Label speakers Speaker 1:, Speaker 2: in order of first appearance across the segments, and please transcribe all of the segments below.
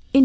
Speaker 1: verscheen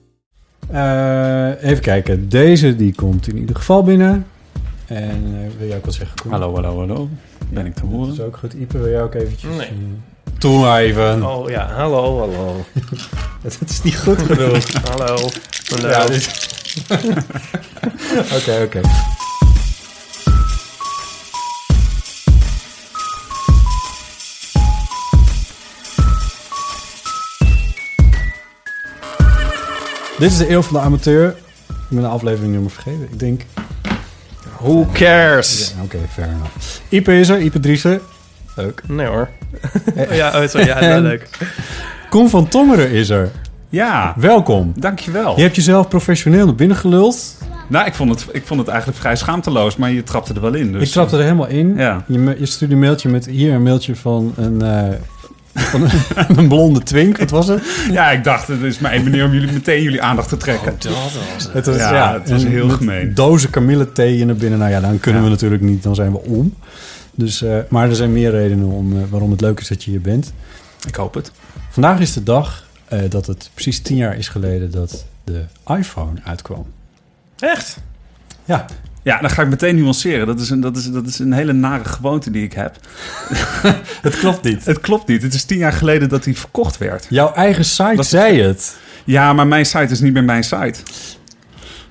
Speaker 2: Eh, even kijken. Deze die komt in ieder geval binnen. En eh, wil jij ook wat zeggen? Koen?
Speaker 3: Hallo, hallo, hallo. Ben ik te
Speaker 2: Dat is
Speaker 3: horen?
Speaker 2: ook goed. Ipe, wil jij ook eventjes?
Speaker 4: Nee.
Speaker 2: eh, Doe maar even.
Speaker 4: Oh ja, hallo, hallo.
Speaker 2: Dat is niet goed genoeg.
Speaker 4: hallo. hallo.
Speaker 2: Ja, dit- Oké, oké. Dit is de Eeuw van de Amateur. Ik ben de aflevering nummer vergeten. Ik denk...
Speaker 4: Who cares?
Speaker 2: Ja, oké, fair enough. Ipe is er, Ipe Driessen. Leuk.
Speaker 4: Nee hoor. Oh, ja, oh, sorry, ja,
Speaker 2: En-
Speaker 4: heel leuk.
Speaker 2: Koen van Tommeren is er.
Speaker 3: Ja,
Speaker 2: Welkom.
Speaker 3: dankjewel.
Speaker 2: Je hebt jezelf professioneel naar binnen geluld.
Speaker 3: Nou, ik vond, het, ik vond het eigenlijk vrij schaamteloos, maar je trapte er wel in. Dus.
Speaker 2: Ik trapte er helemaal in.
Speaker 3: Ja.
Speaker 2: Je, me- je stuurde een mailtje met hier een mailtje van een, eh, van een, een blonde twink. Wat was het?
Speaker 3: Ja, ik dacht, het is maar één manier om jullie meteen jullie aandacht te trekken.
Speaker 2: Het was,
Speaker 3: Ja, het was
Speaker 2: een-
Speaker 3: heel
Speaker 2: met
Speaker 3: gemeen.
Speaker 2: Dozen kamille thee naar binnen. Nou ja, dan kunnen
Speaker 3: Ja.
Speaker 2: we natuurlijk niet. Dan zijn we om. Dus, eh, maar er zijn meer redenen om, eh, waarom het leuk is dat je hier bent.
Speaker 3: Ik hoop het.
Speaker 2: Vandaag is de dag eh, dat het precies tien jaar is geleden dat de iPhone uitkwam.
Speaker 4: Echt?
Speaker 2: Ja,
Speaker 3: Ja, dan ga ik meteen nuanceren. Dat is een, dat is, dat is een hele nare gewoonte die ik heb.
Speaker 2: het klopt niet.
Speaker 3: Het klopt niet. Het is tien jaar geleden dat die verkocht werd.
Speaker 2: Jouw eigen site
Speaker 3: Dat-
Speaker 2: zei het.
Speaker 3: Ja, maar mijn site is niet meer mijn site.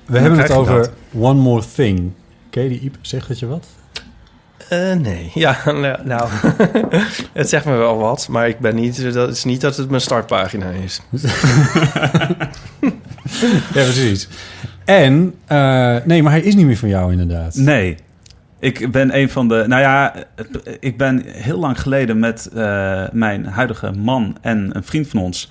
Speaker 2: We hebben
Speaker 3: krijg
Speaker 2: het
Speaker 3: je
Speaker 2: over
Speaker 3: dat.
Speaker 2: One More Thing. Ken je die Iep? Zegt dat je wat?
Speaker 4: Eh, nee. Ja, nou, nou. het zegt me wel wat, maar ik ben niet, dat is niet dat het mijn startpagina is.
Speaker 2: Ja, precies. En, eh, nee, maar hij is niet meer van jou inderdaad.
Speaker 3: Nee. Ik ben een van de. Nou ja, het- ik ben heel lang geleden met eh, mijn huidige man en een vriend van ons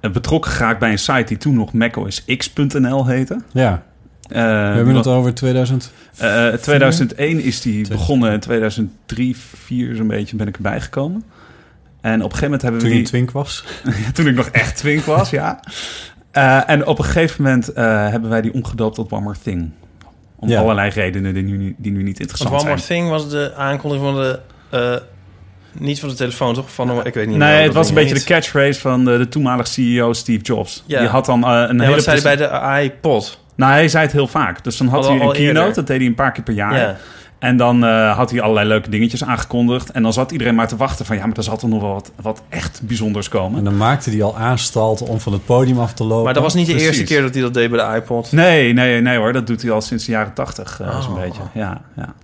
Speaker 3: eh, betrokken geraakt bij een site die toen nog macOSX.nl heette.
Speaker 2: Ja,
Speaker 3: Eh,
Speaker 2: we hebben
Speaker 3: wat-
Speaker 2: het over 2000.
Speaker 3: eh, 2001 is die begonnen. In 2003, 4 zo'n beetje ben ik erbij gekomen. En op een gegeven moment hebben we
Speaker 2: Toen je een
Speaker 3: die...
Speaker 2: twink was.
Speaker 3: Toen ik nog echt twink was, ja. Eh, en op een gegeven moment eh, hebben wij die omgedoopt tot One More Thing. Om
Speaker 2: Ja.
Speaker 3: allerlei redenen die nu, die nu niet
Speaker 4: Want
Speaker 3: interessant
Speaker 4: One
Speaker 3: zijn.
Speaker 4: More Thing was de aankondiging van de... eh, niet van de telefoon, toch? Van, ik weet niet meer,
Speaker 3: Nee,
Speaker 4: dat
Speaker 3: het was een
Speaker 4: weet ik
Speaker 3: beetje de
Speaker 4: niet.
Speaker 3: catchphrase van de, de toenmalig CEO Steve Jobs.
Speaker 4: Ja.
Speaker 3: Die had dan eh, een
Speaker 4: Nee,
Speaker 3: hele...
Speaker 4: wat zei hij
Speaker 3: pres-
Speaker 4: bij de iPod?
Speaker 3: Nou, hij zei het heel vaak. Dus dan had
Speaker 4: Al-
Speaker 3: hij een
Speaker 4: al
Speaker 3: keynote,
Speaker 4: eerder.
Speaker 3: dat deed hij een paar keer per jaar.
Speaker 4: ja.
Speaker 3: En dan eh, had hij allerlei leuke dingetjes aangekondigd. En dan zat iedereen maar te wachten van... Ja, maar er zal toch nog wel wat, wat echt bijzonders
Speaker 2: En
Speaker 3: komen.
Speaker 2: dan maakte hij al aanstalten om van het podium af te lopen.
Speaker 4: Maar dat was niet de
Speaker 3: Precies.
Speaker 4: eerste keer dat hij dat deed bij de iPod.
Speaker 3: Nee, nee, nee hoor. Dat doet hij al sinds de jaren tachtig eh, zo'n
Speaker 4: Oh.
Speaker 3: beetje. Ja, ja.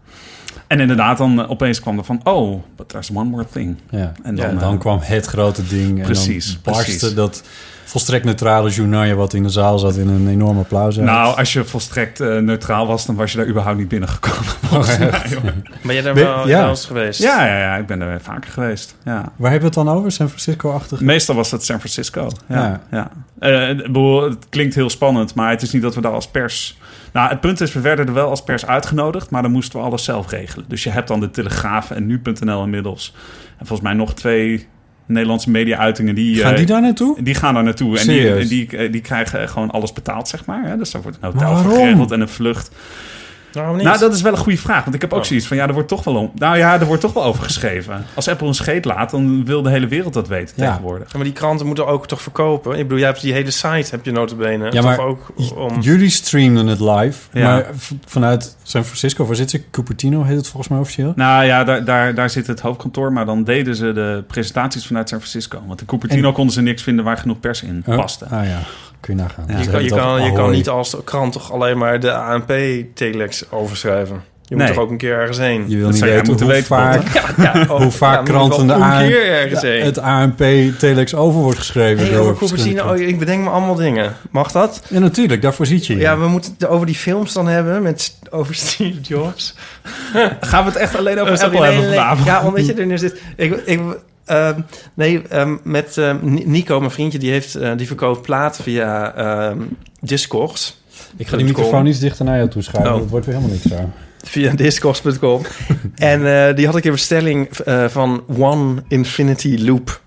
Speaker 3: En inderdaad, dan eh, opeens kwam er van... Oh, but there's one more thing.
Speaker 2: Ja.
Speaker 3: En
Speaker 2: En
Speaker 3: dan,
Speaker 2: dan,
Speaker 3: eh,
Speaker 2: kwam het grote ding.
Speaker 3: Precies,
Speaker 2: en dan barstte
Speaker 3: precies.
Speaker 2: dat volstrekt neutrale journaal wat in de zaal zat in een enorm applaus. uit.
Speaker 3: Nou, als je volstrekt eh, neutraal was... dan was je daar überhaupt niet binnengekomen. volgens
Speaker 2: Oh, echt?
Speaker 3: mij, hoor.
Speaker 4: Ben jij daar
Speaker 2: Ben-
Speaker 4: wel
Speaker 2: ja.
Speaker 4: wel eens geweest?
Speaker 3: Ja, ja, ja, ik ben er vaker geweest. Ja.
Speaker 2: Waar hebben we het dan over? San Francisco-achtig?
Speaker 3: Meestal was dat San Francisco. Ja,
Speaker 2: Ja.
Speaker 3: ja. Eh, ik bedoel, het klinkt heel spannend, maar het is niet dat we daar als pers. Nou, het punt is, we werden er wel als pers uitgenodigd, maar dan moesten we alles zelf regelen. Dus je hebt dan de Telegraaf en nu.nl inmiddels. En volgens mij nog twee Nederlandse media-uitingen die.
Speaker 2: Gaan
Speaker 3: eh,
Speaker 2: die daar naartoe?
Speaker 3: die gaan daar naartoe en die, eh,
Speaker 2: Serieus?
Speaker 3: en die, eh, die krijgen gewoon alles betaald, zeg maar. hè. Dus daar wordt een
Speaker 2: Maar
Speaker 3: hotel
Speaker 2: waarom?
Speaker 3: voor geregeld en een vlucht.
Speaker 4: Waarom niet?
Speaker 3: Nou, dat is wel een goede vraag. Want ik heb
Speaker 2: Oh.
Speaker 3: ook zoiets van, ja, er wordt toch wel om... Nou ja, er wordt toch wel over geschreven. Als Apple een scheet laat, dan wil de hele wereld dat weten
Speaker 2: Ja.
Speaker 3: tegenwoordig.
Speaker 4: Ja, maar die kranten moeten ook toch verkopen? Ik bedoel, jij hebt die hele site, heb je notabene.
Speaker 2: Ja,
Speaker 4: Ja,
Speaker 2: maar
Speaker 4: toch ook
Speaker 2: J-
Speaker 4: om...
Speaker 2: Jullie streamden het live.
Speaker 3: Ja.
Speaker 2: Maar v- vanuit San Francisco, waar zit ze? Cupertino heet het volgens mij officieel.
Speaker 3: Nou ja, daar, daar, daar zit het hoofdkantoor. Maar dan deden ze de presentaties vanuit San Francisco. Want in Cupertino
Speaker 2: En-
Speaker 3: konden ze niks vinden waar genoeg pers in
Speaker 2: Oh,
Speaker 3: paste.
Speaker 2: Ah ja, kun je nagaan. Dus
Speaker 3: Ja.
Speaker 2: Ze
Speaker 4: je kan, je,
Speaker 2: hebben
Speaker 4: kan,
Speaker 2: dat
Speaker 4: je kan
Speaker 2: Ahoy.
Speaker 4: niet als krant toch alleen maar de ANP-telex overschrijven. Je moet
Speaker 3: Nee.
Speaker 4: toch ook een keer ergens heen?
Speaker 2: Je wil
Speaker 3: Dat
Speaker 2: niet
Speaker 3: zou jij
Speaker 2: weten hoe
Speaker 3: moeten weten,
Speaker 2: vaak,
Speaker 4: Ja, ja, oh,
Speaker 2: hoe vaak
Speaker 4: ja, moet
Speaker 2: kranten de
Speaker 4: wel
Speaker 2: A-
Speaker 4: een keer ergens heen.
Speaker 2: het ANP telex over wordt geschreven.
Speaker 4: Hey,
Speaker 2: door
Speaker 4: over
Speaker 2: verschillende
Speaker 4: Cupertino, oh, ik bedenk me allemaal dingen. Mag dat?
Speaker 2: kranten. Ja, natuurlijk, daarvoor zit je.
Speaker 4: Ja,
Speaker 2: hier.
Speaker 4: we moeten het over die films dan hebben met over Steve Jobs.
Speaker 3: Gaan we het echt alleen over
Speaker 4: Oh, sorry,
Speaker 3: Apple
Speaker 4: nee,
Speaker 3: hebben
Speaker 4: nee, nee.
Speaker 3: vanavond?
Speaker 4: Ja, omdat je er nu zit. Ik, ik, ehm, nee, ehm, met ehm, Ni- Nico, mijn vriendje, die, heeft, eh, die verkoopt platen via ehm, Discogs.
Speaker 2: ik ga die microfoon iets dichter naar jou toe schuiven.
Speaker 4: Oh.
Speaker 2: Dat wordt weer helemaal niks daar.
Speaker 4: Via discogs.com. en eh, die had ik in bestelling eh, van One Infinity Loop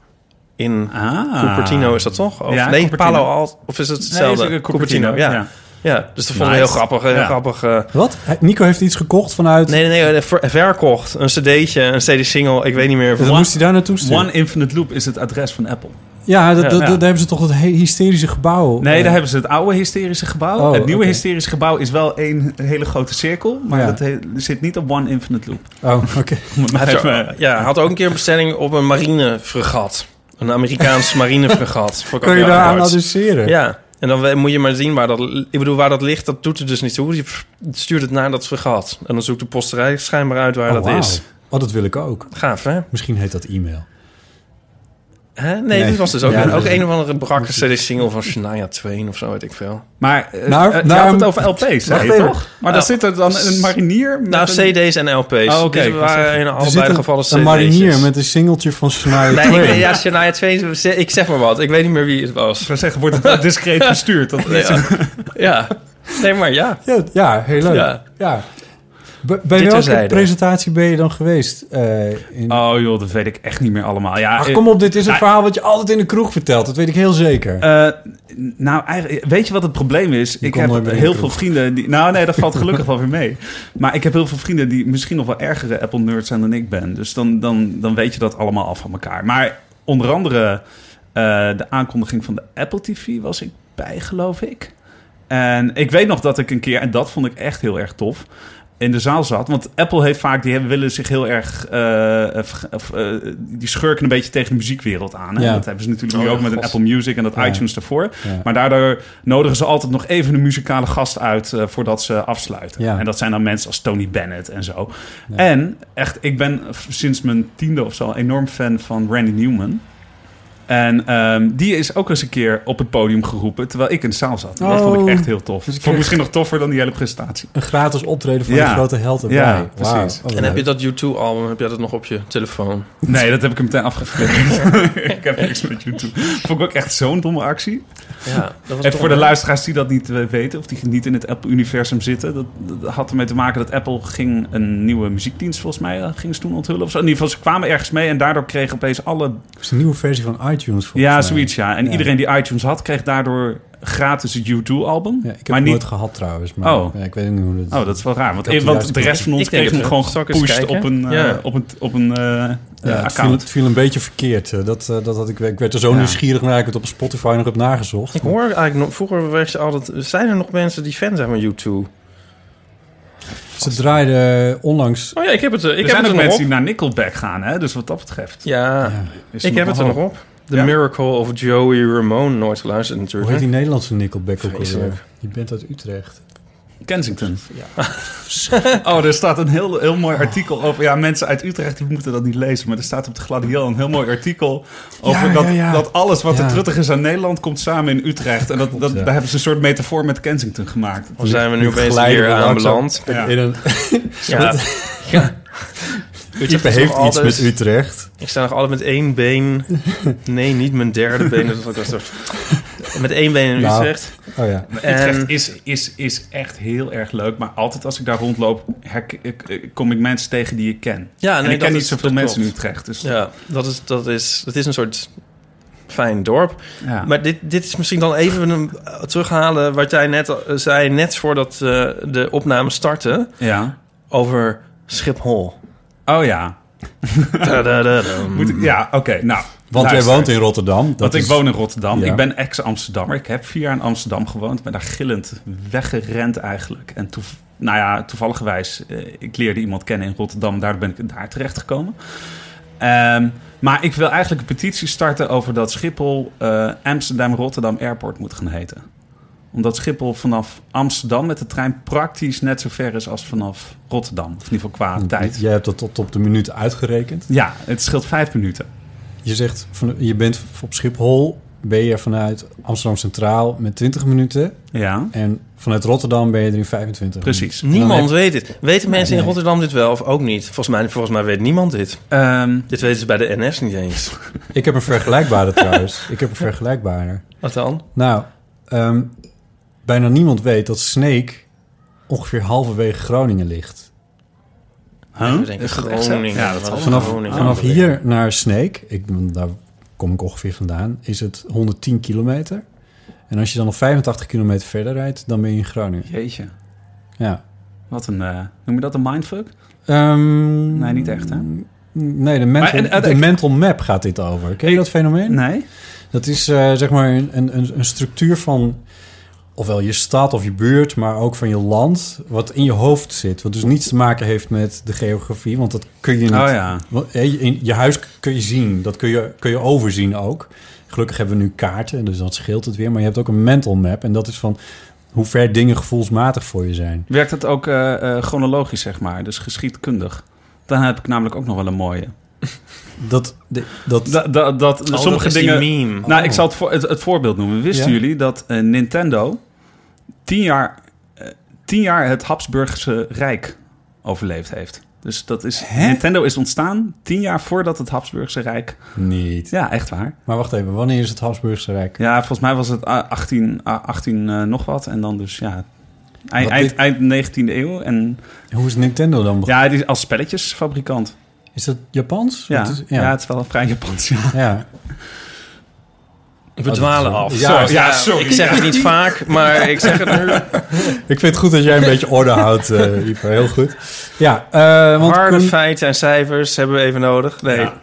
Speaker 4: in
Speaker 3: Ah.
Speaker 4: Cupertino is dat toch? Of,
Speaker 3: Ja,
Speaker 4: nee,
Speaker 3: Cupertino.
Speaker 4: Palo Alto. Of is het
Speaker 3: Nee,
Speaker 4: hetzelfde?
Speaker 3: is ook een Cupertino,
Speaker 4: ja.
Speaker 3: ja.
Speaker 4: ja. dus dat vond ik
Speaker 3: Nice.
Speaker 4: heel grappig. Heel
Speaker 3: Ja.
Speaker 4: grappig eh,
Speaker 2: Wat? Hij- Nico heeft iets gekocht vanuit...
Speaker 4: nee, nee, nee, ver- verkocht. Een cd'tje, een cd-single. Ik weet niet meer.
Speaker 2: Dat
Speaker 4: One-
Speaker 2: Dus moest hij daar naartoe sturen.
Speaker 3: One Infinite Loop is het adres van Apple.
Speaker 2: Ja, dat,
Speaker 4: Ja.
Speaker 2: dat-
Speaker 3: Ja.
Speaker 2: daar hebben ze toch dat he- hysterische gebouw.
Speaker 3: Nee,
Speaker 2: eh,
Speaker 3: daar hebben ze het oude hysterische gebouw.
Speaker 2: Oh,
Speaker 3: het nieuwe
Speaker 2: oké.
Speaker 3: hysterische gebouw is wel één hele grote cirkel. Maar
Speaker 2: Ja.
Speaker 3: dat he- zit niet op One Infinite Loop.
Speaker 2: Oh, oké.
Speaker 3: Om het maar
Speaker 4: Hij had,
Speaker 3: even- eh,
Speaker 4: zo- ja, hij had ook een keer een bestelling op een marinefregat. Een Amerikaans marinefregat. Vond ik
Speaker 2: Kun je
Speaker 4: ook heel
Speaker 2: daar aan
Speaker 4: apart.
Speaker 2: adresseren?
Speaker 4: Ja, en dan we- moet je maar zien waar dat... Ik bedoel, waar dat ligt, dat doet er dus niet toe. Je stuurt het naar dat fregat. En dan zoekt de posterij schijnbaar uit waar
Speaker 2: Oh,
Speaker 4: dat
Speaker 2: wauw.
Speaker 4: is.
Speaker 2: Oh, dat wil ik ook.
Speaker 4: Gaaf, hè?
Speaker 2: Misschien heet dat e-mail.
Speaker 4: Hè? Nee,
Speaker 2: Nee.
Speaker 4: dit was dus ook,
Speaker 2: Ja,
Speaker 4: een,
Speaker 2: dat
Speaker 4: ook
Speaker 2: is-
Speaker 4: een of andere brakke CD-single van Shania Twain of zo, weet ik veel.
Speaker 3: Maar eh,
Speaker 2: Nou,
Speaker 3: eh, je
Speaker 2: nou,
Speaker 3: had het over LP's, zei je
Speaker 2: even.
Speaker 3: toch? Maar dan
Speaker 4: Nou,
Speaker 3: zit er dan een marinier met
Speaker 4: Nou,
Speaker 3: een-
Speaker 4: CD's en LP's.
Speaker 3: Oh, oké.
Speaker 4: Dit waren in
Speaker 2: Er
Speaker 4: allebei de
Speaker 2: een-
Speaker 4: gevallen CD's.
Speaker 2: een marinier met een singeltje van Shania
Speaker 4: Nee, ik,
Speaker 2: Twain.
Speaker 4: weet- ja, Shania Twain, ik zeg maar wat. Ik weet niet meer wie het was.
Speaker 3: Ik zou zeggen, wordt het wel discreet gestuurd. Dat
Speaker 4: Nee, ja. ja. Nee, maar ja.
Speaker 2: ja, ja, heel leuk. Ja.
Speaker 4: Ja.
Speaker 2: Bij- Bij
Speaker 4: Dit
Speaker 2: welke
Speaker 4: terzijde.
Speaker 2: presentatie ben je dan geweest? eh, in...
Speaker 3: Oh joh, dat weet ik echt niet meer allemaal. Ja,
Speaker 2: Ach,
Speaker 3: eh,
Speaker 2: kom op, dit is een
Speaker 3: nou,
Speaker 2: verhaal wat je altijd in de kroeg vertelt. Dat weet ik heel zeker.
Speaker 3: eh, nou, eigenlijk, weet je wat het probleem is? Ik
Speaker 2: kon
Speaker 3: heb
Speaker 2: nooit meer in de
Speaker 3: heel
Speaker 2: kroeg.
Speaker 3: veel vrienden die... Nou nee, dat valt gelukkig wel weer mee. Maar ik heb heel veel vrienden die misschien nog wel ergere Apple-nerds zijn dan ik ben. Dus dan, dan, dan weet je dat allemaal af van elkaar. Maar onder andere eh, de aankondiging van de Apple TV was ik bij, geloof ik. En ik weet nog dat ik een keer, en dat vond ik echt heel erg tof, in de zaal zat. Want Apple heeft vaak, die hebben- willen zich heel erg, eh, eh, verg- of, eh, die schurken een beetje tegen de muziekwereld aan. Hè?
Speaker 2: Ja.
Speaker 3: Dat hebben ze natuurlijk nu
Speaker 4: Oh,
Speaker 3: ook met een
Speaker 4: God.
Speaker 3: Apple Music en dat
Speaker 2: Ja.
Speaker 3: iTunes daarvoor.
Speaker 2: Ja.
Speaker 3: Maar daardoor nodigen ze altijd nog even een muzikale gast uit eh, voordat ze afsluiten.
Speaker 2: Ja.
Speaker 3: En dat zijn dan mensen als Tony Bennett en zo. En echt, ik ben sinds mijn tiende of zo enorm fan van Randy Newman. En ehm, die is ook eens een keer op het podium geroepen terwijl ik in de zaal zat. En Dat
Speaker 2: Oh.
Speaker 3: vond ik echt heel tof.
Speaker 2: Dus ik
Speaker 3: vond ik
Speaker 2: kreeg-
Speaker 3: misschien nog toffer dan die hele presentatie.
Speaker 2: Een gratis optreden van
Speaker 3: Ja.
Speaker 2: de grote held erbij.
Speaker 3: Ja,
Speaker 2: Wauw.
Speaker 3: precies.
Speaker 2: Oh, wat
Speaker 4: En heb je
Speaker 2: leuk.
Speaker 4: dat U2-album, heb jij dat nog op je telefoon?
Speaker 3: Nee, dat heb ik hem meteen afgeflikkerd. ik heb niks met YouTube. Vond ik ook echt zo'n domme actie.
Speaker 4: Ja, dat was
Speaker 3: En voor de luisteraars die dat niet eh, weten, of die niet in het Apple-universum zitten, dat, dat had ermee te maken dat Apple ging een nieuwe muziekdienst, volgens mij, eh, ging ze toen onthullen. Of zo. In ieder geval, ze kwamen ergens mee en daardoor kregen opeens alle
Speaker 2: Dat is een nieuwe versie van iTunes. volgens
Speaker 3: Ja,
Speaker 2: mij.
Speaker 3: zoiets, ja. En
Speaker 2: Ja.
Speaker 3: iedereen die iTunes had, kreeg daardoor gratis het U2-album.
Speaker 2: Ja, ik heb
Speaker 3: maar
Speaker 2: het
Speaker 3: niet...
Speaker 2: nooit gehad trouwens. Maar
Speaker 3: Oh.
Speaker 2: ja, ik weet niet hoe dat...
Speaker 3: Oh, dat is wel raar. Want,
Speaker 2: Ik heb
Speaker 3: eh, want
Speaker 2: die
Speaker 3: de
Speaker 2: juist-
Speaker 3: rest van ons
Speaker 4: Ik denk
Speaker 3: kreeg hem
Speaker 4: dat
Speaker 3: gewoon
Speaker 4: we- zal ik eens
Speaker 3: gepusht
Speaker 4: kijken?
Speaker 3: op een, eh,
Speaker 4: Ja.
Speaker 3: op een, op een eh,
Speaker 2: Ja,
Speaker 3: eh,
Speaker 2: het, viel,
Speaker 3: account.
Speaker 2: het viel een beetje verkeerd. eh, Dat, eh, dat had ik, ik werd er zo
Speaker 3: Ja.
Speaker 2: nieuwsgierig naar. Ik het op Spotify nog heb nagezocht.
Speaker 4: Ik hoor eigenlijk nog, vroeger werd je altijd, zijn er nog mensen die fan zijn van U2?
Speaker 2: Ze draaiden onlangs...
Speaker 4: Oh ja, ik heb het, eh, ik
Speaker 3: er
Speaker 4: heb
Speaker 3: zijn
Speaker 4: het
Speaker 3: ook
Speaker 4: er nog
Speaker 3: mensen die
Speaker 4: op.
Speaker 3: naar Nickelback gaan, hè? Dus wat dat betreft.
Speaker 4: Ja,
Speaker 3: is
Speaker 4: ik heb het er nog
Speaker 3: wel-
Speaker 4: op. The
Speaker 3: Ja.
Speaker 4: Miracle of Joey Ramone, nooit geluisterd
Speaker 2: Hoe heet
Speaker 4: natuurlijk.
Speaker 2: die Nederlandse Nickelback ook alweer?
Speaker 4: Vreselijk.
Speaker 2: Je bent uit Utrecht.
Speaker 3: Kensington. oh, er staat een heel, heel mooi artikel over... Ja, mensen uit Utrecht die moeten dat niet lezen... maar er staat op de Gladiel een heel mooi artikel... over
Speaker 2: Ja,
Speaker 3: dat,
Speaker 2: ja, ja.
Speaker 3: dat alles wat
Speaker 2: Ja.
Speaker 3: er truttig is aan Nederland... komt samen in Utrecht. En dat, dat,
Speaker 2: ja.
Speaker 3: daar hebben ze een soort metafoor met Kensington gemaakt.
Speaker 4: Of zijn we nu
Speaker 2: Nu
Speaker 4: opeens
Speaker 2: glijden
Speaker 4: hier
Speaker 2: we langzaam.
Speaker 4: aanbeland?
Speaker 3: Ja.
Speaker 2: In een,
Speaker 4: Ja. ja.
Speaker 2: Ipe
Speaker 4: is
Speaker 2: heeft
Speaker 4: nog
Speaker 2: iets
Speaker 4: altijd-
Speaker 2: met Utrecht.
Speaker 4: Ik sta nog altijd met één been. Nee, niet mijn derde been. Dat was ook een soort... Met één been in
Speaker 2: Nou.
Speaker 4: Utrecht.
Speaker 2: Oh ja.
Speaker 3: Utrecht
Speaker 4: En-
Speaker 3: is, is, is echt heel erg leuk. Maar altijd als ik daar rondloop, herk- ik- ik- kom ik mensen tegen die ik ken.
Speaker 4: Ja,
Speaker 3: en
Speaker 4: nee,
Speaker 3: ik ken
Speaker 4: dat
Speaker 3: niet
Speaker 4: is-
Speaker 3: zoveel
Speaker 4: dat
Speaker 3: mensen in
Speaker 4: klopt.
Speaker 3: Utrecht. Dus
Speaker 4: Ja, dat is, dat is, dat is een soort fijn dorp.
Speaker 3: Ja.
Speaker 4: Maar dit, dit is misschien dan even een, eh, terughalen wat jij net al- zei, net voordat eh, de opname startte,
Speaker 3: ja.
Speaker 4: over Schiphol.
Speaker 3: Oh ja.
Speaker 4: Tadadadam.
Speaker 3: Moet ik, ja, oké. Nou,
Speaker 2: Mm. Want jij
Speaker 3: luister.
Speaker 2: woont in Rotterdam. Dat
Speaker 3: Want
Speaker 2: is-
Speaker 3: ik woon in Rotterdam.
Speaker 2: Ja.
Speaker 3: Ik ben ex-Amsterdammer. Ik heb vier jaar in Amsterdam gewoond. Ben daar gillend weggerend eigenlijk. En toe, nou ja, toevalligerwijs, eh, ik leerde iemand kennen in Rotterdam. Daar ben ik daar terechtgekomen. Ehm, maar ik wil eigenlijk een petitie starten over dat Schiphol eh, Amsterdam-Rotterdam Airport moet gaan heten. Omdat Schiphol vanaf Amsterdam met de trein praktisch net zo ver is als vanaf Rotterdam. Of in ieder geval qua tijd.
Speaker 2: Jij hebt dat tot op de minuut uitgerekend.
Speaker 3: Ja, het scheelt vijf minuten.
Speaker 2: Je zegt, van, je bent v- op Schiphol, ben je vanuit Amsterdam Centraal met 20 minuten.
Speaker 3: Ja,
Speaker 2: En vanuit Rotterdam ben je er in 25
Speaker 3: precies.
Speaker 4: Niemand
Speaker 2: Dan
Speaker 4: weet dit. Weten mensen
Speaker 2: nee.
Speaker 4: in Rotterdam dit wel of ook niet? Volgens mij, volgens mij weet niemand dit.
Speaker 3: Ehm,
Speaker 4: Dit weten ze bij de NS niet eens.
Speaker 2: minuten. Ik heb een vergelijkbare trouwens. Ik heb een vergelijkbare.
Speaker 4: Wat dan?
Speaker 2: Nou, ehm, bijna niemand weet dat Sneek ongeveer halverwege Groningen ligt.
Speaker 3: huh?
Speaker 4: We denken
Speaker 3: Is dat echt zo?
Speaker 4: Groningen.
Speaker 3: Ja, dat zal
Speaker 4: Wat
Speaker 2: Vanaf,
Speaker 4: Groningen.
Speaker 2: vanaf hier naar Sneek, ik, ben- daar kom ik ongeveer vandaan, is het 110 kilometer. En als je dan nog 85 kilometer verder rijdt, dan ben je in Groningen.
Speaker 3: Jeetje.
Speaker 2: Ja.
Speaker 3: Wat een, eh, noem je dat een mindfuck?
Speaker 2: Ehm,
Speaker 3: Nee, niet echt, hè?
Speaker 2: Nee, de mental,
Speaker 3: Maar- en-
Speaker 2: de mental map gaat dit over. Ken je dat fenomeen?
Speaker 3: Nee.
Speaker 2: Dat is eh, zeg maar een, een, een structuur van ofwel je stad of je buurt, maar ook van je land, wat in je hoofd zit. Wat dus niets te maken heeft met de geografie, want dat kun je niet.
Speaker 3: Oh ja.
Speaker 2: Want, eh, je- in je huis kun je zien, dat kun je, kun je overzien ook. Gelukkig hebben we nu kaarten, dus dat scheelt het weer. Maar je hebt ook een mental map en dat is van hoe ver dingen gevoelsmatig voor je zijn.
Speaker 3: Werkt dat ook eh, eh, chronologisch, zeg maar? Dus geschiedkundig? Dan heb ik namelijk ook nog wel een mooie.
Speaker 2: Dat, de- dat,
Speaker 3: Da- da- dat
Speaker 4: Oh,
Speaker 3: sommige
Speaker 4: dat is
Speaker 3: dingen...
Speaker 4: Die meme. Oh.
Speaker 3: Nou, ik zal het, voor, het, het voorbeeld noemen. Wisten
Speaker 2: Ja.
Speaker 3: jullie dat eh, Nintendo tien jaar, eh, tien jaar het Habsburgse Rijk overleefd heeft? Dus dat is, Nintendo is ontstaan tien jaar voordat het Habsburgse Rijk...
Speaker 2: niet.
Speaker 3: Ja, echt waar.
Speaker 2: Maar wacht even, wanneer is het Habsburgse Rijk?
Speaker 3: Ja, volgens mij was het ah, 18, ah, 18 eh, nog wat. En dan dus, ja... Eind,
Speaker 2: Wat
Speaker 3: eind,
Speaker 2: dit-
Speaker 3: eind 19e eeuw. En
Speaker 2: Hoe is Nintendo dan begonnen?
Speaker 3: Ja, die is als spelletjesfabrikant.
Speaker 2: Is dat Japans?
Speaker 3: Ja.
Speaker 2: Wat is-
Speaker 3: ja. het is wel een vrij Japans. Ja.
Speaker 2: ja.
Speaker 4: We dwalen af.
Speaker 2: Ja,
Speaker 4: Sorry.
Speaker 3: Oh, ja, sorry.
Speaker 4: Ik zeg het niet vaak, maar ik zeg het nu.
Speaker 2: Ik vind het goed dat jij een beetje orde houdt, eh Ieper. Heel goed. Ja, eh, want
Speaker 4: Harde
Speaker 2: Koen,
Speaker 4: feiten en cijfers hebben we even nodig. Nee.
Speaker 3: Ja.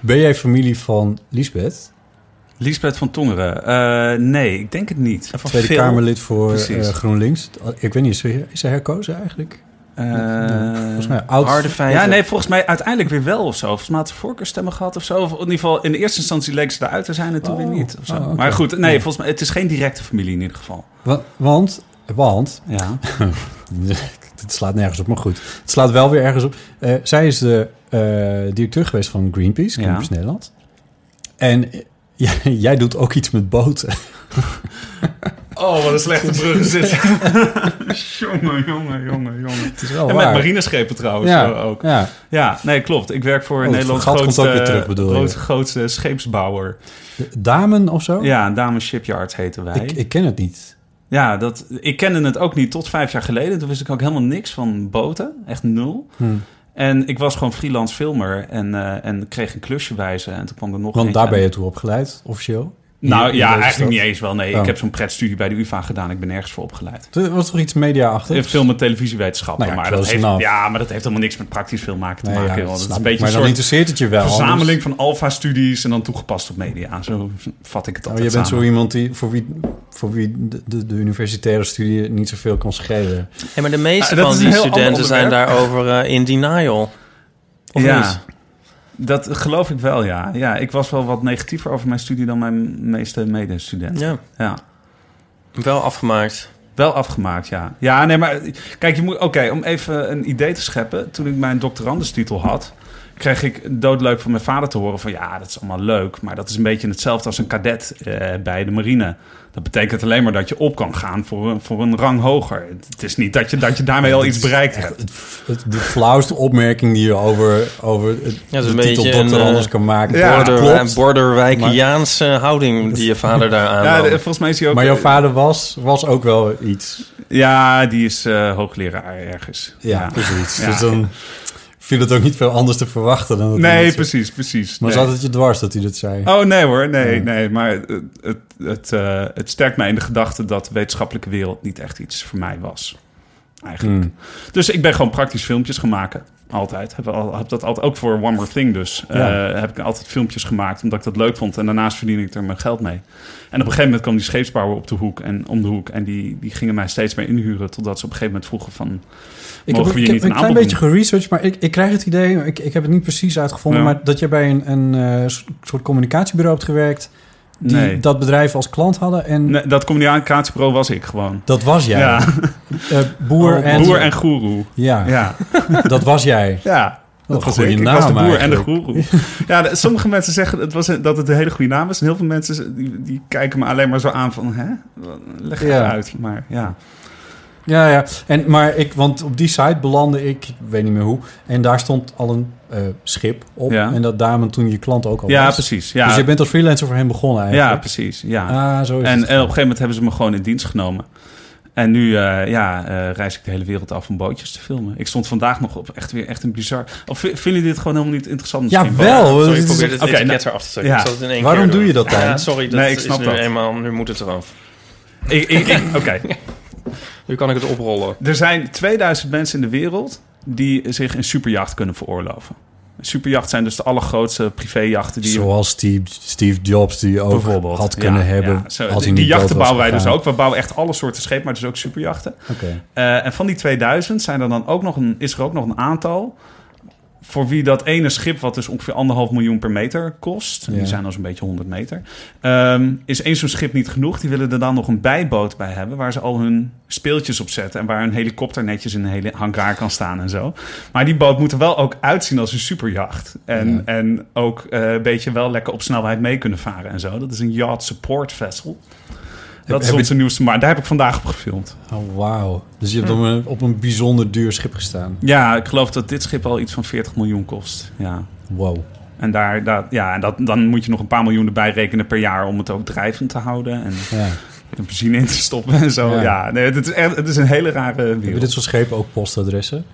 Speaker 2: ben jij familie van Lisbeth?
Speaker 3: Liesbeth van Tongeren. Eh, nee, ik denk het niet.
Speaker 4: En van
Speaker 2: Tweede
Speaker 4: Phil.
Speaker 2: Kamerlid voor
Speaker 3: Precies.
Speaker 2: eh, GroenLinks. Ik weet niet, is ze, her- is ze herkozen eigenlijk?
Speaker 3: Eh,
Speaker 2: Volgens mij oud.
Speaker 4: Harde feiten.
Speaker 3: ja, nee, volgens mij uiteindelijk weer wel of zo. Volgens mij had ze voorkeurstemmen gehad of zo. Of in ieder geval, in eerste instantie leek ze eruit te zijn en toen
Speaker 2: Oh.
Speaker 3: weer niet. Of zo.
Speaker 2: Oh, oké.
Speaker 3: Maar goed, nee,
Speaker 2: Ja.
Speaker 3: volgens mij, het is geen directe familie in ieder geval.
Speaker 2: Wa- Want, want,
Speaker 3: Ja.
Speaker 2: het slaat nergens op, maar goed. Het slaat wel weer ergens op. Eh, zij is de eh, directeur geweest van Greenpeace,
Speaker 3: Ja.
Speaker 2: Greenpeace Nederland. En eh, jij- jij doet ook iets met boten.
Speaker 3: Oh, wat een slechte brug zit. jongen, jongen, jongen, jongen.
Speaker 2: Het is wel
Speaker 3: En met
Speaker 2: Oh, waar.
Speaker 3: marineschepen trouwens
Speaker 2: ja, Oh,
Speaker 3: eh, ook.
Speaker 2: ja.
Speaker 3: Ja, nee, klopt. Ik werk voor
Speaker 2: het
Speaker 3: Nederlands
Speaker 2: gat komt
Speaker 3: grootste,
Speaker 2: ook weer terug, bedoel je?
Speaker 3: grootste- grootste scheepsbouwer.
Speaker 2: Damen of zo?
Speaker 3: Ja, Dames Shipyard heten wij.
Speaker 2: Oh. Ik, ik ken het niet.
Speaker 3: Ja, dat, ik kende het ook niet tot vijf jaar geleden. Toen wist ik ook helemaal niks van boten. Echt nul.
Speaker 2: Hmm.
Speaker 3: En ik was gewoon freelance filmer en, eh, en kreeg een klusje bij ze. En toen kwam er nog
Speaker 2: Want
Speaker 3: eentje
Speaker 2: daar ben
Speaker 3: aan.
Speaker 2: je toe opgeleid, officieel.
Speaker 3: Nou
Speaker 2: Hier in
Speaker 3: ja,
Speaker 2: deze
Speaker 3: eigenlijk
Speaker 2: stad.
Speaker 3: niet eens wel. Nee,
Speaker 2: Oh.
Speaker 3: ik heb zo'n pretstudie bij de UvA gedaan. Ik ben nergens voor opgeleid.
Speaker 2: Er was toch iets media-achtig?
Speaker 3: Eh, Film- en televisiewetenschappen.
Speaker 2: Nou ja,
Speaker 3: maar, dat
Speaker 2: close
Speaker 3: heeft,
Speaker 2: enough.
Speaker 3: ja, maar dat heeft helemaal niks met praktisch filmmaken te
Speaker 2: Nee, ja,
Speaker 3: maken. joh.
Speaker 2: dat
Speaker 3: dat is
Speaker 2: snap
Speaker 3: een
Speaker 2: ik.
Speaker 3: beetje
Speaker 2: maar
Speaker 3: een
Speaker 2: dan
Speaker 3: soort
Speaker 2: interesseert het je wel.
Speaker 3: verzameling
Speaker 2: anders-
Speaker 3: van alfa-studies... en dan toegepast op media. Zo vat ik het
Speaker 2: Maar
Speaker 3: altijd
Speaker 2: Oh. je bent zo
Speaker 3: samen.
Speaker 2: iemand die, voor wie, voor wie de, de, de universitaire studie niet zoveel kan schelen.
Speaker 4: Ja, maar de meeste
Speaker 3: Ah, dat
Speaker 4: van
Speaker 3: is een
Speaker 4: die
Speaker 3: heel ander
Speaker 4: studenten zijn
Speaker 3: onderwerp.
Speaker 4: daarover eh, in denial. Of
Speaker 3: ja.
Speaker 4: niet?
Speaker 3: Dat geloof ik wel, ja. ja. Ik was wel wat negatiever over mijn studie dan mijn meeste medestudenten.
Speaker 4: Ja,
Speaker 3: Ja.
Speaker 4: wel afgemaakt.
Speaker 3: Wel afgemaakt, ja. Ja, nee, maar kijk, je moet. Oké, om even een idee te scheppen. Toen ik mijn doctorandenstitel had, kreeg ik doodleuk van mijn vader te horen: van ja, dat is allemaal leuk, maar dat is een beetje hetzelfde als een kadet eh, bij de marine. Dat betekent alleen maar dat je op kan gaan voor, een- voor een rang hoger. Het is niet dat je, dat je daarmee al iets bereikt hebt.
Speaker 2: Het, de flauwste opmerking die je over, over het,
Speaker 4: Ja, dat is
Speaker 2: de
Speaker 4: een
Speaker 2: titel
Speaker 4: beetje
Speaker 2: dokter
Speaker 4: een,
Speaker 2: anders
Speaker 4: eh,
Speaker 2: kan maken.
Speaker 3: Ja,
Speaker 2: dat
Speaker 4: Border, eh,
Speaker 2: klopt.
Speaker 4: borderwijkiaanse houding die je vader daar aan
Speaker 3: Ja, de-
Speaker 4: had.
Speaker 3: volgens mij is hij ook. eh,
Speaker 2: Maar jouw vader was, was ook wel iets.
Speaker 3: Ja, die is eh, hoogleraar ergens.
Speaker 2: Ja, precies.
Speaker 3: Ja.
Speaker 2: Dus dan viel het ook niet veel anders te verwachten dan dat iemand
Speaker 3: Nee,
Speaker 2: zegt.
Speaker 3: precies, precies.
Speaker 2: Maar
Speaker 3: nee.
Speaker 2: zat het je dwars dat hij dat zei?
Speaker 3: Oh nee hoor, nee, nee. Maar het, het, het, eh, het sterkt mij in de gedachte dat de wetenschappelijke wereld niet echt iets voor mij was. Eigenlijk.
Speaker 2: Hmm.
Speaker 3: Dus ik ben gewoon praktisch filmpjes gaan maken. Altijd. Heb, al- heb dat altijd ook voor One More Thing dus.
Speaker 2: Ja.
Speaker 3: Eh, heb ik altijd filmpjes gemaakt omdat ik dat leuk vond. En daarnaast verdiende ik er mijn geld mee. En op een gegeven moment kwam die scheepsbouwer op de hoek en om de hoek. En die, die gingen mij steeds meer inhuren. Totdat ze op een gegeven moment vroegen van...
Speaker 2: Ik heb,
Speaker 3: Mogen we
Speaker 2: ik
Speaker 3: je
Speaker 2: heb
Speaker 3: niet
Speaker 2: een
Speaker 3: een
Speaker 2: klein
Speaker 3: aanbod
Speaker 2: beetje geresearched, maar ik, ik krijg het idee, ik, ik heb het niet precies uitgevonden,
Speaker 3: Ja.
Speaker 2: maar dat je bij een, een eh, soort communicatiebureau hebt gewerkt, die
Speaker 3: Nee.
Speaker 2: dat bedrijf als klant hadden en
Speaker 3: Nee, dat communicatiebureau was ik gewoon.
Speaker 2: dat was jij.
Speaker 3: Ja, Oh,
Speaker 2: Eh, boer, en,
Speaker 3: boer en goeroe.
Speaker 2: Ja,
Speaker 3: Ja,
Speaker 2: dat was jij.
Speaker 3: ja.
Speaker 2: Wat een
Speaker 3: was
Speaker 2: goede
Speaker 3: ik. Ik
Speaker 2: naam
Speaker 3: was de boer en de
Speaker 2: eigenlijk.
Speaker 3: goeroe. Ja, de- sommige mensen zeggen het was, een- dat het een hele goede naam is. En heel veel mensen z- die, die kijken me alleen maar zo aan van... Hè? Leg het
Speaker 2: Ja.
Speaker 3: uit. Maar ja.
Speaker 2: Ja, ja. En, maar ik, want op die site belandde ik, ik weet niet meer hoe, en daar stond al een eh, schip op
Speaker 3: Ja.
Speaker 2: en dat daarmen toen je klant ook al
Speaker 3: ja,
Speaker 2: was.
Speaker 3: precies. Ja,
Speaker 2: Dus je bent als freelancer voor hem begonnen
Speaker 3: ja
Speaker 2: eigenlijk.
Speaker 3: precies. Ja.
Speaker 2: Ah, zo is het.
Speaker 3: en, en op een gegeven moment hebben ze me gewoon in dienst genomen. En nu eh, ja, eh, reis ik de hele wereld af om bootjes te filmen. Ik stond vandaag nog op echt weer echt een bizar... Of v- vinden jullie dit gewoon helemaal niet interessant?
Speaker 2: Ja,
Speaker 3: misschien?
Speaker 2: wel.
Speaker 4: Sorry, ik
Speaker 2: dit is dus-
Speaker 4: probeer
Speaker 2: echt-
Speaker 4: het
Speaker 3: Oké,
Speaker 4: etiket
Speaker 3: nou-
Speaker 4: eraf te trekken.
Speaker 3: ja.
Speaker 4: Ik zal het in één
Speaker 2: Waarom
Speaker 4: keer
Speaker 2: doe
Speaker 4: doen.
Speaker 2: je dat dan?
Speaker 4: Ja, sorry, dat
Speaker 3: Nee, ik
Speaker 4: is
Speaker 3: snap
Speaker 4: nu
Speaker 3: dat.
Speaker 4: eenmaal... Nu moet het eraf.
Speaker 3: Ik- ik- ik- Oké.
Speaker 4: Nu kan ik het oprollen.
Speaker 3: Er zijn 2000 mensen in de wereld die zich een superjacht kunnen veroorloven. Een superjacht zijn dus de allergrootste privéjachten die je
Speaker 2: Zoals Steve, Steve Jobs die ook
Speaker 3: bijvoorbeeld
Speaker 2: had kunnen
Speaker 3: Ja,
Speaker 2: hebben.
Speaker 3: ja. Zo,
Speaker 2: als hij
Speaker 3: die,
Speaker 2: niet
Speaker 3: die
Speaker 2: dood
Speaker 3: jachten
Speaker 2: was
Speaker 3: bouwen wij dus
Speaker 2: gegaan.
Speaker 3: ook. We bouwen echt alle soorten schepen, maar dus ook superjachten.
Speaker 2: Oké.
Speaker 3: Eh, en van die 2000 zijn er dan ook nog een, is er ook nog een aantal. Voor wie dat ene schip, wat dus ongeveer anderhalf miljoen per meter kost,
Speaker 2: Ja.
Speaker 3: die zijn dan zo'n beetje 100 meter, ehm, is één zo'n schip niet genoeg. Die willen er dan nog een bijboot bij hebben, waar ze al hun speeltjes op zetten en waar een helikopter netjes in een hele hangar kan staan en zo. Maar die boot moet er wel ook uitzien als een superjacht. En, en ook eh, een beetje wel lekker op snelheid mee kunnen varen en zo. Dat is een yacht support vessel. Dat is
Speaker 2: heb je-
Speaker 3: onze nieuwste, maar daar heb ik vandaag op gefilmd.
Speaker 2: Oh, wauw. Dus je hebt op, een, op een bijzonder duur schip gestaan.
Speaker 3: Ja, ik geloof dat dit schip al iets van 40 miljoen kost. Ja.
Speaker 2: Wow.
Speaker 3: En, daar, daar- ja, en dat, dan moet je nog een paar miljoen erbij rekenen per jaar om het ook drijvend te houden. En
Speaker 2: Ja.
Speaker 3: de benzine in te stoppen en zo.
Speaker 2: Ja.
Speaker 3: Ja, nee, het, is echt, het is een hele rare
Speaker 2: Hebben
Speaker 3: wereld.
Speaker 2: dit soort schepen ook postadressen?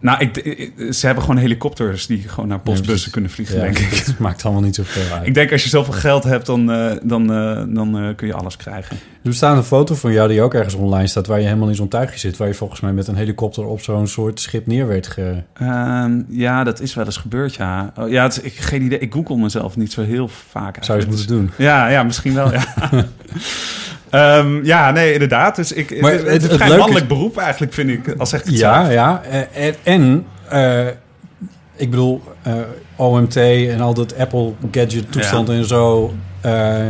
Speaker 3: Nou, ik, ik- ze hebben gewoon helikopters die gewoon naar postbussen
Speaker 2: precies.
Speaker 3: kunnen vliegen,
Speaker 2: Ja,
Speaker 3: denk ik.
Speaker 2: Het maakt allemaal niet zoveel uit.
Speaker 3: Ik denk als je zoveel geld hebt, dan, eh, dan, eh, dan eh, kun je alles krijgen.
Speaker 2: Er bestaat een foto van jou die ook ergens online staat... waar je helemaal in zo'n tuigje zit. Waar je volgens mij met een helikopter op zo'n soort schip neer werd ge...
Speaker 3: Ehm, ja, dat is wel eens gebeurd, ja. Oh, ja, het is- ik, geen idee. Ik google mezelf niet zo heel vaak.
Speaker 2: Zou je
Speaker 3: eigenlijk.
Speaker 2: eens moeten doen.
Speaker 3: Ja, ja, misschien wel. Ja, Ehm, ja nee, inderdaad. Dus ik,
Speaker 2: Maar
Speaker 3: het, het,
Speaker 2: het-
Speaker 3: is
Speaker 2: het
Speaker 3: een vrij
Speaker 2: leuke
Speaker 3: mannelijk beroep eigenlijk, vind ik. Als echt
Speaker 2: Ja, ja. Eh, En, en, eh, ik bedoel, eh, OMT en al dat Apple gadget toestand en zo... eh,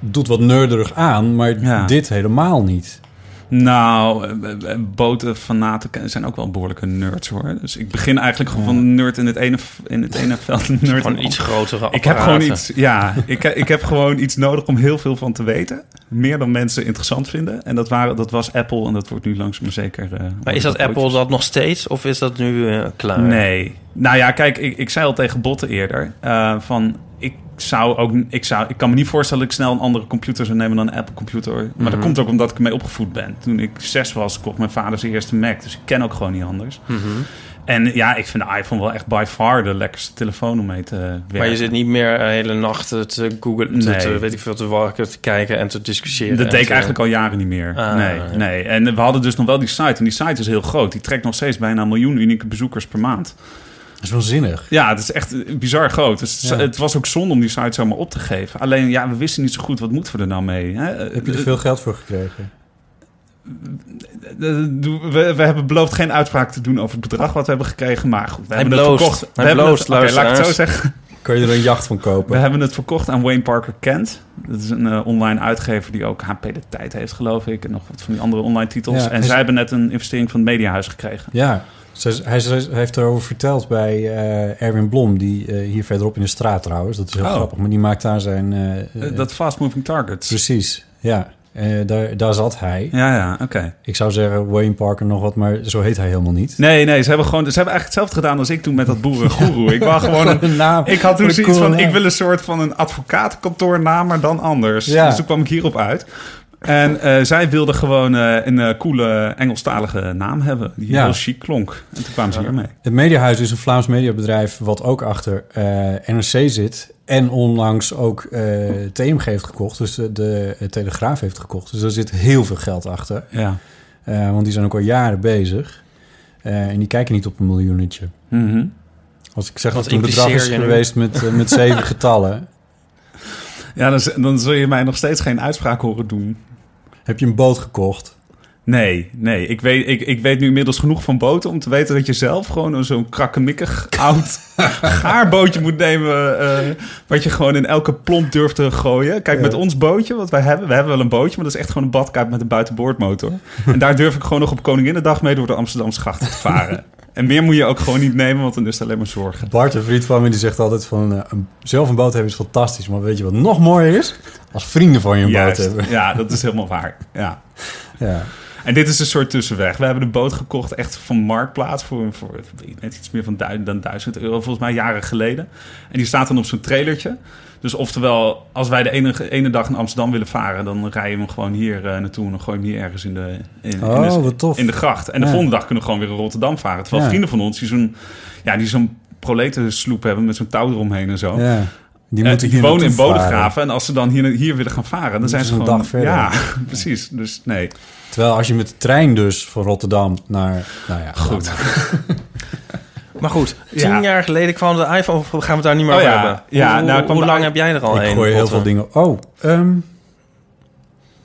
Speaker 2: doet wat nerderig aan, maar
Speaker 3: Ja.
Speaker 2: dit helemaal niet.
Speaker 3: Nou, eh, eh, boten fanaten zijn ook wel behoorlijke nerds, hoor. Dus ik begin eigenlijk gewoon van nerd in het ene, v- in het ene veld. Nerd in het
Speaker 4: Gewoon
Speaker 3: andere.
Speaker 4: iets grotere
Speaker 3: Ik heb gewoon iets,
Speaker 4: apparaten.
Speaker 3: ja, ik, he- ik heb gewoon iets nodig om heel veel van te weten. Meer dan mensen interessant vinden. En dat, waren, dat was Apple en dat wordt nu langzaam maar zeker. eh,
Speaker 4: Maar is dat
Speaker 3: wordt
Speaker 4: Apple dat nog steeds? Of is dat nu eh, klaar?
Speaker 3: Nee. Nou ja, kijk, ik, ik zei al tegen Botten eerder... eh, van, ik zou ook... Ik, zou, ik kan me niet voorstellen dat ik snel een andere computer zou nemen dan een Apple computer. Maar
Speaker 4: Mhm.
Speaker 3: dat komt ook omdat ik ermee opgevoed ben. Toen ik zes was, kocht mijn vader zijn eerste Mac. Dus ik ken ook gewoon niet anders.
Speaker 4: Mhm.
Speaker 3: En ja, ik vind de iPhone wel echt by far de lekkerste telefoon om mee te werken.
Speaker 4: Maar je zit niet meer eh, hele nachten te googlen, te,
Speaker 3: Nee.
Speaker 4: te- weet ik veel, te warken, te kijken en te discussiëren.
Speaker 3: Dat
Speaker 4: en
Speaker 3: deed ik
Speaker 4: te-
Speaker 3: eigenlijk al jaren niet meer.
Speaker 4: Ah,
Speaker 3: nee,
Speaker 4: ja.
Speaker 3: nee. En we hadden dus nog wel die site. En die site is heel groot. Die trekt nog steeds bijna een miljoen unieke bezoekers per maand.
Speaker 2: Dat is waanzinnig.
Speaker 3: Ja, het is echt bizar groot. Dus
Speaker 2: Ja.
Speaker 3: Het was ook zonde om die site zomaar op te geven. Alleen, ja, we wisten niet zo goed, wat moeten we er nou mee? Hè?
Speaker 2: Heb je er veel geld voor gekregen?
Speaker 3: Eh, We, we hebben beloofd geen uitspraak te doen over het bedrag wat we hebben gekregen. Maar goed, we
Speaker 4: Hij
Speaker 3: hebben
Speaker 4: bloost.
Speaker 3: het verkocht. We
Speaker 4: Hij
Speaker 3: hebben
Speaker 4: bloost,
Speaker 3: het, Oké, laat ik het zo
Speaker 4: luisteraars.
Speaker 3: zeggen.
Speaker 2: Kan je er een jacht van kopen?
Speaker 3: We hebben het verkocht aan Wayne Parker Kent. Dat is een eh, online uitgever die ook HP de Tijd heeft, geloof ik. En nog wat van die andere online titels.
Speaker 2: Ja,
Speaker 3: en
Speaker 2: en ze-
Speaker 3: zij hebben net een investering van het Mediahuis gekregen.
Speaker 2: Ja, ze- hij, ze- hij heeft erover verteld bij eh, Erwin Blom, die eh, hier verderop in de straat trouwens. Dat is heel
Speaker 3: Oh.
Speaker 2: grappig, maar die maakt daar zijn... eh,
Speaker 3: Eh,
Speaker 2: eh,
Speaker 3: dat Fast Moving Targets.
Speaker 2: Precies, ja. Eh, daar, daar zat hij.
Speaker 3: Ja, ja, oké.
Speaker 2: Ik zou zeggen Wayne Parker nog wat, maar zo heet hij helemaal niet.
Speaker 3: Nee, nee, ze hebben, gewoon, ze hebben eigenlijk hetzelfde gedaan als ik toen met dat boerengoeroe. Ik wou gewoon een,
Speaker 2: Een naam.
Speaker 3: Ik had toen
Speaker 2: Een
Speaker 3: zoiets
Speaker 2: coole
Speaker 3: van,
Speaker 2: naam.
Speaker 3: ik wil een soort van een advocatenkantoornaam, maar dan anders.
Speaker 2: Ja.
Speaker 3: Dus toen kwam ik hierop uit. En eh, zij wilde gewoon eh, een eh, coole Engelstalige naam hebben. Die
Speaker 2: Ja.
Speaker 3: heel chic klonk. En toen kwamen ze hiermee.
Speaker 2: Het Mediahuis is een Vlaams mediabedrijf wat ook achter eh, NRC zit. En onlangs ook eh, TMG heeft gekocht. Dus de, de Telegraaf heeft gekocht. Dus daar zit heel veel geld achter.
Speaker 3: Ja.
Speaker 2: Eh, want die zijn ook al jaren bezig. Eh, en die kijken niet op een miljoenetje.
Speaker 3: Mhm.
Speaker 2: Als ik zeg
Speaker 4: Wat
Speaker 2: dat het een bedrag
Speaker 4: impliceer
Speaker 2: is
Speaker 4: je nu?
Speaker 2: geweest met, eh, met zeven getallen...
Speaker 3: Ja, dan, z- dan zul je mij nog steeds geen uitspraak horen doen.
Speaker 2: heb je een boot gekocht.
Speaker 3: Nee, nee. Ik weet, ik, ik weet nu inmiddels genoeg van boten om te weten dat je zelf gewoon een zo'n krakkemikkig oud gaarbootje moet nemen. eh, wat je gewoon in elke plomp durft te gooien. Kijk, met ons bootje, wat wij hebben. We hebben wel een bootje, maar dat is echt gewoon een badkuip met een buitenboordmotor. En daar durf ik gewoon nog op Koninginnedag mee door de Amsterdamse grachten te varen. En meer moet je ook gewoon niet nemen, want dan is het alleen maar zorgen.
Speaker 2: Bart, een vriend van me, die zegt altijd van... eh, een- zelf een boot hebben is fantastisch. Maar weet je wat nog mooier is? Als vrienden van je een
Speaker 3: Juist.
Speaker 2: boot hebben.
Speaker 3: Ja, dat is helemaal waar. Ja.
Speaker 2: Ja.
Speaker 3: En dit is een soort tussenweg. We hebben de boot gekocht echt van Marktplaats voor, voor net iets meer van duizend, dan 1000 euro, volgens mij jaren geleden. En die staat dan op zo'n trailertje. Dus oftewel, als wij de ene, ene dag naar Amsterdam willen varen, dan rijden we hem gewoon hier eh, naartoe en dan gooien we hem hier ergens in de, in,
Speaker 2: Oh,
Speaker 3: in de,
Speaker 2: wat tof.
Speaker 3: in de gracht. En de
Speaker 2: Ja.
Speaker 3: volgende dag kunnen we gewoon weer in Rotterdam varen. Terwijl
Speaker 2: Ja.
Speaker 3: vrienden van ons die zo'n ja, die zo'n proletensloep hebben met zo'n touw eromheen en zo.
Speaker 2: Ja. Die
Speaker 3: Eh,
Speaker 2: moeten
Speaker 3: die wonen in
Speaker 2: Bodegraven.
Speaker 3: Bodegraven en als ze dan hier, hier willen gaan varen, dan zijn
Speaker 2: ze
Speaker 3: ze
Speaker 2: een
Speaker 3: gewoon...
Speaker 2: dag verder.
Speaker 3: Ja, precies. Dus nee,
Speaker 2: Terwijl als je met de trein dus van Rotterdam naar... Nou ja,
Speaker 3: goed.
Speaker 4: Maar goed, tien
Speaker 3: Ja.
Speaker 4: jaar geleden kwam de iPhone. Of gaan we het daar niet meer
Speaker 3: Oh
Speaker 4: over
Speaker 3: ja,
Speaker 4: hebben?
Speaker 3: ja,
Speaker 4: hoe,
Speaker 3: nou, kwam
Speaker 4: hoe
Speaker 3: de
Speaker 4: lang
Speaker 3: i-
Speaker 4: heb jij er al
Speaker 2: Ik
Speaker 4: een?
Speaker 2: gooi heel
Speaker 4: Botte?
Speaker 2: veel dingen... Oh, ehm,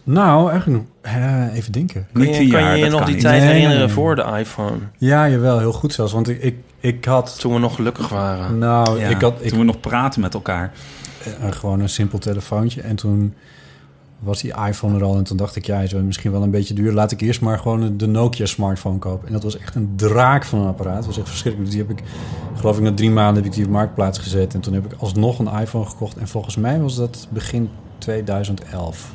Speaker 2: nou, eigenlijk... eh, even denken.
Speaker 4: Kan
Speaker 3: Niet tien
Speaker 4: je, kan
Speaker 3: jaar,
Speaker 4: je je
Speaker 3: dat
Speaker 4: nog
Speaker 3: kan
Speaker 4: die
Speaker 3: niet.
Speaker 4: tijd
Speaker 2: Nee, nee,
Speaker 4: herinneren
Speaker 2: nee.
Speaker 4: voor de iPhone?
Speaker 2: Ja, jawel, heel goed zelfs. Want ik, ik, ik had...
Speaker 4: Toen we nog gelukkig waren.
Speaker 2: Nou,
Speaker 3: Ja,
Speaker 2: ik had ik,
Speaker 3: toen we nog praten met elkaar.
Speaker 2: eh, gewoon een simpel telefoontje. En toen was die iPhone er al. En toen dacht ik, ja, is wel misschien wel een beetje duur. Laat ik eerst maar gewoon de Nokia smartphone kopen. En dat was echt een draak van een apparaat. Dat was echt verschrikkelijk. Dus Die heb ik, geloof ik, na drie maanden heb ik die op marktplaats gezet. En toen heb ik alsnog een iPhone gekocht. En volgens mij was dat begin 2011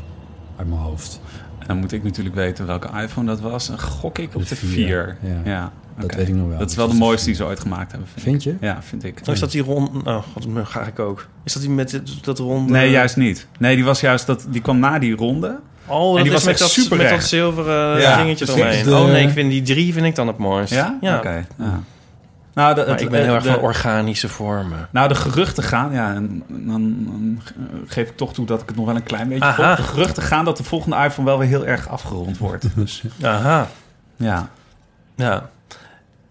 Speaker 2: uit mijn hoofd.
Speaker 3: En dan moet ik natuurlijk weten welke iPhone dat was. En gok ik op
Speaker 2: De
Speaker 3: de
Speaker 2: vier,
Speaker 3: 4.
Speaker 2: ja.
Speaker 3: oké.
Speaker 2: Dat weet ik nog wel.
Speaker 3: Dat is wel de
Speaker 2: Dus dat
Speaker 3: mooiste
Speaker 2: is-
Speaker 3: die ze ooit gemaakt hebben. Vind,
Speaker 2: Vind je?
Speaker 3: ik. Ja, vind ik.
Speaker 4: Oh, Is dat die rond... Oh, god, nu ga ik ook. Is dat die met dit- dat ronde...
Speaker 3: Nee, juist niet. Nee, die, was juist dat, die kwam na die ronde.
Speaker 4: Oh, dat
Speaker 3: die
Speaker 4: is
Speaker 3: was
Speaker 4: met
Speaker 3: echt
Speaker 4: dat,
Speaker 3: superrecht.
Speaker 4: Met dat zilveren
Speaker 3: Ja,
Speaker 4: dingetje
Speaker 3: precies.
Speaker 4: eromheen.
Speaker 2: De-
Speaker 4: Oh nee, ik vind die drie vind ik dan het mooist.
Speaker 3: Ja?
Speaker 4: ja.
Speaker 3: Oké. ja. Nou, de,
Speaker 4: Maar
Speaker 3: het-
Speaker 4: ik ben heel erg
Speaker 3: de-
Speaker 4: van organische vormen.
Speaker 3: Nou, de geruchten gaan, ja, en dan, dan geef ik toch toe dat ik het nog wel een klein beetje
Speaker 4: Aha.
Speaker 3: volg. De geruchten gaan dat de volgende iPhone wel weer heel erg afgerond wordt. Dus
Speaker 4: Aha.
Speaker 3: ja.
Speaker 4: Ja.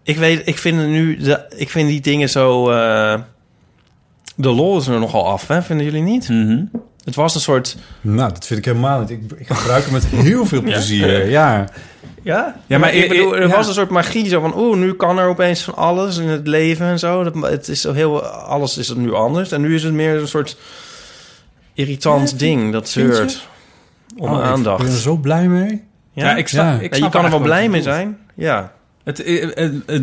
Speaker 4: Ik weet, ik vind nu, de, ik vind die dingen zo. eh, de lol is er nogal af, hè? Vinden jullie niet?
Speaker 3: Mhm.
Speaker 4: Het was een soort.
Speaker 2: Nou, dat vind ik helemaal niet. Ik, ik gebruik hem met heel veel plezier. Ja.
Speaker 4: Ja,
Speaker 3: maar
Speaker 4: maar ik
Speaker 3: i-
Speaker 4: bedoel,
Speaker 3: i-
Speaker 4: er
Speaker 3: ja.
Speaker 4: was een soort magie zo van. Oeh, nu kan er opeens van alles in het leven en zo. Dat, het is zo heel, alles is nu anders. En nu is het meer een soort irritant ding dat zeurt om
Speaker 2: Oh, ik ben er
Speaker 4: aandacht.
Speaker 2: zo blij mee.
Speaker 4: Ja,
Speaker 3: Ja, ik sta,
Speaker 2: Ja.
Speaker 3: Ik
Speaker 2: Ja,
Speaker 4: Ja, je
Speaker 3: snap
Speaker 4: kan er wel
Speaker 3: eigenlijk wat
Speaker 4: blij
Speaker 3: je
Speaker 4: mee
Speaker 3: bedoelt.
Speaker 4: zijn. Ja.
Speaker 3: Het, eh, eh, eh,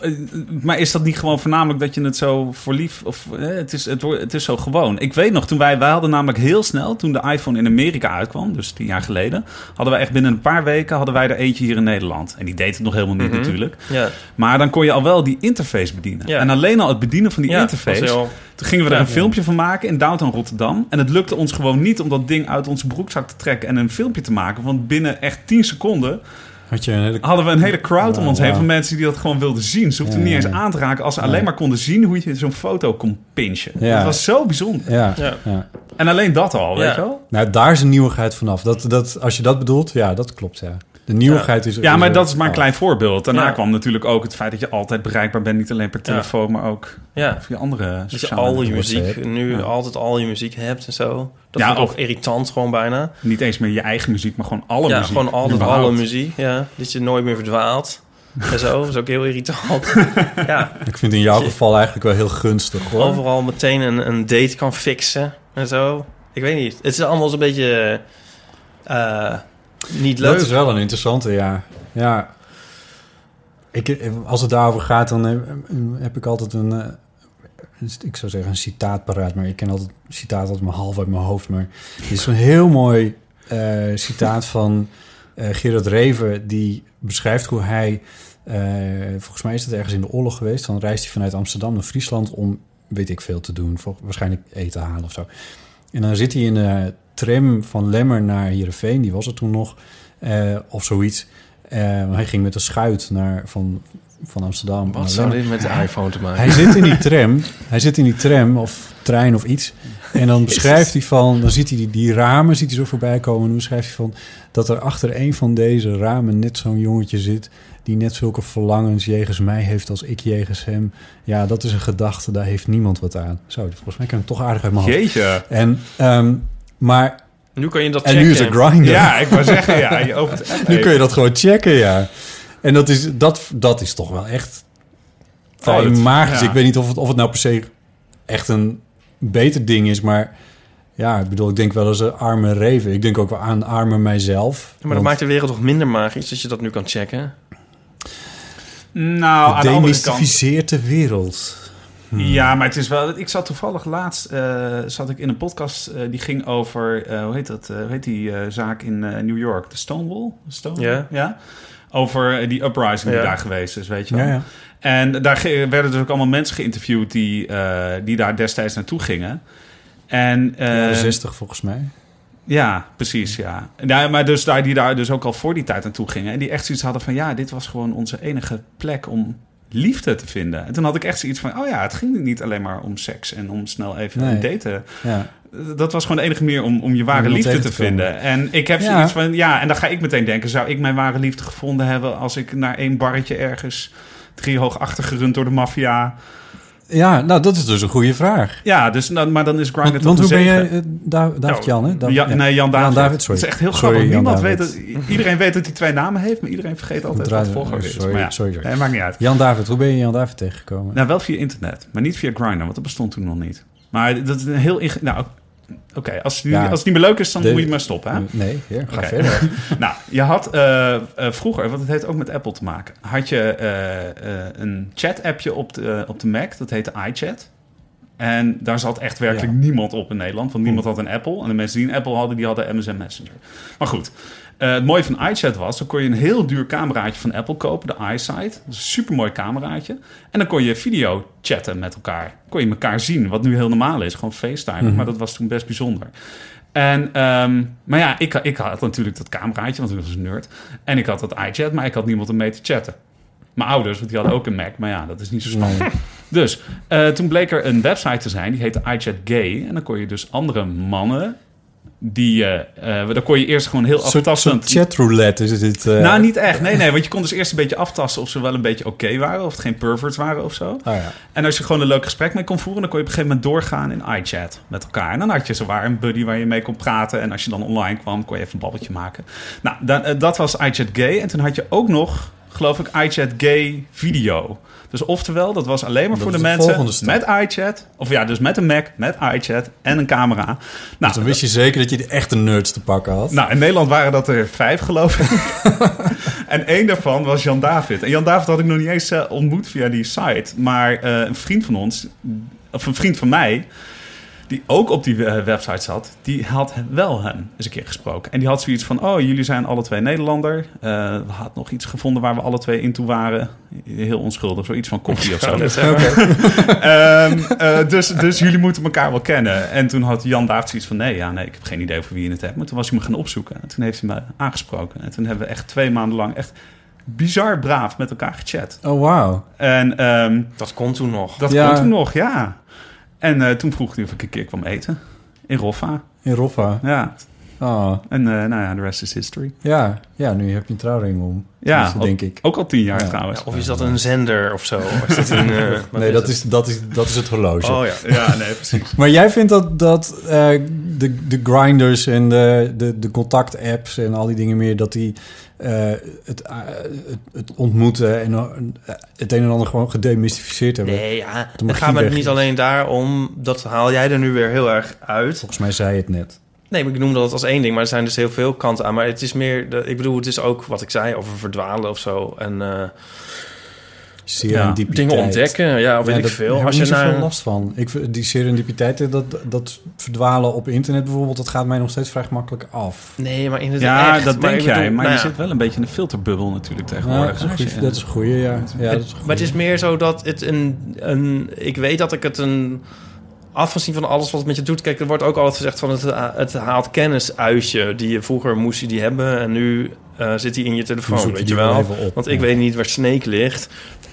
Speaker 3: eh, maar is dat niet gewoon voornamelijk dat je het zo voor lief... Of, eh, het, is, het, wordt- het is zo gewoon. Ik weet nog, toen wij, wij hadden namelijk heel snel... toen de iPhone in Amerika uitkwam, dus tien jaar geleden... hadden wij echt binnen een paar weken hadden wij er eentje hier in Nederland. En die deed het nog helemaal niet
Speaker 4: Mhm.
Speaker 3: natuurlijk.
Speaker 4: ja.
Speaker 3: Maar dan kon je al wel die interface bedienen.
Speaker 4: Ja.
Speaker 3: En alleen al het bedienen van die
Speaker 4: ja,
Speaker 3: interface...
Speaker 4: was heel-
Speaker 3: Toen gingen we er een filmpje van maken in downtown Rotterdam. En het lukte ons gewoon niet om dat ding uit onze broekzak te trekken... en een filmpje te maken. Want binnen echt 10 seconden
Speaker 2: Had je een hele
Speaker 3: hadden we een hele crowd om
Speaker 2: Wauw,
Speaker 3: ons heen
Speaker 2: wauw.
Speaker 3: van mensen die dat gewoon wilden zien. Ze hoefden
Speaker 2: Ja,
Speaker 3: niet eens
Speaker 2: ja, ja.
Speaker 3: aan te raken als ze alleen maar konden zien hoe je zo'n foto kon pinchen.
Speaker 2: Ja.
Speaker 3: Dat was zo bijzonder.
Speaker 2: Ja, ja.
Speaker 4: Ja.
Speaker 3: En alleen dat al, weet
Speaker 4: Ja.
Speaker 3: je wel?
Speaker 2: Nou, daar is een nieuwigheid vanaf. Dat, dat, als je dat bedoelt, ja, dat klopt, ja. De nieuwigheid is...
Speaker 3: Ja, maar
Speaker 2: er-
Speaker 3: dat is maar een
Speaker 2: oh.
Speaker 3: klein voorbeeld. Daarna
Speaker 4: Ja.
Speaker 3: kwam natuurlijk ook het feit dat je altijd bereikbaar bent. Niet alleen per
Speaker 4: Ja.
Speaker 3: telefoon, maar ook
Speaker 4: ja.
Speaker 3: via andere
Speaker 4: Dat je
Speaker 3: sociale
Speaker 4: al je
Speaker 2: netwerken.
Speaker 4: muziek, nu
Speaker 3: Ja.
Speaker 4: altijd al je muziek hebt en zo. Dat
Speaker 3: Ja,
Speaker 4: vind ik ook
Speaker 3: of-
Speaker 4: irritant gewoon bijna.
Speaker 3: Niet eens meer je eigen muziek, maar gewoon alle
Speaker 4: ja,
Speaker 3: muziek.
Speaker 4: gewoon altijd
Speaker 3: überhaupt.
Speaker 4: alle muziek. Ja. Dat je nooit meer verdwaalt. En zo, dat is ook heel irritant. ja,
Speaker 2: Ik vind het in jouw geval eigenlijk wel heel gunstig, hoor.
Speaker 4: overal meteen een, een date kan fixen en zo. Ik weet niet. Het is allemaal zo'n beetje eh, niet
Speaker 2: dat
Speaker 4: leuk.
Speaker 2: is wel een interessante, ja. Ja. Ik, als het daarover gaat, dan heb, heb ik altijd een... eh, ik zou zeggen een citaat paraat, maar ik ken altijd citaat altijd maar half uit mijn hoofd. Maar dit is een heel mooi eh, citaat van eh, Gerard Reven, die beschrijft hoe hij, eh, volgens mij is dat ergens in de oorlog geweest, dan reist hij vanuit Amsterdam naar Friesland om, weet ik veel, te doen, voor, waarschijnlijk eten halen of zo. En dan zit hij in de tram van Lemmer naar Heerenveen, die was er toen nog, eh, of zoiets. Eh, hij ging met een schuit naar, van, van Amsterdam naar
Speaker 4: Wat zou
Speaker 2: Lemmer.
Speaker 4: dit met de iPhone te maken
Speaker 2: Hij zit in die tram, hij zit in die tram of trein of iets. En dan beschrijft hij van, dan ziet hij die, die ramen, ziet hij zo voorbij komen. En dan beschrijft hij van dat er achter een van deze ramen net zo'n jongetje zit. Die net zulke verlangens jegens mij heeft als ik jegens hem. Ja, dat is een gedachte, daar heeft niemand wat aan. Zo, volgens mij kan ik hem toch aardig uit mijn hoofd.
Speaker 3: Jeetje.
Speaker 2: En, ehm, maar,
Speaker 4: Nu kan je dat
Speaker 2: en
Speaker 4: checken.
Speaker 2: nu is het grinder.
Speaker 3: Ja, ik wou zeggen, ja, je opent het app
Speaker 2: Nu kun
Speaker 3: even.
Speaker 2: je dat gewoon checken, ja. En dat is, dat, dat is toch wel echt
Speaker 3: Oh, dat-
Speaker 2: magisch.
Speaker 3: ja.
Speaker 2: Ik weet niet of het, of het nou per se echt een beter ding is, maar ja, ik bedoel, ik denk wel eens een arme reven. Ik denk ook wel aan arme mijzelf.
Speaker 4: Ja, maar dat
Speaker 2: want
Speaker 4: maakt de wereld toch minder magisch dat je dat nu kan checken?
Speaker 3: Nou, aan
Speaker 2: het
Speaker 3: de andere kant.
Speaker 2: demystificeert de wereld.
Speaker 4: Hmm.
Speaker 3: Ja, maar het is wel. Ik zat toevallig laatst eh, zat ik in een podcast eh, die ging over eh, hoe heet dat? eh, hoe heet die eh, zaak in eh, New York? De Stonewall. Stonewall?
Speaker 4: Ja.
Speaker 3: ja. Over eh, die uprising
Speaker 4: Ja.
Speaker 3: die daar geweest is, weet je wel.
Speaker 2: Ja, ja.
Speaker 3: En daar ge- werden dus ook allemaal mensen geïnterviewd die, eh, die daar destijds naartoe gingen. En, eh,
Speaker 2: Jaren 60 volgens mij.
Speaker 3: ja, precies, ja. ja. Maar dus daar, die daar dus ook al voor die tijd naartoe gingen. En die echt zoiets hadden van... ja, dit was gewoon onze enige plek om liefde te vinden. En toen had ik echt zoiets van... oh ja, het ging niet alleen maar om seks en om snel even
Speaker 2: Nee.
Speaker 3: een daten.
Speaker 2: Ja.
Speaker 3: Dat was gewoon de enige manier om, om je ware
Speaker 2: Om iemand
Speaker 3: liefde
Speaker 2: tegen
Speaker 3: te
Speaker 2: te komen.
Speaker 3: vinden. En ik heb
Speaker 2: Ja.
Speaker 3: zoiets van... ja, en dan ga ik meteen denken... zou ik mijn ware liefde gevonden hebben... als ik naar één barretje ergens... driehoog achtergerund door de maffia.
Speaker 2: ja, nou dat is dus een goede vraag.
Speaker 3: Ja, dus, nou, maar dan is Grindr
Speaker 2: Want,
Speaker 3: toch
Speaker 2: want
Speaker 3: een
Speaker 2: hoe ben je,
Speaker 3: zegen.
Speaker 2: eh, Da- David Jan, hè? David-
Speaker 3: Oh, ja, nee, Jan David.
Speaker 2: sorry.
Speaker 3: Het is echt heel
Speaker 2: Sorry,
Speaker 3: grappig.
Speaker 2: Jan
Speaker 3: Niemand weet
Speaker 2: David.
Speaker 3: dat, iedereen weet dat hij twee namen heeft, maar iedereen vergeet altijd wat
Speaker 2: Draai-
Speaker 3: de volgorde is.
Speaker 2: sorry,
Speaker 3: maar ja,
Speaker 2: sorry, sorry.
Speaker 3: Nee, maakt niet uit.
Speaker 2: Jan David, hoe ben je Jan David tegengekomen?
Speaker 3: Nou, wel via internet, maar niet via Grindr, want dat bestond toen nog niet. Maar dat is een heel... inge- Nou, oké, als, het nu-
Speaker 2: Ja.
Speaker 3: als het niet meer leuk is, dan
Speaker 2: De-
Speaker 3: moet je maar stoppen, hè?
Speaker 2: Nee, hier, ga
Speaker 3: Oké.
Speaker 2: verder.
Speaker 3: nou, je had eh, eh, vroeger, want het heeft ook met Apple te maken, had je eh, eh, een chat-appje op de, eh, op de Mac, dat heette iChat. En daar zat echt werkelijk
Speaker 2: Ja.
Speaker 3: niemand op in Nederland, want niemand had een Apple. En de mensen die een Apple hadden, die hadden MSN Messenger. Maar goed, eh, het mooie van iChat was, dan kon je een heel duur cameraatje van Apple kopen, de iSight. Dat is een supermooi cameraatje. En dan kon je video chatten met elkaar. Kon je elkaar zien, wat nu heel normaal is, gewoon FaceTime. Maar dat was toen best bijzonder. En, ehm, maar ja, ik, ik had natuurlijk dat cameraatje, want ik was een nerd. En ik had dat iChat, maar ik had niemand om mee te chatten. Mijn ouders, want die hadden ook een Mac, maar ja, dat is niet zo spannend. Dus eh, toen bleek er een website te zijn, die heette iChat Gay. En dan kon je dus andere mannen, die, eh eh dan kon je eerst gewoon heel
Speaker 2: Een soort, soort
Speaker 3: aftastend...
Speaker 2: chatroulette is dit. eh,
Speaker 3: nou, niet echt. Nee, nee, want je kon dus eerst een beetje aftasten of ze wel een beetje oké waren, of het geen perverts waren of zo.
Speaker 2: Ah, ja.
Speaker 3: En als je gewoon een leuk gesprek mee kon voeren, dan kon je op een gegeven moment doorgaan in iChat met elkaar. En dan had je zowaar een buddy waar je mee kon praten. En als je dan online kwam, kon je even een babbeltje maken. Nou, dan, eh, dat was iChat Gay. En toen had je ook nog, geloof ik, iChat Gay Video. Dus oftewel, dat was alleen
Speaker 2: Dat
Speaker 3: maar voor
Speaker 2: is
Speaker 3: de
Speaker 2: de
Speaker 3: mensen
Speaker 2: volgende stap.
Speaker 3: met iChat. Of ja, dus met een Mac, met iChat en een camera. Nou,
Speaker 2: Dus Dan wist je zeker dat je de echte nerds te pakken had.
Speaker 3: nou, in Nederland waren dat er vijf, geloof ik. en één daarvan was Jan David. En Jan David had ik nog niet eens eh, ontmoet via die site. Maar eh, een vriend van ons, of een vriend van mij, die ook op die eh, website zat, die had wel hem eens een keer gesproken. En die had zoiets van: Oh, jullie zijn alle twee Nederlander. Eh, we hadden nog iets gevonden waar we alle twee in toe waren. Heel onschuldig, zoiets van koffie of zo. Ehm, eh, dus, dus jullie moeten elkaar wel kennen. En toen had Jan David zoiets van... nee, ja, nee, ik heb geen idee over wie je het hebt. Maar toen was hij me gaan opzoeken. En toen heeft hij me aangesproken. En toen hebben we echt twee maanden lang... echt bizar braaf met elkaar gechat.
Speaker 2: Oh, wauw.
Speaker 3: En ehm,
Speaker 4: Dat kon toen nog.
Speaker 3: dat
Speaker 2: Ja.
Speaker 3: kon toen nog, ja. En eh, toen vroeg hij of ik een keer kwam eten. In Roffa,
Speaker 2: In Roffa.
Speaker 3: ja.
Speaker 2: Oh,
Speaker 3: En eh, nou ja, de rest is history.
Speaker 2: ja. Ja, nu heb je een trouwring om.
Speaker 3: Ja,
Speaker 2: Tenminste,
Speaker 3: ook-
Speaker 2: denk ik.
Speaker 3: Ook al tien jaar
Speaker 2: Ja.
Speaker 3: trouwens.
Speaker 4: Of is dat een zender of zo? Of is dat een, eh, wat
Speaker 2: nee, dat
Speaker 4: het?
Speaker 2: is, dat, is, dat is het horloge.
Speaker 3: Oh ja, ja, nee, precies.
Speaker 2: Maar jij vindt dat, dat eh, de, de grinders en de, de, de contact-apps en al die dingen meer... dat die eh, het, eh, het, het ontmoeten en eh, het een en ander gewoon gedemystificeerd hebben?
Speaker 4: Nee, ah, ja.
Speaker 2: magie
Speaker 4: Het gaat me
Speaker 2: weg is.
Speaker 4: niet alleen daarom. Dat haal jij er nu weer heel erg uit.
Speaker 2: Volgens mij zei je het net.
Speaker 4: Nee, maar ik noem dat als één ding, maar er zijn dus heel veel kanten aan. Maar het is meer, de- ik bedoel, het is ook wat ik zei over verdwalen of zo. En eh,
Speaker 2: Serendipiteit.
Speaker 4: dingen ontdekken, ja, of weet ik
Speaker 2: dat- Daar
Speaker 4: veel.
Speaker 2: heb
Speaker 4: Als
Speaker 2: ik
Speaker 4: je
Speaker 2: niet zoveel
Speaker 4: naar,
Speaker 2: last van. Ik, vind- die serendipiteit, dat, dat verdwalen op internet bijvoorbeeld... dat gaat mij nog steeds vrij makkelijk af.
Speaker 4: Nee, maar inderdaad.
Speaker 3: Ja,
Speaker 4: echt.
Speaker 3: dat
Speaker 4: Maar
Speaker 3: denk
Speaker 4: ik bedoel,
Speaker 3: jij. Maar
Speaker 4: nou
Speaker 3: je
Speaker 4: ja.
Speaker 3: zit wel een beetje in een filterbubbel natuurlijk
Speaker 2: Ja,
Speaker 3: tegenwoordig.
Speaker 2: dat is een
Speaker 3: Als je-
Speaker 2: goeie, dat is een goeie, ja. ja dat is een
Speaker 4: Maar
Speaker 2: goeie.
Speaker 4: het is meer zo dat het een, een... Ik weet dat ik het een afgezien van alles wat het met je doet... Kijk, er wordt ook altijd gezegd van het, ha- het haalt kennis uit je. Die je vroeger moest je die hebben en nu eh, zit die in je
Speaker 2: Nu zoek
Speaker 4: telefoon,
Speaker 2: je
Speaker 4: weet je
Speaker 2: die
Speaker 4: wel.
Speaker 2: wel even op,
Speaker 4: Want ik
Speaker 2: ja.
Speaker 4: weet niet waar Snake ligt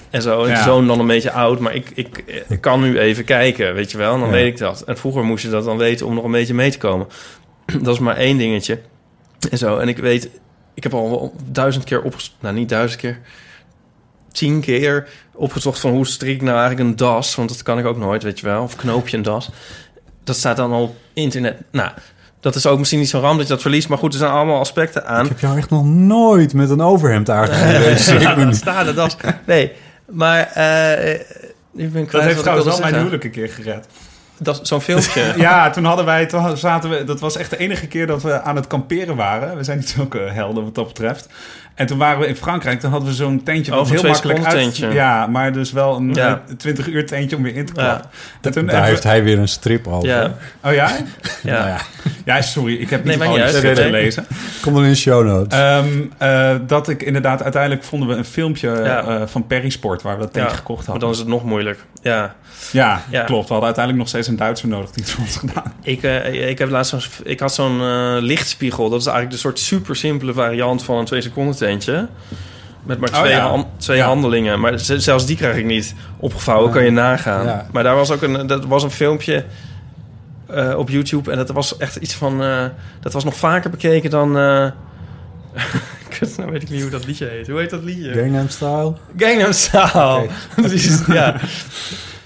Speaker 4: en zo. En
Speaker 3: Ja.
Speaker 4: die zoon dan een beetje oud, maar ik, ik, ik kan nu even kijken, weet je wel. En dan
Speaker 2: Ja.
Speaker 4: weet ik dat. En vroeger moest je dat dan weten om nog een beetje mee te komen. Dat is maar één dingetje. En zo. En ik weet, ik heb al wel duizend keer opgezocht. Nou, niet duizend keer. Tien keer opgezocht van hoe strik ik nou eigenlijk een das. Want dat kan ik ook nooit, weet je wel. Of knoop je een das. Dat staat dan al op internet. Nou, dat is ook misschien niet zo'n ramp dat je dat verliest. Maar goed, er zijn allemaal aspecten aan.
Speaker 2: Ik heb jou echt nog nooit met een overhemd aangegeven. Ik ben-
Speaker 4: Dat staat er, das. Nee, maar... eh ik ben kwijt
Speaker 3: Dat
Speaker 4: wat ik
Speaker 3: heeft trouwens
Speaker 4: wilde
Speaker 3: wel mijn
Speaker 4: zeggen.
Speaker 3: huwelijk een keer gered.
Speaker 4: Dat, zo'n filmpje.
Speaker 3: Ja, toen hadden wij, toen zaten we, dat was echt de enige keer dat we aan het kamperen waren. We zijn niet zulke helden wat dat betreft. En toen waren we in Frankrijk, toen hadden we zo'n tentje wat
Speaker 4: Oh, zo'n
Speaker 3: heel
Speaker 4: twee
Speaker 3: makkelijk
Speaker 4: seconden
Speaker 3: uit.
Speaker 4: tentje.
Speaker 3: Ja, maar dus wel een
Speaker 4: Ja.
Speaker 3: 20 uur tentje om weer in te
Speaker 4: Ja.
Speaker 3: klappen. En toen
Speaker 2: Daar
Speaker 3: hebben
Speaker 2: heeft
Speaker 3: we-
Speaker 2: hij weer een strip over.
Speaker 4: ja,
Speaker 3: Oh ja?
Speaker 4: ja.
Speaker 2: Nou ja,
Speaker 3: Ja, sorry, ik heb
Speaker 4: Nee,
Speaker 3: niet
Speaker 4: maakt
Speaker 3: al die
Speaker 4: niet uit.
Speaker 3: shit
Speaker 4: Nee.
Speaker 3: gelezen.
Speaker 2: kom er in de show notes.
Speaker 3: Ehm, eh, dat ik inderdaad, uiteindelijk vonden we een filmpje
Speaker 4: Ja.
Speaker 3: eh, van Perisport waar we dat
Speaker 4: Ja,
Speaker 3: tegen gekocht
Speaker 4: Maar
Speaker 3: hadden.
Speaker 4: dan is het nog moeilijk. Ja.
Speaker 3: ja,
Speaker 4: Ja.
Speaker 3: klopt. We hadden uiteindelijk nog steeds een Duitser nodig die het voor ons gedaan.
Speaker 4: Ik, eh, ik, heb laatst zo'n- ik had zo'n eh, lichtspiegel. Dat is eigenlijk een soort super simpele variant van een twee seconden tentje. Met maar
Speaker 3: Oh,
Speaker 4: twee,
Speaker 3: ja.
Speaker 4: han- twee
Speaker 3: Ja.
Speaker 4: handelingen. Maar z- zelfs die krijg ik niet opgevouwen. Kan je nagaan.
Speaker 2: Ja.
Speaker 4: Maar daar was ook een, dat was een filmpje eh, op YouTube. En dat was echt iets van... eh, dat was nog vaker bekeken dan... eh, Kut, nou weet ik niet hoe dat liedje heet. Hoe heet dat liedje?
Speaker 2: Gangnam Style.
Speaker 4: Gangnam Style. Dat is- ja.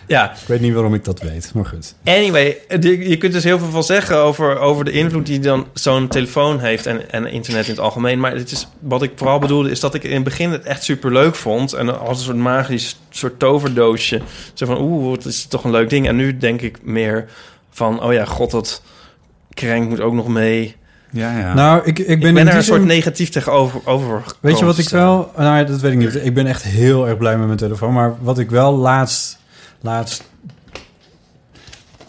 Speaker 4: ja,
Speaker 2: Ik weet niet waarom ik dat weet, maar goed.
Speaker 4: Anyway, de- je kunt dus heel veel van zeggen over, over de invloed die dan zo'n telefoon heeft en, en internet in het algemeen. Maar het is, wat ik vooral bedoelde is dat ik in het begin het echt super leuk vond. En als een soort magisch soort toverdoosje. Zo van, oeh, het is toch een leuk ding. En nu denk ik meer van, oh ja, god, dat krenk moet ook nog mee.
Speaker 3: Ja, ja.
Speaker 2: Nou, ik, ik ben,
Speaker 4: Ik ben,
Speaker 2: in
Speaker 4: er
Speaker 2: die
Speaker 4: een soort
Speaker 2: zin-
Speaker 4: negatief tegenover over
Speaker 2: Weet je
Speaker 4: gekomen
Speaker 2: wat
Speaker 4: te
Speaker 2: ik
Speaker 4: staan.
Speaker 2: wel... Nou, ja, dat weet ik niet. Ik ben echt heel erg blij met mijn telefoon. Maar wat ik wel laatst... laatst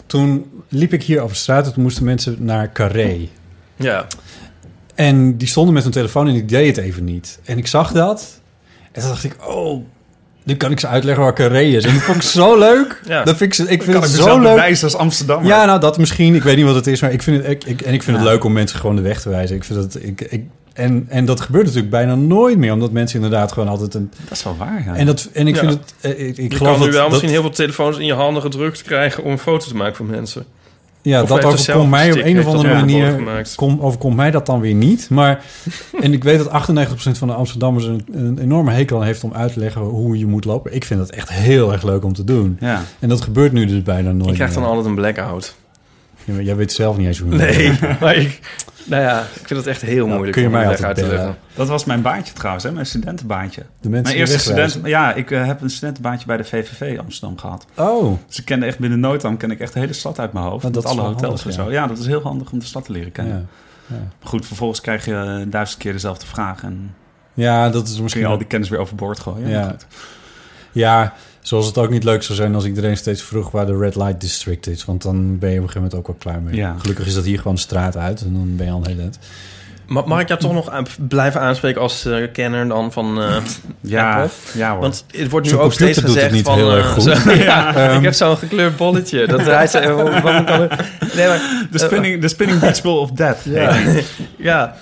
Speaker 2: toen liep ik hier over straat. en Toen moesten mensen naar Carré.
Speaker 4: Ja,
Speaker 2: En die stonden met hun telefoon en die deed het even niet. En ik zag dat. En toen dacht ik, oh, nu kan ik ze uitleggen waar Carré is. En dat vond ik zo leuk.
Speaker 4: Ja.
Speaker 2: Dat vind ik, ik vind
Speaker 3: kan
Speaker 2: het
Speaker 3: ik
Speaker 2: zo
Speaker 3: mezelf
Speaker 2: leuk.
Speaker 3: bewijzen als Amsterdam.
Speaker 2: Ja, nou dat misschien. Ik weet niet wat het is, maar ik vind het, ik, ik- en ik vind het leuk om mensen gewoon de weg te wijzen. Ik vind dat, ik, ik, en, en dat gebeurt natuurlijk bijna nooit meer, omdat mensen inderdaad gewoon altijd een.
Speaker 3: dat is wel waar. Ja.
Speaker 2: En, dat, en ik
Speaker 4: Ja.
Speaker 2: vind het. eh, Ik, ik
Speaker 4: je
Speaker 2: geloof
Speaker 4: kan nu
Speaker 2: dat-
Speaker 4: wel
Speaker 2: dat,
Speaker 4: misschien heel veel telefoons in je handen gedrukt krijgen om een foto te maken van mensen.
Speaker 2: Ja,
Speaker 4: Of
Speaker 2: dat
Speaker 4: heeft er zelf
Speaker 2: overkomt mij op
Speaker 4: stick,
Speaker 2: een of
Speaker 4: heeft dat
Speaker 2: andere
Speaker 4: mogelijk
Speaker 2: manier.
Speaker 4: gemaakt.
Speaker 2: Kom, overkomt mij dat dan weer niet. Maar, en ik weet dat 98% van de Amsterdammers een, een enorme hekel aan heeft om uit te leggen hoe je moet lopen. Ik vind dat echt heel erg leuk om te doen.
Speaker 3: ja.
Speaker 2: En dat gebeurt nu dus bijna nooit.
Speaker 4: Ik krijg
Speaker 2: meer.
Speaker 4: dan altijd een blackout.
Speaker 2: Ja, maar jij weet zelf niet eens hoe je moet lopen.
Speaker 4: Nee, maar ik, nou ja, ik vind het echt heel moeilijk
Speaker 2: kun je
Speaker 4: om
Speaker 2: mij
Speaker 4: het
Speaker 2: altijd bellen.
Speaker 3: Dat was mijn baantje trouwens, hè? mijn studentenbaantje.
Speaker 2: De mensen
Speaker 3: Mijn
Speaker 2: die
Speaker 3: eerste
Speaker 2: wegwijzen.
Speaker 3: student, ja, ik eh, heb een studentenbaantje bij de VVV Amsterdam gehad.
Speaker 2: Oh,
Speaker 3: Dus ik kende echt binnen no time ken ik echt de hele stad uit mijn hoofd.
Speaker 2: Maar dat
Speaker 3: met
Speaker 2: is
Speaker 3: alle
Speaker 2: wel
Speaker 3: hotels en
Speaker 2: handig,
Speaker 3: zo. Ja, dat is heel handig om de stad te leren kennen.
Speaker 2: ja.
Speaker 3: Goed, vervolgens krijg je eh, duizend keer dezelfde vraag. En
Speaker 2: ja, dat is
Speaker 3: kun je
Speaker 2: misschien
Speaker 3: al
Speaker 2: ook-
Speaker 3: die kennis weer overboord gooien.
Speaker 2: Ja.
Speaker 3: Maar goed.
Speaker 2: Ja, zoals het ook niet leuk zou zijn als iedereen steeds vroeg waar de Red Light District is. Want dan ben je op een gegeven moment ook wel klaar mee.
Speaker 3: Ja.
Speaker 2: Gelukkig is dat hier gewoon de straat uit en dan ben je al heel net.
Speaker 4: Ma- mag ik jou toch nog aan- blijven aanspreken als eh, kenner dan van eh,
Speaker 3: ja,
Speaker 4: Apple?
Speaker 3: ja hoor.
Speaker 4: Want het wordt nu
Speaker 2: Oh. Zo'n
Speaker 4: ook steeds
Speaker 2: computer doet het
Speaker 4: gezegd
Speaker 2: niet
Speaker 4: van...
Speaker 2: heel
Speaker 4: eh,
Speaker 2: erg goed. ehm.
Speaker 4: zo- ja, ik heb zo'n gekleurd bolletje. Dat hij zei, eh, wat moet ik dan doen? Nee, maar...
Speaker 3: de spinning, de spinning principle of death. heet die.
Speaker 4: Ja.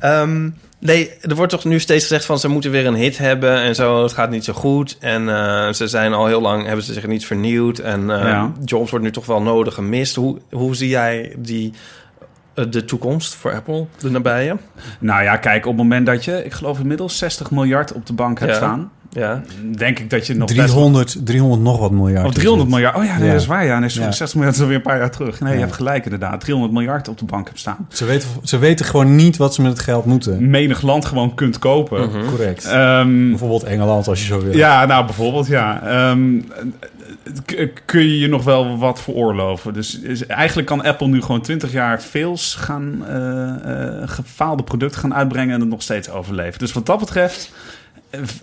Speaker 4: Ehm, nee, er wordt toch nu steeds gezegd van ze moeten weer een hit hebben en zo. Het gaat niet zo goed. En eh, ze zijn al heel lang, hebben ze zich niet vernieuwd. En eh,
Speaker 3: Ja.
Speaker 4: jobs wordt nu toch wel nodig gemist. Hoe, hoe zie jij die, eh, de toekomst voor Apple, de nabije?
Speaker 3: Nou ja, kijk, op het moment dat je, ik geloof inmiddels 60 miljard op de bank hebt
Speaker 4: Ja.
Speaker 3: staan,
Speaker 4: Ja.
Speaker 3: denk ik dat je nog best
Speaker 2: 300, 300 nog wat miljard.
Speaker 3: Of
Speaker 2: is het.
Speaker 3: 300 miljard. Oh ja, nee,
Speaker 2: Ja.
Speaker 3: dat is waar. Ja, nee, sorry,
Speaker 2: Ja.
Speaker 3: 60 miljard is alweer een paar jaar terug. Nee, je
Speaker 2: Ja.
Speaker 3: hebt gelijk inderdaad. 300 miljard op de bank hebt staan.
Speaker 2: Ze weten, ze weten gewoon niet wat ze met het geld moeten.
Speaker 3: Menig land gewoon kunt
Speaker 2: Mhm.
Speaker 3: kopen.
Speaker 2: Correct.
Speaker 3: Mhm. Ehm,
Speaker 2: Bijvoorbeeld Engeland, als je zo wil.
Speaker 3: ja, nou bijvoorbeeld, ja. Ehm, k- eh, kun je je nog wel wat veroorloven? Dus is- eigenlijk kan Apple nu gewoon 20 jaar fails gaan eh, eh, gefaalde producten gaan uitbrengen en het nog steeds overleven. Dus wat dat betreft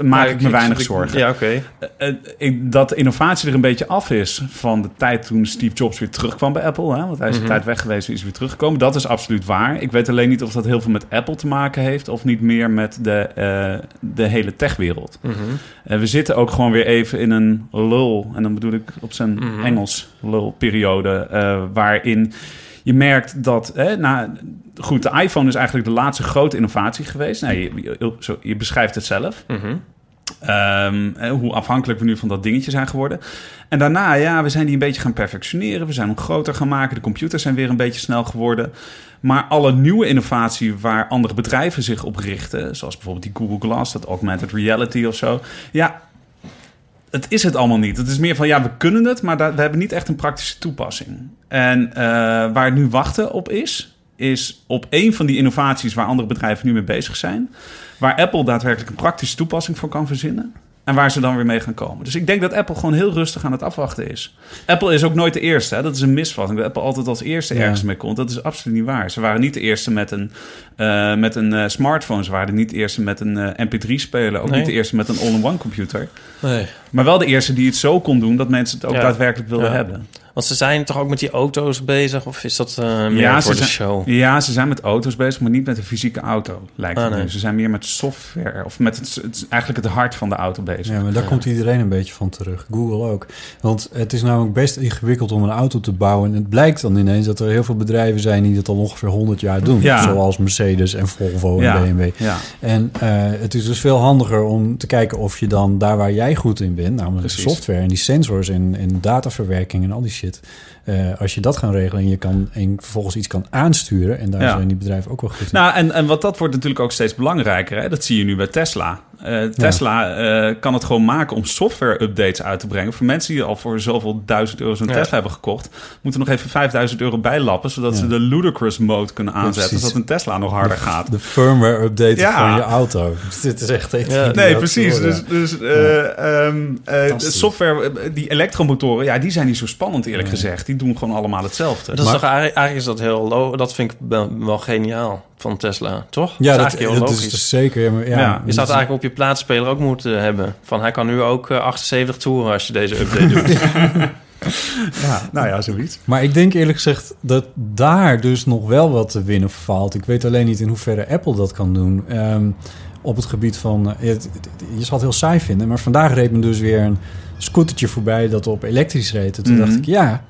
Speaker 3: maak
Speaker 4: Ja,
Speaker 3: ik me weinig zorgen.
Speaker 4: Ja, oké.
Speaker 3: Eh, ik- dat de innovatie er een beetje af is van de tijd toen Steve Jobs weer terugkwam bij Apple. Hè? Want hij is een tijd weg geweest en is weer teruggekomen. Dat is absoluut waar. Ik weet alleen niet of dat heel veel met Apple te maken heeft... of niet meer met de, eh, de hele techwereld.
Speaker 4: Mhm,
Speaker 3: En we zitten ook gewoon weer even in een lul. En dan bedoel ik op zijn Engels lulperiode. eh, waarin je merkt dat... Hè, na, goed, de iPhone is eigenlijk de laatste grote innovatie geweest. Nou, je, je- zo- je beschrijft het zelf.
Speaker 4: mhm.
Speaker 3: Ehm, eh, hoe afhankelijk we nu van dat dingetje zijn geworden. En daarna, ja, we zijn die een beetje gaan perfectioneren. We zijn hem groter gaan maken. De computers zijn weer een beetje snel geworden. Maar alle nieuwe innovatie waar andere bedrijven zich op richten... zoals bijvoorbeeld die Google Glass, dat augmented reality of zo... ja, het is het allemaal niet. Het is meer van, ja, we kunnen het... maar daar- we hebben niet echt een praktische toepassing. En eh, waar het nu wachten op is... is op één van die innovaties waar andere bedrijven nu mee bezig zijn waar Apple daadwerkelijk een praktische toepassing voor kan verzinnen. En waar ze dan weer mee gaan komen. Dus ik denk dat Apple gewoon heel rustig aan het afwachten is. Apple is ook nooit de eerste. Hè? Dat is een misvatting. Dat Apple altijd als eerste
Speaker 2: Ja.
Speaker 3: ergens mee komt. Dat is absoluut niet waar. Ze waren niet de eerste met een, eh, met een eh, smartphone. Ze waren niet de eerste met een eh, MP3-speler. Ook
Speaker 4: Nee.
Speaker 3: niet de eerste met een all-in-one computer.
Speaker 4: Nee.
Speaker 3: Maar wel de eerste die het zo kon doen dat mensen het ook
Speaker 4: Ja.
Speaker 3: daadwerkelijk wilden
Speaker 4: Ja.
Speaker 3: hebben.
Speaker 4: Want ze zijn toch ook met die auto's bezig? Of is dat eh, meer voor de
Speaker 3: zijn,
Speaker 4: show?
Speaker 3: Ja, ze zijn met auto's bezig, maar niet met een fysieke auto, lijkt
Speaker 4: Ah,
Speaker 3: het nu.
Speaker 4: nee.
Speaker 3: Ze zijn meer met software, of met het, het- eigenlijk het hart van de auto bezig.
Speaker 2: Ja, maar daar komt iedereen een beetje van terug. Google ook. Want het is namelijk best ingewikkeld om een auto te bouwen. En het blijkt dan ineens dat er heel veel bedrijven zijn die dat al ongeveer 100 jaar doen.
Speaker 3: Ja.
Speaker 2: Zoals Mercedes en Volvo oh, en
Speaker 3: Ja,
Speaker 2: BMW.
Speaker 3: ja.
Speaker 2: En eh, het is dus veel handiger om te kijken of je dan daar waar jij goed in bent, namelijk de
Speaker 3: Precies.
Speaker 2: software en die sensors en, en dataverwerking en al die shit. eh, als je dat gaan regelen en je kan en vervolgens iets kan aansturen. En daar
Speaker 3: Ja.
Speaker 2: zijn die bedrijven ook wel goed in.
Speaker 3: Nou, en, en wat dat wordt natuurlijk ook steeds belangrijker. Hè? Dat zie je nu bij Tesla. Eh, Tesla eh, kan het gewoon maken om software-updates uit te brengen. Voor mensen die al voor zoveel duizend euro zo'n
Speaker 4: Ja.
Speaker 3: Tesla hebben gekocht, moeten nog even 5000 euro bijlappen, zodat ze de ludicrous mode kunnen aanzetten,
Speaker 2: precies.
Speaker 3: zodat een Tesla nog harder gaat.
Speaker 2: de firmware update
Speaker 3: Ja.
Speaker 2: van je auto. Dit is echt even
Speaker 4: Ja,
Speaker 3: Nee,
Speaker 2: idioot
Speaker 3: precies.
Speaker 2: geworden.
Speaker 3: Dus, dus eh, ehm, eh,
Speaker 2: Fantastisch.
Speaker 3: software, eh, die elektromotoren, ja, die zijn niet zo spannend eerlijk gezegd. Die doen gewoon allemaal hetzelfde.
Speaker 4: Dat is toch, eigenlijk eigenlijk is dat heel low. Dat vind ik wel, wel geniaal van Tesla, toch?
Speaker 2: Ja,
Speaker 4: is
Speaker 2: dat,
Speaker 4: eigenlijk heel
Speaker 2: dat
Speaker 4: logisch.
Speaker 2: is dus zeker. Ja, maar, ja,
Speaker 3: Ja,
Speaker 4: Je zou het eigenlijk op je plaatsspeler ook moeten hebben. Van hij kan nu ook eh, 78 toeren als je deze update doet.
Speaker 3: ja, nou ja, zoiets.
Speaker 2: Maar ik denk eerlijk gezegd dat daar dus nog wel wat te winnen valt. Ik weet alleen niet in hoeverre Apple dat kan doen. Ehm, op het gebied van... eh, het- het- je zal het heel saai vinden, maar vandaag reed me dus weer een scootertje voorbij dat op elektrisch reed. En toen
Speaker 3: Mhm.
Speaker 2: dacht ik, ja,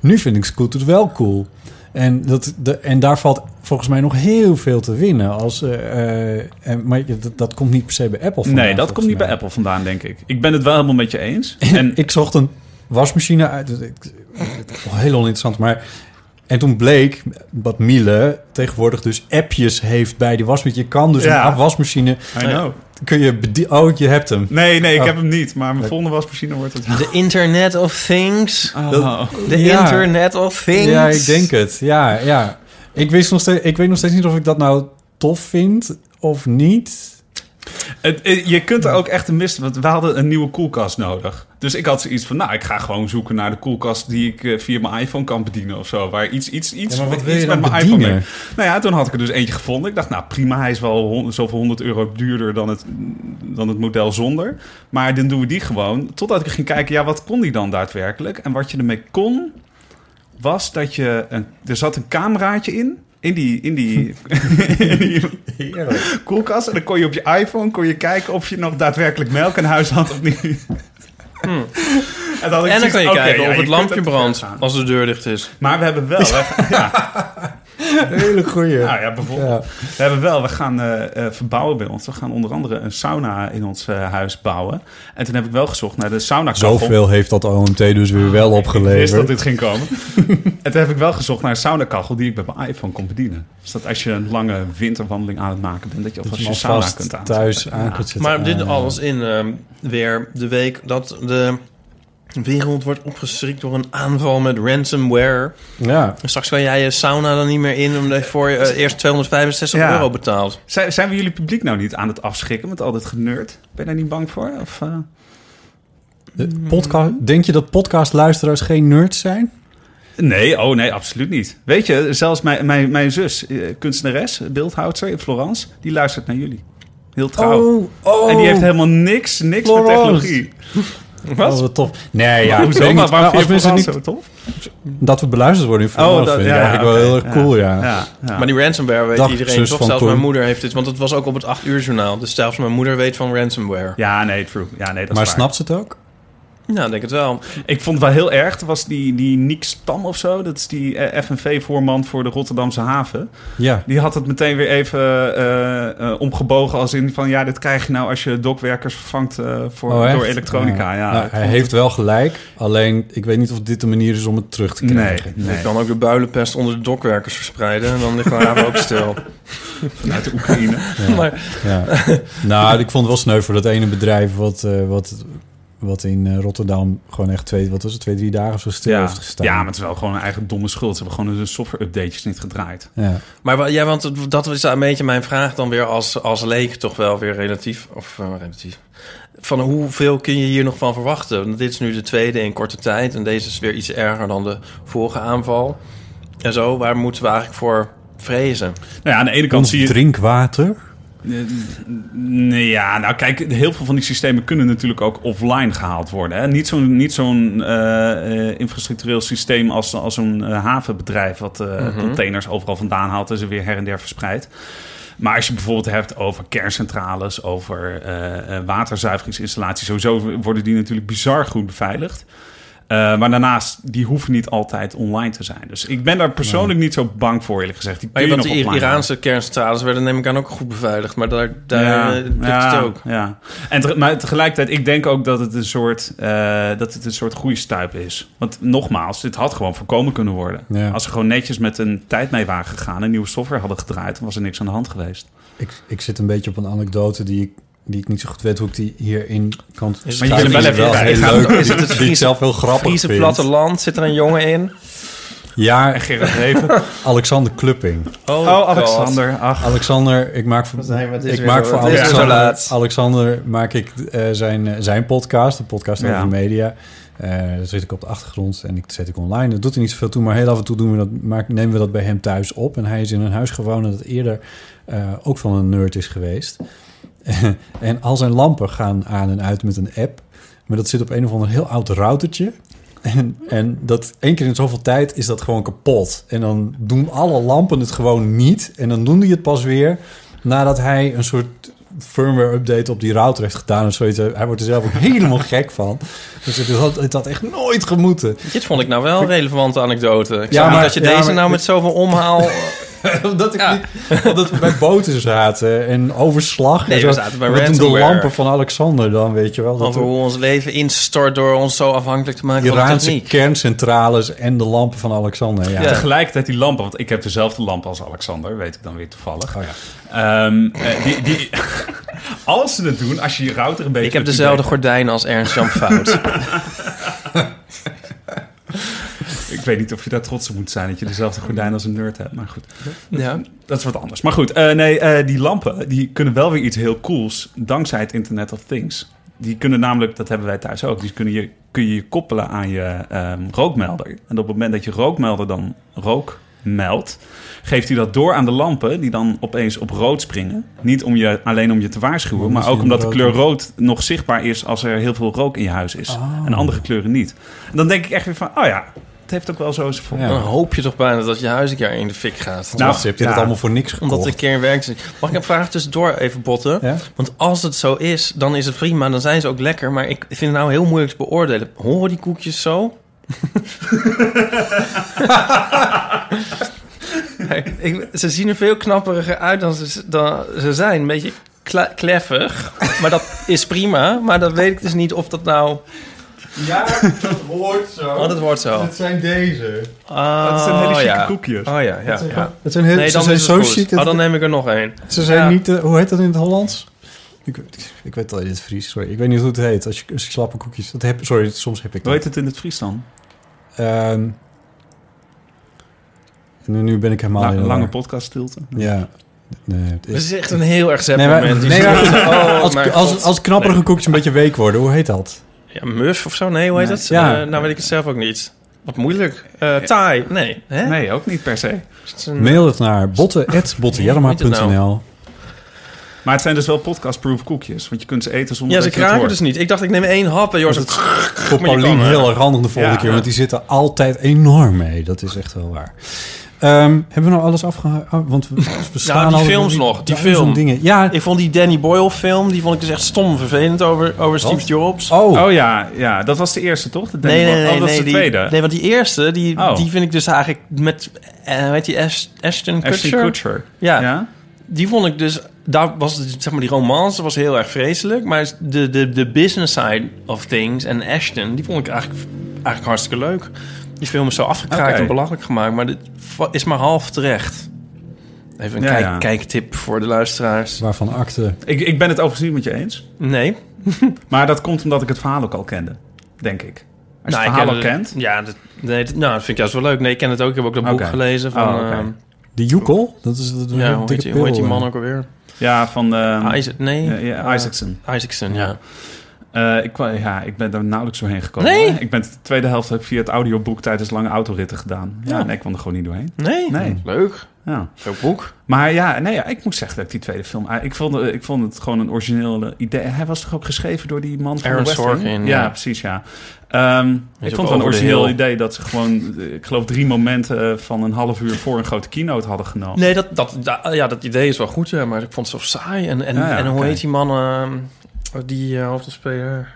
Speaker 2: nu vind ik scooters wel cool. En, dat, de, en daar valt volgens mij nog heel veel te winnen. Als, eh, eh, en, maar je- dat, dat komt niet per se bij Apple vandaan,
Speaker 3: Nee, dat
Speaker 2: volgens
Speaker 3: komt niet
Speaker 2: mij.
Speaker 3: bij Apple vandaan, denk ik. Ik ben het wel helemaal met je eens. En
Speaker 2: En ik zocht een wasmachine uit. dus Het- het- het is wel Heel oninteressant, maar... En toen bleek dat Miele tegenwoordig dus appjes heeft bij die wasmachine. Je kan dus
Speaker 3: Ja.
Speaker 2: een wasmachine...
Speaker 3: I know.
Speaker 2: Kun je bedie- oh, je hebt hem.
Speaker 3: Nee, nee, ik
Speaker 2: Oh.
Speaker 3: heb hem niet. Maar mijn volgende wasmachine wordt het wel.
Speaker 4: De Internet of Things.
Speaker 3: Oh.
Speaker 4: De
Speaker 2: Ja.
Speaker 4: Internet of Things.
Speaker 2: Ja, ik denk het. Ja, ja. Ik, wist nog steeds, ik weet nog steeds niet of ik dat nou tof vind of niet.
Speaker 3: Het- eh, je kunt er ook echt een mist... Want we hadden een nieuwe koelkast nodig. Dus ik had zoiets van... Nou, ik ga gewoon zoeken naar de koelkast... die ik eh, via mijn iPhone kan bedienen of zo. Waar iets, iets, iets,
Speaker 2: Ja, maar wat wil je
Speaker 3: iets
Speaker 2: dan
Speaker 3: met mijn
Speaker 2: bedienen?
Speaker 3: iPhone... mee. Nou ja, toen had ik er dus eentje gevonden. Ik dacht, nou prima, hij is wel hon- zoveel honderd euro duurder... Dan het, dan het model zonder. Maar dan doen we die gewoon. Totdat ik ging kijken, ja, wat kon die dan daadwerkelijk? En wat je ermee kon... was dat je... Een, er zat een cameraatje in... In die, in die, in die koelkast. En dan kon je op je iPhone kon je kijken of je nog daadwerkelijk melk in huis had of niet. En dan, had ik
Speaker 4: Hmm. En dan
Speaker 3: zoiets,
Speaker 4: kan je
Speaker 3: oké,
Speaker 4: kijken
Speaker 3: ja,
Speaker 4: of
Speaker 3: je
Speaker 4: het
Speaker 3: kunt
Speaker 4: lampje
Speaker 3: het
Speaker 4: brandt
Speaker 3: gaan.
Speaker 4: als de deur dicht is.
Speaker 3: Maar we hebben wel... we- ja,
Speaker 2: Hele goeie.
Speaker 3: nou ja, bijvoorbeeld.
Speaker 2: Ja.
Speaker 3: We hebben wel, we gaan eh, eh, verbouwen bij ons. We gaan onder andere een sauna in ons eh, huis bouwen. En toen heb ik wel gezocht naar de sauna
Speaker 2: Zoveel heeft dat OMT dus weer wel
Speaker 3: Ah, Ik wist dat
Speaker 2: opgeleverd.
Speaker 3: dit ging komen. en toen heb ik wel gezocht naar een saunakachel die ik bij mijn iPhone kon bedienen. Zodat als je een lange winterwandeling aan het maken bent, dat je
Speaker 2: Dat
Speaker 3: alvast
Speaker 2: je
Speaker 3: je
Speaker 2: hem
Speaker 3: sauna
Speaker 2: alvast
Speaker 3: kunt aan.
Speaker 2: thuis aan kunt zetten.
Speaker 4: Maar dit
Speaker 2: Ah.
Speaker 4: alles in ehm, weer de week dat de wereld wordt opgeschrikt door een aanval met ransomware.
Speaker 2: Ja.
Speaker 4: En straks kan jij je sauna dan niet meer in omdat je voor je eh, eerst 265
Speaker 3: Ja.
Speaker 4: euro betaalt.
Speaker 3: Zijn, zijn we jullie publiek nou niet aan het afschrikken met al dit geneurd? Ben je daar niet bang voor? Of, eh?
Speaker 2: De Podcast, denk je dat podcastluisteraars geen nerds zijn?
Speaker 3: Nee, oh nee, absoluut niet. Weet je, zelfs mijn, mijn, mijn zus, eh, kunstenares, beeldhoudster in Florence, die eh, luistert naar jullie. Heel trouw.
Speaker 2: Oh, oh.
Speaker 3: En die heeft helemaal niks, niks met
Speaker 2: Florence.
Speaker 3: technologie.
Speaker 2: Oh, wat tof. Nee, ja. ik
Speaker 3: Hoezo?
Speaker 2: weet
Speaker 3: Maar
Speaker 2: niet. nou,
Speaker 3: waarom
Speaker 2: als
Speaker 3: vind je
Speaker 2: mensen
Speaker 3: Florence
Speaker 2: niet
Speaker 3: zo tof?
Speaker 2: dat we beluisterd worden in Florence vind ik eigenlijk wel heel
Speaker 3: oké,
Speaker 2: erg cool, ja.
Speaker 3: ja, ja.
Speaker 4: Maar die ransomware weet
Speaker 2: Dag,
Speaker 4: iedereen
Speaker 2: zus
Speaker 4: toch?
Speaker 2: van
Speaker 4: Zelfs
Speaker 2: Koen.
Speaker 4: mijn moeder heeft dit. Want het was ook op het 8 uur journaal. Dus zelfs mijn moeder weet van ransomware.
Speaker 3: Ja, nee, true. Ja, nee, dat
Speaker 2: Maar
Speaker 3: is waar.
Speaker 2: snapt ze het ook?
Speaker 4: Nou, ik denk het wel.
Speaker 3: Ik vond het wel heel erg. Er was die, die Nick Stam of zo. Dat is die eh, FNV-voorman voor de Rotterdamse haven.
Speaker 2: Ja.
Speaker 3: Die had het meteen weer even eh, eh, omgebogen. Als in van ja, dit krijg je nou als je dokwerkers vervangt eh, voor,
Speaker 2: Oh, echt?
Speaker 3: door elektronica. Ja.
Speaker 2: Nou,
Speaker 3: ik
Speaker 2: hij
Speaker 3: vond
Speaker 2: heeft wel gelijk. Alleen, ik weet niet of dit de manier is om het terug te
Speaker 3: het- Nee,
Speaker 2: krijgen.
Speaker 3: nee.
Speaker 4: Ik kan ook de builenpest onder de dokwerkers verspreiden. En dan ligt mijn haven ook stil.
Speaker 3: Vanuit de Oekraïne.
Speaker 4: Maar
Speaker 2: Ja. nou, ik vond het wel sneu voor dat ene bedrijf wat, eh, wat, wat in eh, Rotterdam gewoon echt twee, wat was het, twee, drie dagen of zo stil
Speaker 3: Ja.
Speaker 2: heeft gestaan.
Speaker 3: ja, maar het is wel gewoon een eigen domme schuld. Ze hebben gewoon hun software-updates niet gedraaid.
Speaker 2: Ja.
Speaker 4: Maar wa- ja, want het- dat is een beetje mijn vraag dan weer als, als leek toch wel weer relatief. Of eh, relatief. Van hoeveel kun je hier nog van verwachten? Want dit is nu de tweede in korte tijd. En deze is weer iets erger dan de vorige aanval. En zo, waar moeten we eigenlijk voor vrezen?
Speaker 3: Nou ja, aan de ene kant
Speaker 2: Ons
Speaker 3: zie je...
Speaker 2: drinkwater.
Speaker 3: Nee, ja, nou kijk, heel veel van die systemen kunnen natuurlijk ook offline gehaald worden. Hè? Niet zo'n niet zo'n eh, eh, infrastructureel systeem als, als zo'n eh, havenbedrijf... wat eh,
Speaker 4: Mhm.
Speaker 3: containers overal vandaan haalt en ze weer her en der verspreidt. Maar als je bijvoorbeeld hebt over kerncentrales, over eh, eh, waterzuiveringsinstallaties... sowieso worden die natuurlijk bizar goed beveiligd. Eh, maar daarnaast, die hoeven niet altijd online te zijn. Dus ik ben daar persoonlijk niet zo bang voor, eerlijk gezegd. Die kun
Speaker 4: Maar
Speaker 3: je
Speaker 4: want
Speaker 3: nog
Speaker 4: die
Speaker 3: offline halen.
Speaker 4: Iraanse kerncentrales werden neem ik aan ook goed beveiligd. Maar daar, daar eh, ligt het ook.
Speaker 3: Ja. En te- maar tegelijkertijd, ik denk ook dat het een soort, eh dat het een soort groeistuip is. Want nogmaals, dit had gewoon voorkomen kunnen worden.
Speaker 2: Ja.
Speaker 3: Als ze gewoon netjes met een tijd mee waren gegaan en nieuwe software hadden gedraaid, dan was er niks aan de hand geweest.
Speaker 2: Ik, ik zit een beetje op een anekdote die ik, die ik niet zo goed weet hoe ik die hierin kan... Maar
Speaker 4: wil hem wel even erbij. Gaat-
Speaker 2: heel leuk.
Speaker 4: is het het
Speaker 2: die ik
Speaker 4: Friese-
Speaker 2: zelf heel grappig
Speaker 4: Friese
Speaker 2: vind. Oh,
Speaker 4: platteland, zit er een jongen in?
Speaker 2: Ja,
Speaker 3: Gerrit Reven.
Speaker 2: Alexander Klupping.
Speaker 4: Oh,
Speaker 3: Oh, Alexander. Ach,
Speaker 2: Alexander, ik maak voor,
Speaker 4: zijn we? Het is
Speaker 2: ik
Speaker 4: weer
Speaker 2: maak
Speaker 4: zo-
Speaker 2: voor
Speaker 4: het is weer zo
Speaker 2: Alexander,
Speaker 4: laat.
Speaker 2: Alexander maak ik eh, zijn, eh, zijn podcast, de podcast over
Speaker 3: Ja.
Speaker 2: media. Eh, daar zit ik op de achtergrond en ik zet ik online. Dat doet er niet zoveel toe, maar heel af en toe doen we dat, maak, nemen we dat bij hem thuis op. En hij is in een huis gewoond dat eerder eh, ook van een nerd is geweest. en al zijn lampen gaan aan en uit met een app. Maar dat zit op een of ander heel oud routertje. En, en dat één keer in zoveel tijd is dat gewoon kapot. En dan doen alle lampen het gewoon niet. En dan doen die het pas weer nadat hij een soort firmware update op die router heeft gedaan. Of zoiets. Hij wordt er zelf ook helemaal gek van. Dus het had, het had echt nooit gemoeten.
Speaker 4: Dit vond ik nou wel een relevante anekdote. Ik
Speaker 2: Ja,
Speaker 4: ja,
Speaker 2: maar-
Speaker 4: dat je
Speaker 2: ja,
Speaker 4: deze
Speaker 2: maar-
Speaker 4: nou met zoveel omhaal...
Speaker 2: omdat, ik
Speaker 4: Ja.
Speaker 2: niet, omdat we bij boten zaten en overslag.
Speaker 4: Nee,
Speaker 2: en zo.
Speaker 4: we zaten bij
Speaker 2: Wat doen de
Speaker 4: ransomware.
Speaker 2: lampen van Alexander dan, weet je wel. Dat
Speaker 4: over hoe ons leven instort door ons zo afhankelijk te maken van de
Speaker 2: Iraanse
Speaker 4: techniek.
Speaker 2: kerncentrales en de lampen van Alexander. Ja.
Speaker 4: Ja.
Speaker 3: tegelijkertijd die lampen, want ik heb dezelfde lamp als Alexander, weet ik dan weer toevallig.
Speaker 2: Oh ja.
Speaker 3: Ehm, eh, die, die, als ze het doen, als je je router een beetje...
Speaker 4: Ik heb
Speaker 3: op je
Speaker 4: dezelfde
Speaker 3: bek-
Speaker 4: gordijnen als Ernst Jan Fout.
Speaker 3: Ik weet niet of je daar trots op moet zijn, dat je dezelfde gordijn als een nerd hebt, maar goed.
Speaker 4: ja.
Speaker 3: Dat is wat anders. Maar goed, eh, nee, eh, die lampen die kunnen wel weer iets heel cools dankzij het Internet of Things. Die kunnen namelijk, dat hebben wij thuis ook, die kunnen je, kun je je koppelen aan je ehm, rookmelder. En op het moment dat je rookmelder dan rook meldt, geeft hij dat door aan de lampen die dan opeens op rood springen. Niet om je, alleen om je te waarschuwen,
Speaker 2: Omdat
Speaker 3: maar ook
Speaker 2: je
Speaker 3: omdat de
Speaker 2: Oh, rood
Speaker 3: kleur
Speaker 2: hebt.
Speaker 3: rood nog zichtbaar is als er heel veel rook in je huis is.
Speaker 2: Ah.
Speaker 3: En andere kleuren niet. En dan denk ik echt weer van, oh ja, het heeft ook wel zo zijn voordeel.
Speaker 2: Ja.
Speaker 4: Dan hoop je toch bijna dat je huis een keer in de fik gaat.
Speaker 2: Nou,
Speaker 3: Nou,
Speaker 2: heb Nou, je
Speaker 3: ja.
Speaker 2: dat allemaal voor niks gekocht?
Speaker 4: Omdat de kern werkt. Mag ik een vraag tussendoor even botten?
Speaker 2: Ja?
Speaker 4: Want als het zo is, dan is het prima. Dan zijn ze ook lekker. Maar ik vind het nou heel moeilijk te beoordelen. Horen die koekjes zo? Nee, ik, ze zien er veel knapperiger uit dan ze, dan ze zijn. Een beetje kle- kleffig. Maar dat is prima. Maar dan weet ik dus niet of dat nou...
Speaker 2: dat hoort zo.
Speaker 4: Oh, dat wordt zo.
Speaker 2: zijn deze.
Speaker 4: Oh,
Speaker 3: dat zijn hele chique
Speaker 4: ja.
Speaker 3: koekjes.
Speaker 4: Oh ja, ja. ja.
Speaker 2: Het zijn heel,
Speaker 4: Nee,
Speaker 2: ze
Speaker 4: dan
Speaker 2: zijn
Speaker 4: is
Speaker 2: zo
Speaker 4: het goed.
Speaker 2: chic.
Speaker 4: Oh,
Speaker 2: dat-
Speaker 4: dan neem ik er nog één.
Speaker 2: Ze zijn
Speaker 4: Ja.
Speaker 2: niet... eh, hoe heet dat in het Hollands? Ik, weet- ik weet het al in het Fries, sorry. Ik weet niet hoe het heet. Als je, als je slappe koekjes... Dat heb, sorry, soms heb ik dat.
Speaker 3: Hoe heet het in het Fries dan?
Speaker 2: Ehm, nu, nu ben ik helemaal...
Speaker 3: Nou,
Speaker 2: in
Speaker 3: een
Speaker 2: de
Speaker 3: lange
Speaker 2: war.
Speaker 3: podcast stilte.
Speaker 2: Ja. Nee, het
Speaker 4: Het
Speaker 2: is-
Speaker 4: is echt een heel erg zep
Speaker 2: Nee, maar,
Speaker 4: moment. Die
Speaker 2: nee, maar
Speaker 4: zo-
Speaker 2: goed,
Speaker 4: oh,
Speaker 2: als,
Speaker 4: mijn
Speaker 2: als,
Speaker 4: God.
Speaker 2: als knapperige koekjes een beetje week worden, hoe heet dat?
Speaker 4: Ja, muf of zo? Nee, hoe heet dat?
Speaker 2: Ja.
Speaker 4: Eh, nou weet ik het zelf ook niet. Wat moeilijk. Eh Thai? Nee. Hè?
Speaker 3: Nee, ook niet per se.
Speaker 4: Is het een-
Speaker 2: Mail het naar
Speaker 4: Hoe heet het
Speaker 2: botten.bottenjerma.nl
Speaker 4: nou?
Speaker 3: Maar het zijn dus wel podcast-proof koekjes. Want je kunt ze eten zonder
Speaker 4: Ja, ze
Speaker 3: dat je het
Speaker 4: kraken
Speaker 3: hoort.
Speaker 4: dus niet. Ik dacht, ik neem één hap eh, en Jors... Het...
Speaker 2: Voor
Speaker 4: Maar je
Speaker 2: Paulien
Speaker 4: kan, hè?
Speaker 2: heel erg handig de volgende
Speaker 3: Ja.
Speaker 2: keer, want die zitten altijd enorm mee. Dat is echt wel waar. Ehm, hebben we nou alles afgehaald? Want we, we staan
Speaker 4: die
Speaker 2: al-
Speaker 4: films nog, die
Speaker 2: duizend
Speaker 4: film.
Speaker 2: Dingen. Ja,
Speaker 4: Ik vond die Danny Boyle film, die vond ik dus echt stom vervelend over, over Steve Jobs.
Speaker 2: oh,
Speaker 3: Oh ja, ja, dat was de eerste, toch? Dat denk
Speaker 4: Nee,
Speaker 3: ik wel.
Speaker 4: nee, nee.
Speaker 3: oh, dat
Speaker 4: nee,
Speaker 3: is de
Speaker 4: die,
Speaker 3: tweede.
Speaker 4: Nee, want die eerste, die,
Speaker 3: Oh.
Speaker 4: die vind ik dus eigenlijk met... eh, hoe heet die? Ash- Ashton Kutcher?
Speaker 3: Ashton Kutcher.
Speaker 4: Ja,
Speaker 3: ja?
Speaker 4: die vond ik dus... Daar was, het, zeg maar, die romance was heel erg vreselijk. Maar de, de, de business side of things en Ashton, die vond ik eigenlijk, eigenlijk hartstikke leuk. Die film is zo afgekraakt
Speaker 3: Oké.
Speaker 4: en belachelijk gemaakt. Maar dit va- is maar half terecht. Even een
Speaker 3: Ja,
Speaker 4: kijk,
Speaker 3: ja.
Speaker 4: kijktip voor de luisteraars.
Speaker 2: waarvan akte.
Speaker 3: Ik, ik ben het overigens niet met je eens.
Speaker 4: Nee.
Speaker 3: Maar dat komt omdat ik het verhaal ook al kende, denk ik. Als je
Speaker 4: Nou, ik
Speaker 3: het verhaal
Speaker 4: ken
Speaker 3: al
Speaker 4: het-
Speaker 3: kent.
Speaker 4: Ja, dat, nee, dat- nou, dat vind ik juist wel leuk. Nee, ik ken het ook. Ik heb ook dat boek
Speaker 3: Oké.
Speaker 4: gelezen van...
Speaker 3: Oh, oké.
Speaker 4: ehm,
Speaker 2: De Joekel? Dat is dat is een
Speaker 4: ja,
Speaker 2: hele
Speaker 4: hoe heet,
Speaker 2: dikke
Speaker 4: die, hoe heet die
Speaker 2: pil,
Speaker 4: man
Speaker 2: eh.
Speaker 4: ook alweer?
Speaker 3: Ja, van ehm,
Speaker 4: Ah, Isaac, nee.
Speaker 3: ja, ja,
Speaker 4: Eh,
Speaker 3: Isaacson.
Speaker 4: Isaacson, ja.
Speaker 3: Eh, ik, kwa- ja, ik ben daar nauwelijks doorheen gekomen.
Speaker 4: Nee?
Speaker 3: hoor. Ik ben de tweede helft heb ik via het audioboek tijdens lange autoritten gedaan. Ja,
Speaker 4: Ja.
Speaker 3: nee, ik kwam er gewoon niet doorheen.
Speaker 4: Nee?
Speaker 3: Nee.
Speaker 4: Leuk.
Speaker 3: Ja.
Speaker 4: Zo'n boek.
Speaker 3: Maar ja, nee, ja, ik moet zeggen dat ik die tweede film... ah, Ik vond, eh, ik vond het gewoon een origineel idee. Hij was toch ook geschreven door die man van
Speaker 4: Aaron
Speaker 3: West Wing?
Speaker 4: Sorkin,
Speaker 3: Ja,
Speaker 4: ja.
Speaker 3: precies, ja. Ehm, ik
Speaker 4: ook
Speaker 3: vond het wel een
Speaker 4: over de
Speaker 3: origineel
Speaker 4: hill.
Speaker 3: idee dat ze gewoon... eh, Ik geloof drie momenten eh, van een half uur voor een grote keynote hadden genomen.
Speaker 4: Nee, dat, dat, da- ah, ja, dat idee is wel goed, ja, maar ik vond het zo saai. En, en,
Speaker 3: Ja, ja,
Speaker 4: en hoe
Speaker 3: oké.
Speaker 4: heet die man, ehm, die eh, hoofdrolspeler?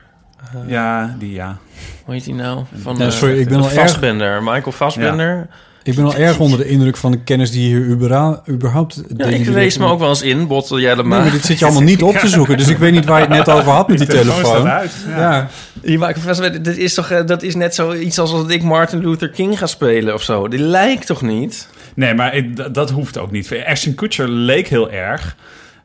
Speaker 4: Eh,
Speaker 3: Ja, die ja.
Speaker 4: Hoe heet die nou? Van,
Speaker 2: Ja, sorry,
Speaker 4: eh,
Speaker 2: ik ben al erg-
Speaker 4: Fassbender, Michael Fassbender.
Speaker 2: Ik ben al erg onder de indruk van de kennis die hier ubera- überhaupt...
Speaker 4: Ja, ik lees me ook wel eens in, botel jij dat
Speaker 2: Nee,
Speaker 4: maar.
Speaker 2: maar dit zit je allemaal niet op te zoeken, dus ik weet niet waar je het net over had met die telefoon.
Speaker 3: staat uit. Ja.
Speaker 2: Ja,
Speaker 4: Ja, maar ik- Fassbender, dit is toch, eh, dat is net zoiets als dat ik Martin Luther King ga spelen of zo. Die lijkt toch niet? Oh,
Speaker 3: Nee, maar ik- dat- dat hoeft ook niet. Ashton Kutcher leek heel erg.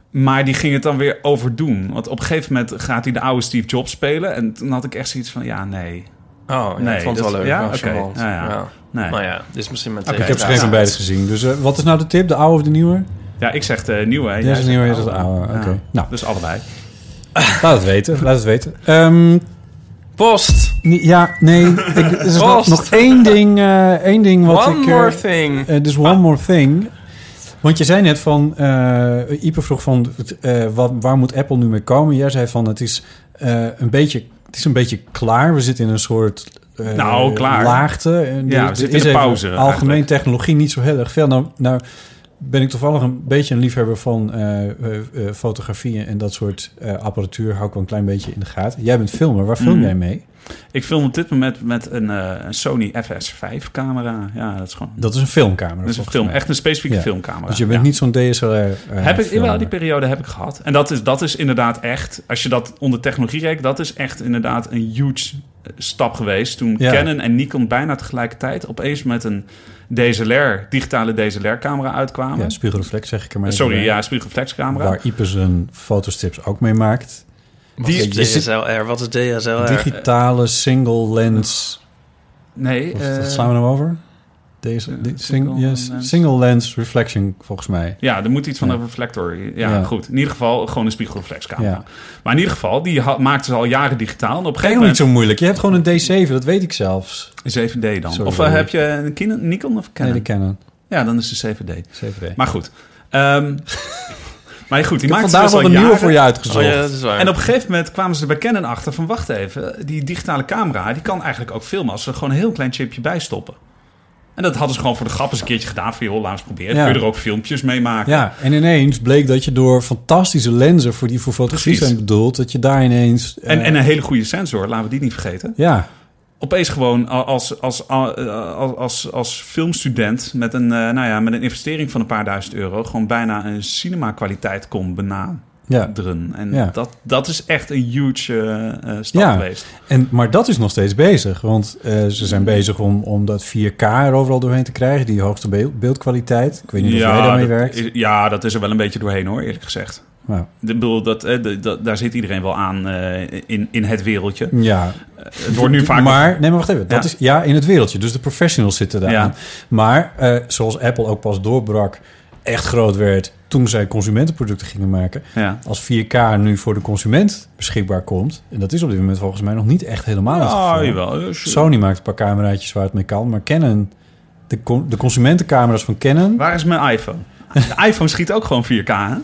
Speaker 3: Maar die ging het dan weer overdoen. Want op een gegeven moment gaat hij de oude Steve Jobs spelen. En toen had ik echt zoiets van, ja, nee.
Speaker 4: Oh, ja,
Speaker 3: Nee,
Speaker 4: ik vond het
Speaker 3: dat-
Speaker 4: wel leuk.
Speaker 3: ja?
Speaker 4: wel
Speaker 3: Oké,
Speaker 4: charmant.
Speaker 3: ja, ja. nee.
Speaker 4: Nou ja, dit is misschien mijn
Speaker 3: Oké,
Speaker 2: ik heb ze
Speaker 3: Ja.
Speaker 2: geen van beide gezien. Dus eh, wat is nou de tip? De oude of de nieuwe?
Speaker 3: Ja, ik zeg de nieuwe.
Speaker 2: Ja, is de nieuwe, jij zegt de oude. Oké, nou,
Speaker 3: Dus allebei.
Speaker 2: laat het weten. Laat het weten. Ehm,
Speaker 4: Post!
Speaker 2: Nee, Ja, nee. Ik, er is nog,
Speaker 4: Vast.
Speaker 2: nog één ding, eh, één ding wat
Speaker 4: One
Speaker 2: ik... eh,
Speaker 4: more thing.
Speaker 2: eh, dus one more thing. Want je zei net van... eh Ipe vroeg van... eh, wat, waar moet Apple nu mee komen? Jij zei van het is, eh, een beetje, het is een beetje klaar. We zitten in een soort... eh,
Speaker 3: Nou, klaar.
Speaker 2: Laagte. En
Speaker 3: Ja, we
Speaker 2: er
Speaker 3: zitten in
Speaker 2: is
Speaker 3: een
Speaker 2: even
Speaker 3: pauze
Speaker 2: Algemeen
Speaker 3: eigenlijk.
Speaker 2: technologie niet zo heel erg veel. Nou, nou ben ik toevallig een beetje een liefhebber van eh, eh, eh, fotografie en dat soort eh, apparatuur. Hou ik wel een klein beetje in de gaten. Jij bent filmer. Waar film
Speaker 3: Mhm.
Speaker 2: jij mee?
Speaker 3: Ik film op dit moment met een, eh, een Sony FS5-camera. Ja, dat is gewoon...
Speaker 2: Dat is een filmcamera.
Speaker 3: Dat is een
Speaker 2: volgens
Speaker 3: film,
Speaker 2: mij.
Speaker 3: echt een specifieke
Speaker 2: Ja.
Speaker 3: filmcamera.
Speaker 2: Dus je bent
Speaker 3: Ja.
Speaker 2: niet zo'n DSLR. eh,
Speaker 3: Heb ik,
Speaker 2: filmer.
Speaker 3: wel, die periode heb ik gehad. En dat is, dat is inderdaad echt, als je dat onder technologie rekent, dat is echt inderdaad een huge eh, stap geweest. Toen
Speaker 2: Ja.
Speaker 3: Canon en Nikon bijna tegelijkertijd opeens met een DSLR, digitale DSLR-camera uitkwamen.
Speaker 2: Ja, spiegelreflex zeg ik er maar. even
Speaker 3: Sorry,
Speaker 2: bij.
Speaker 3: ja, spiegelreflexcamera.
Speaker 2: Waar Ipe zijn fotostips ook mee maakt.
Speaker 4: Wat is
Speaker 2: Die-
Speaker 4: DSLR? Wat is DSLR?
Speaker 2: Digitale single lens.
Speaker 3: Nee,
Speaker 2: Wat
Speaker 3: eh,
Speaker 2: wat slaan we nou over? Deze, die- sing-
Speaker 3: single
Speaker 2: yes,
Speaker 3: lens.
Speaker 2: single lens reflection volgens mij.
Speaker 3: ja, er moet iets van
Speaker 2: Ja.
Speaker 3: een reflector. Ja,
Speaker 2: Ja.
Speaker 3: goed. In ieder geval gewoon een spiegelreflexcamera.
Speaker 2: Ja.
Speaker 3: Maar in ieder geval, die ha- maakte ze al jaren digitaal. En op een gegeven
Speaker 2: Helemaal niet
Speaker 3: moment...
Speaker 2: zo moeilijk. Je hebt gewoon een D7, dat weet ik zelfs.
Speaker 3: 7D dan.
Speaker 2: Sorry.
Speaker 3: Of eh, heb je een Canon- Nikon of
Speaker 2: Nee,
Speaker 3: Canon?
Speaker 2: de Canon.
Speaker 3: ja, dan is de 7D.
Speaker 2: 7D.
Speaker 3: Maar goed. Ehm, maar goed, die
Speaker 2: ik heb
Speaker 3: maakte
Speaker 2: vandaag
Speaker 3: dus al
Speaker 2: nog een nieuwe
Speaker 3: jaren.
Speaker 2: voor je uitgezocht.
Speaker 4: Oh ja, dat is waar.
Speaker 3: En op een gegeven moment kwamen ze er bij Canon achter van... wacht even, die digitale camera die kan eigenlijk ook filmen... als we er gewoon een heel klein chipje bij stoppen. En dat hadden ze gewoon voor de grap eens een keertje gedaan... van joh, laat eens proberen.
Speaker 2: Ja.
Speaker 3: Kun je er ook filmpjes mee maken?
Speaker 2: Ja, en ineens bleek dat je door fantastische lenzen... voor die voor fotografie
Speaker 3: Precies.
Speaker 2: zijn bedoeld... dat je daar ineens... eh,
Speaker 3: En, en een hele goede sensor, laten we die niet vergeten.
Speaker 2: Ja,
Speaker 3: Opeens gewoon als, als, als, als, als filmstudent met een, eh, nou ja, met een investering van een paar duizend euro... gewoon bijna een cinema-kwaliteit kon benaderen.
Speaker 2: ja.
Speaker 3: En
Speaker 2: Ja.
Speaker 3: dat, dat is echt een huge eh, eh, stap
Speaker 2: Ja.
Speaker 3: geweest.
Speaker 2: En, maar dat is nog steeds bezig. Want eh, ze
Speaker 3: Mm.
Speaker 2: zijn bezig om, om dat 4K er overal doorheen te krijgen. Die hoogste beel- beeldkwaliteit. Ik weet niet of jij daarmee
Speaker 3: dat
Speaker 2: werkt.
Speaker 3: is- ja, dat is er wel een beetje doorheen hoor, eerlijk gezegd.
Speaker 2: Nou,
Speaker 3: Ik bedoel, dat, eh, de- dat, daar zit iedereen wel aan eh, in, in het wereldje. Eh,
Speaker 2: ja,
Speaker 3: Het wordt nu vaak...
Speaker 2: Hm. maar... Nee, maar wacht even. Dat
Speaker 3: Ja.
Speaker 2: is ja in het wereldje. Dus de professionals zitten daar
Speaker 3: Ja.
Speaker 2: aan. Maar eh, zoals Apple ook pas doorbrak... echt groot werd toen zij consumentenproducten gingen maken...
Speaker 3: Ja.
Speaker 2: als 4K nu voor de consument beschikbaar komt... en dat is op dit moment volgens mij nog niet echt helemaal het
Speaker 3: Oh,
Speaker 2: geval.
Speaker 3: jawel. eh, zo-
Speaker 2: Sony maakt een paar cameraatjes waar het mee kan... maar Canon, de, con- de consumentencamera's van Canon...
Speaker 3: Waar is mijn iPhone? De iPhone schiet ook gewoon 4K, hè?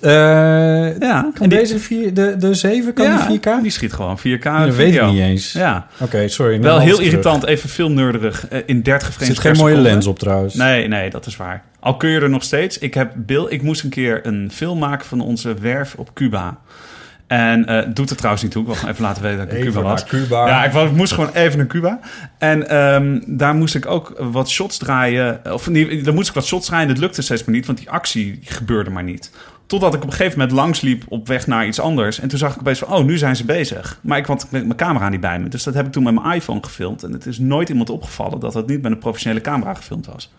Speaker 2: Eh,
Speaker 3: Ja,
Speaker 2: kan
Speaker 3: en die-
Speaker 2: deze vier, de, de 7 kan
Speaker 3: ja,
Speaker 2: die 4K?
Speaker 3: Die schiet gewoon 4K.
Speaker 2: dat weet ik
Speaker 3: video.
Speaker 2: niet eens.
Speaker 3: Ja,
Speaker 2: Oké, sorry. neem
Speaker 3: wel
Speaker 2: alles
Speaker 3: heel
Speaker 2: terug.
Speaker 3: irritant, even filmnerderig. eh, In 30
Speaker 2: Er
Speaker 3: frames
Speaker 2: zit
Speaker 3: per
Speaker 2: geen mooie
Speaker 3: seconde.
Speaker 2: lens op trouwens.
Speaker 3: Nee, nee, dat is waar. Al kun je er nog steeds. Ik, heb Bill, ik moest een keer een film maken van onze werf op Cuba. En eh, het doet er trouwens niet toe. Ik wil gewoon even laten weten dat ik op
Speaker 2: Even
Speaker 3: Cuba was.
Speaker 2: naar Cuba.
Speaker 3: Ja, ik, wou- ik moest gewoon even naar Cuba. En ehm, daar moest ik ook wat shots draaien. Of nee, daar moest ik wat shots draaien. Dat lukte steeds maar niet, want die actie gebeurde maar niet. Totdat ik op een gegeven moment langsliep op weg naar iets anders. En toen zag ik opeens van, oh, nu zijn ze bezig. Maar ik had met mijn camera niet bij me. Dus dat heb ik toen met mijn iPhone gefilmd. En het is nooit iemand opgevallen dat dat niet met een professionele camera gefilmd was.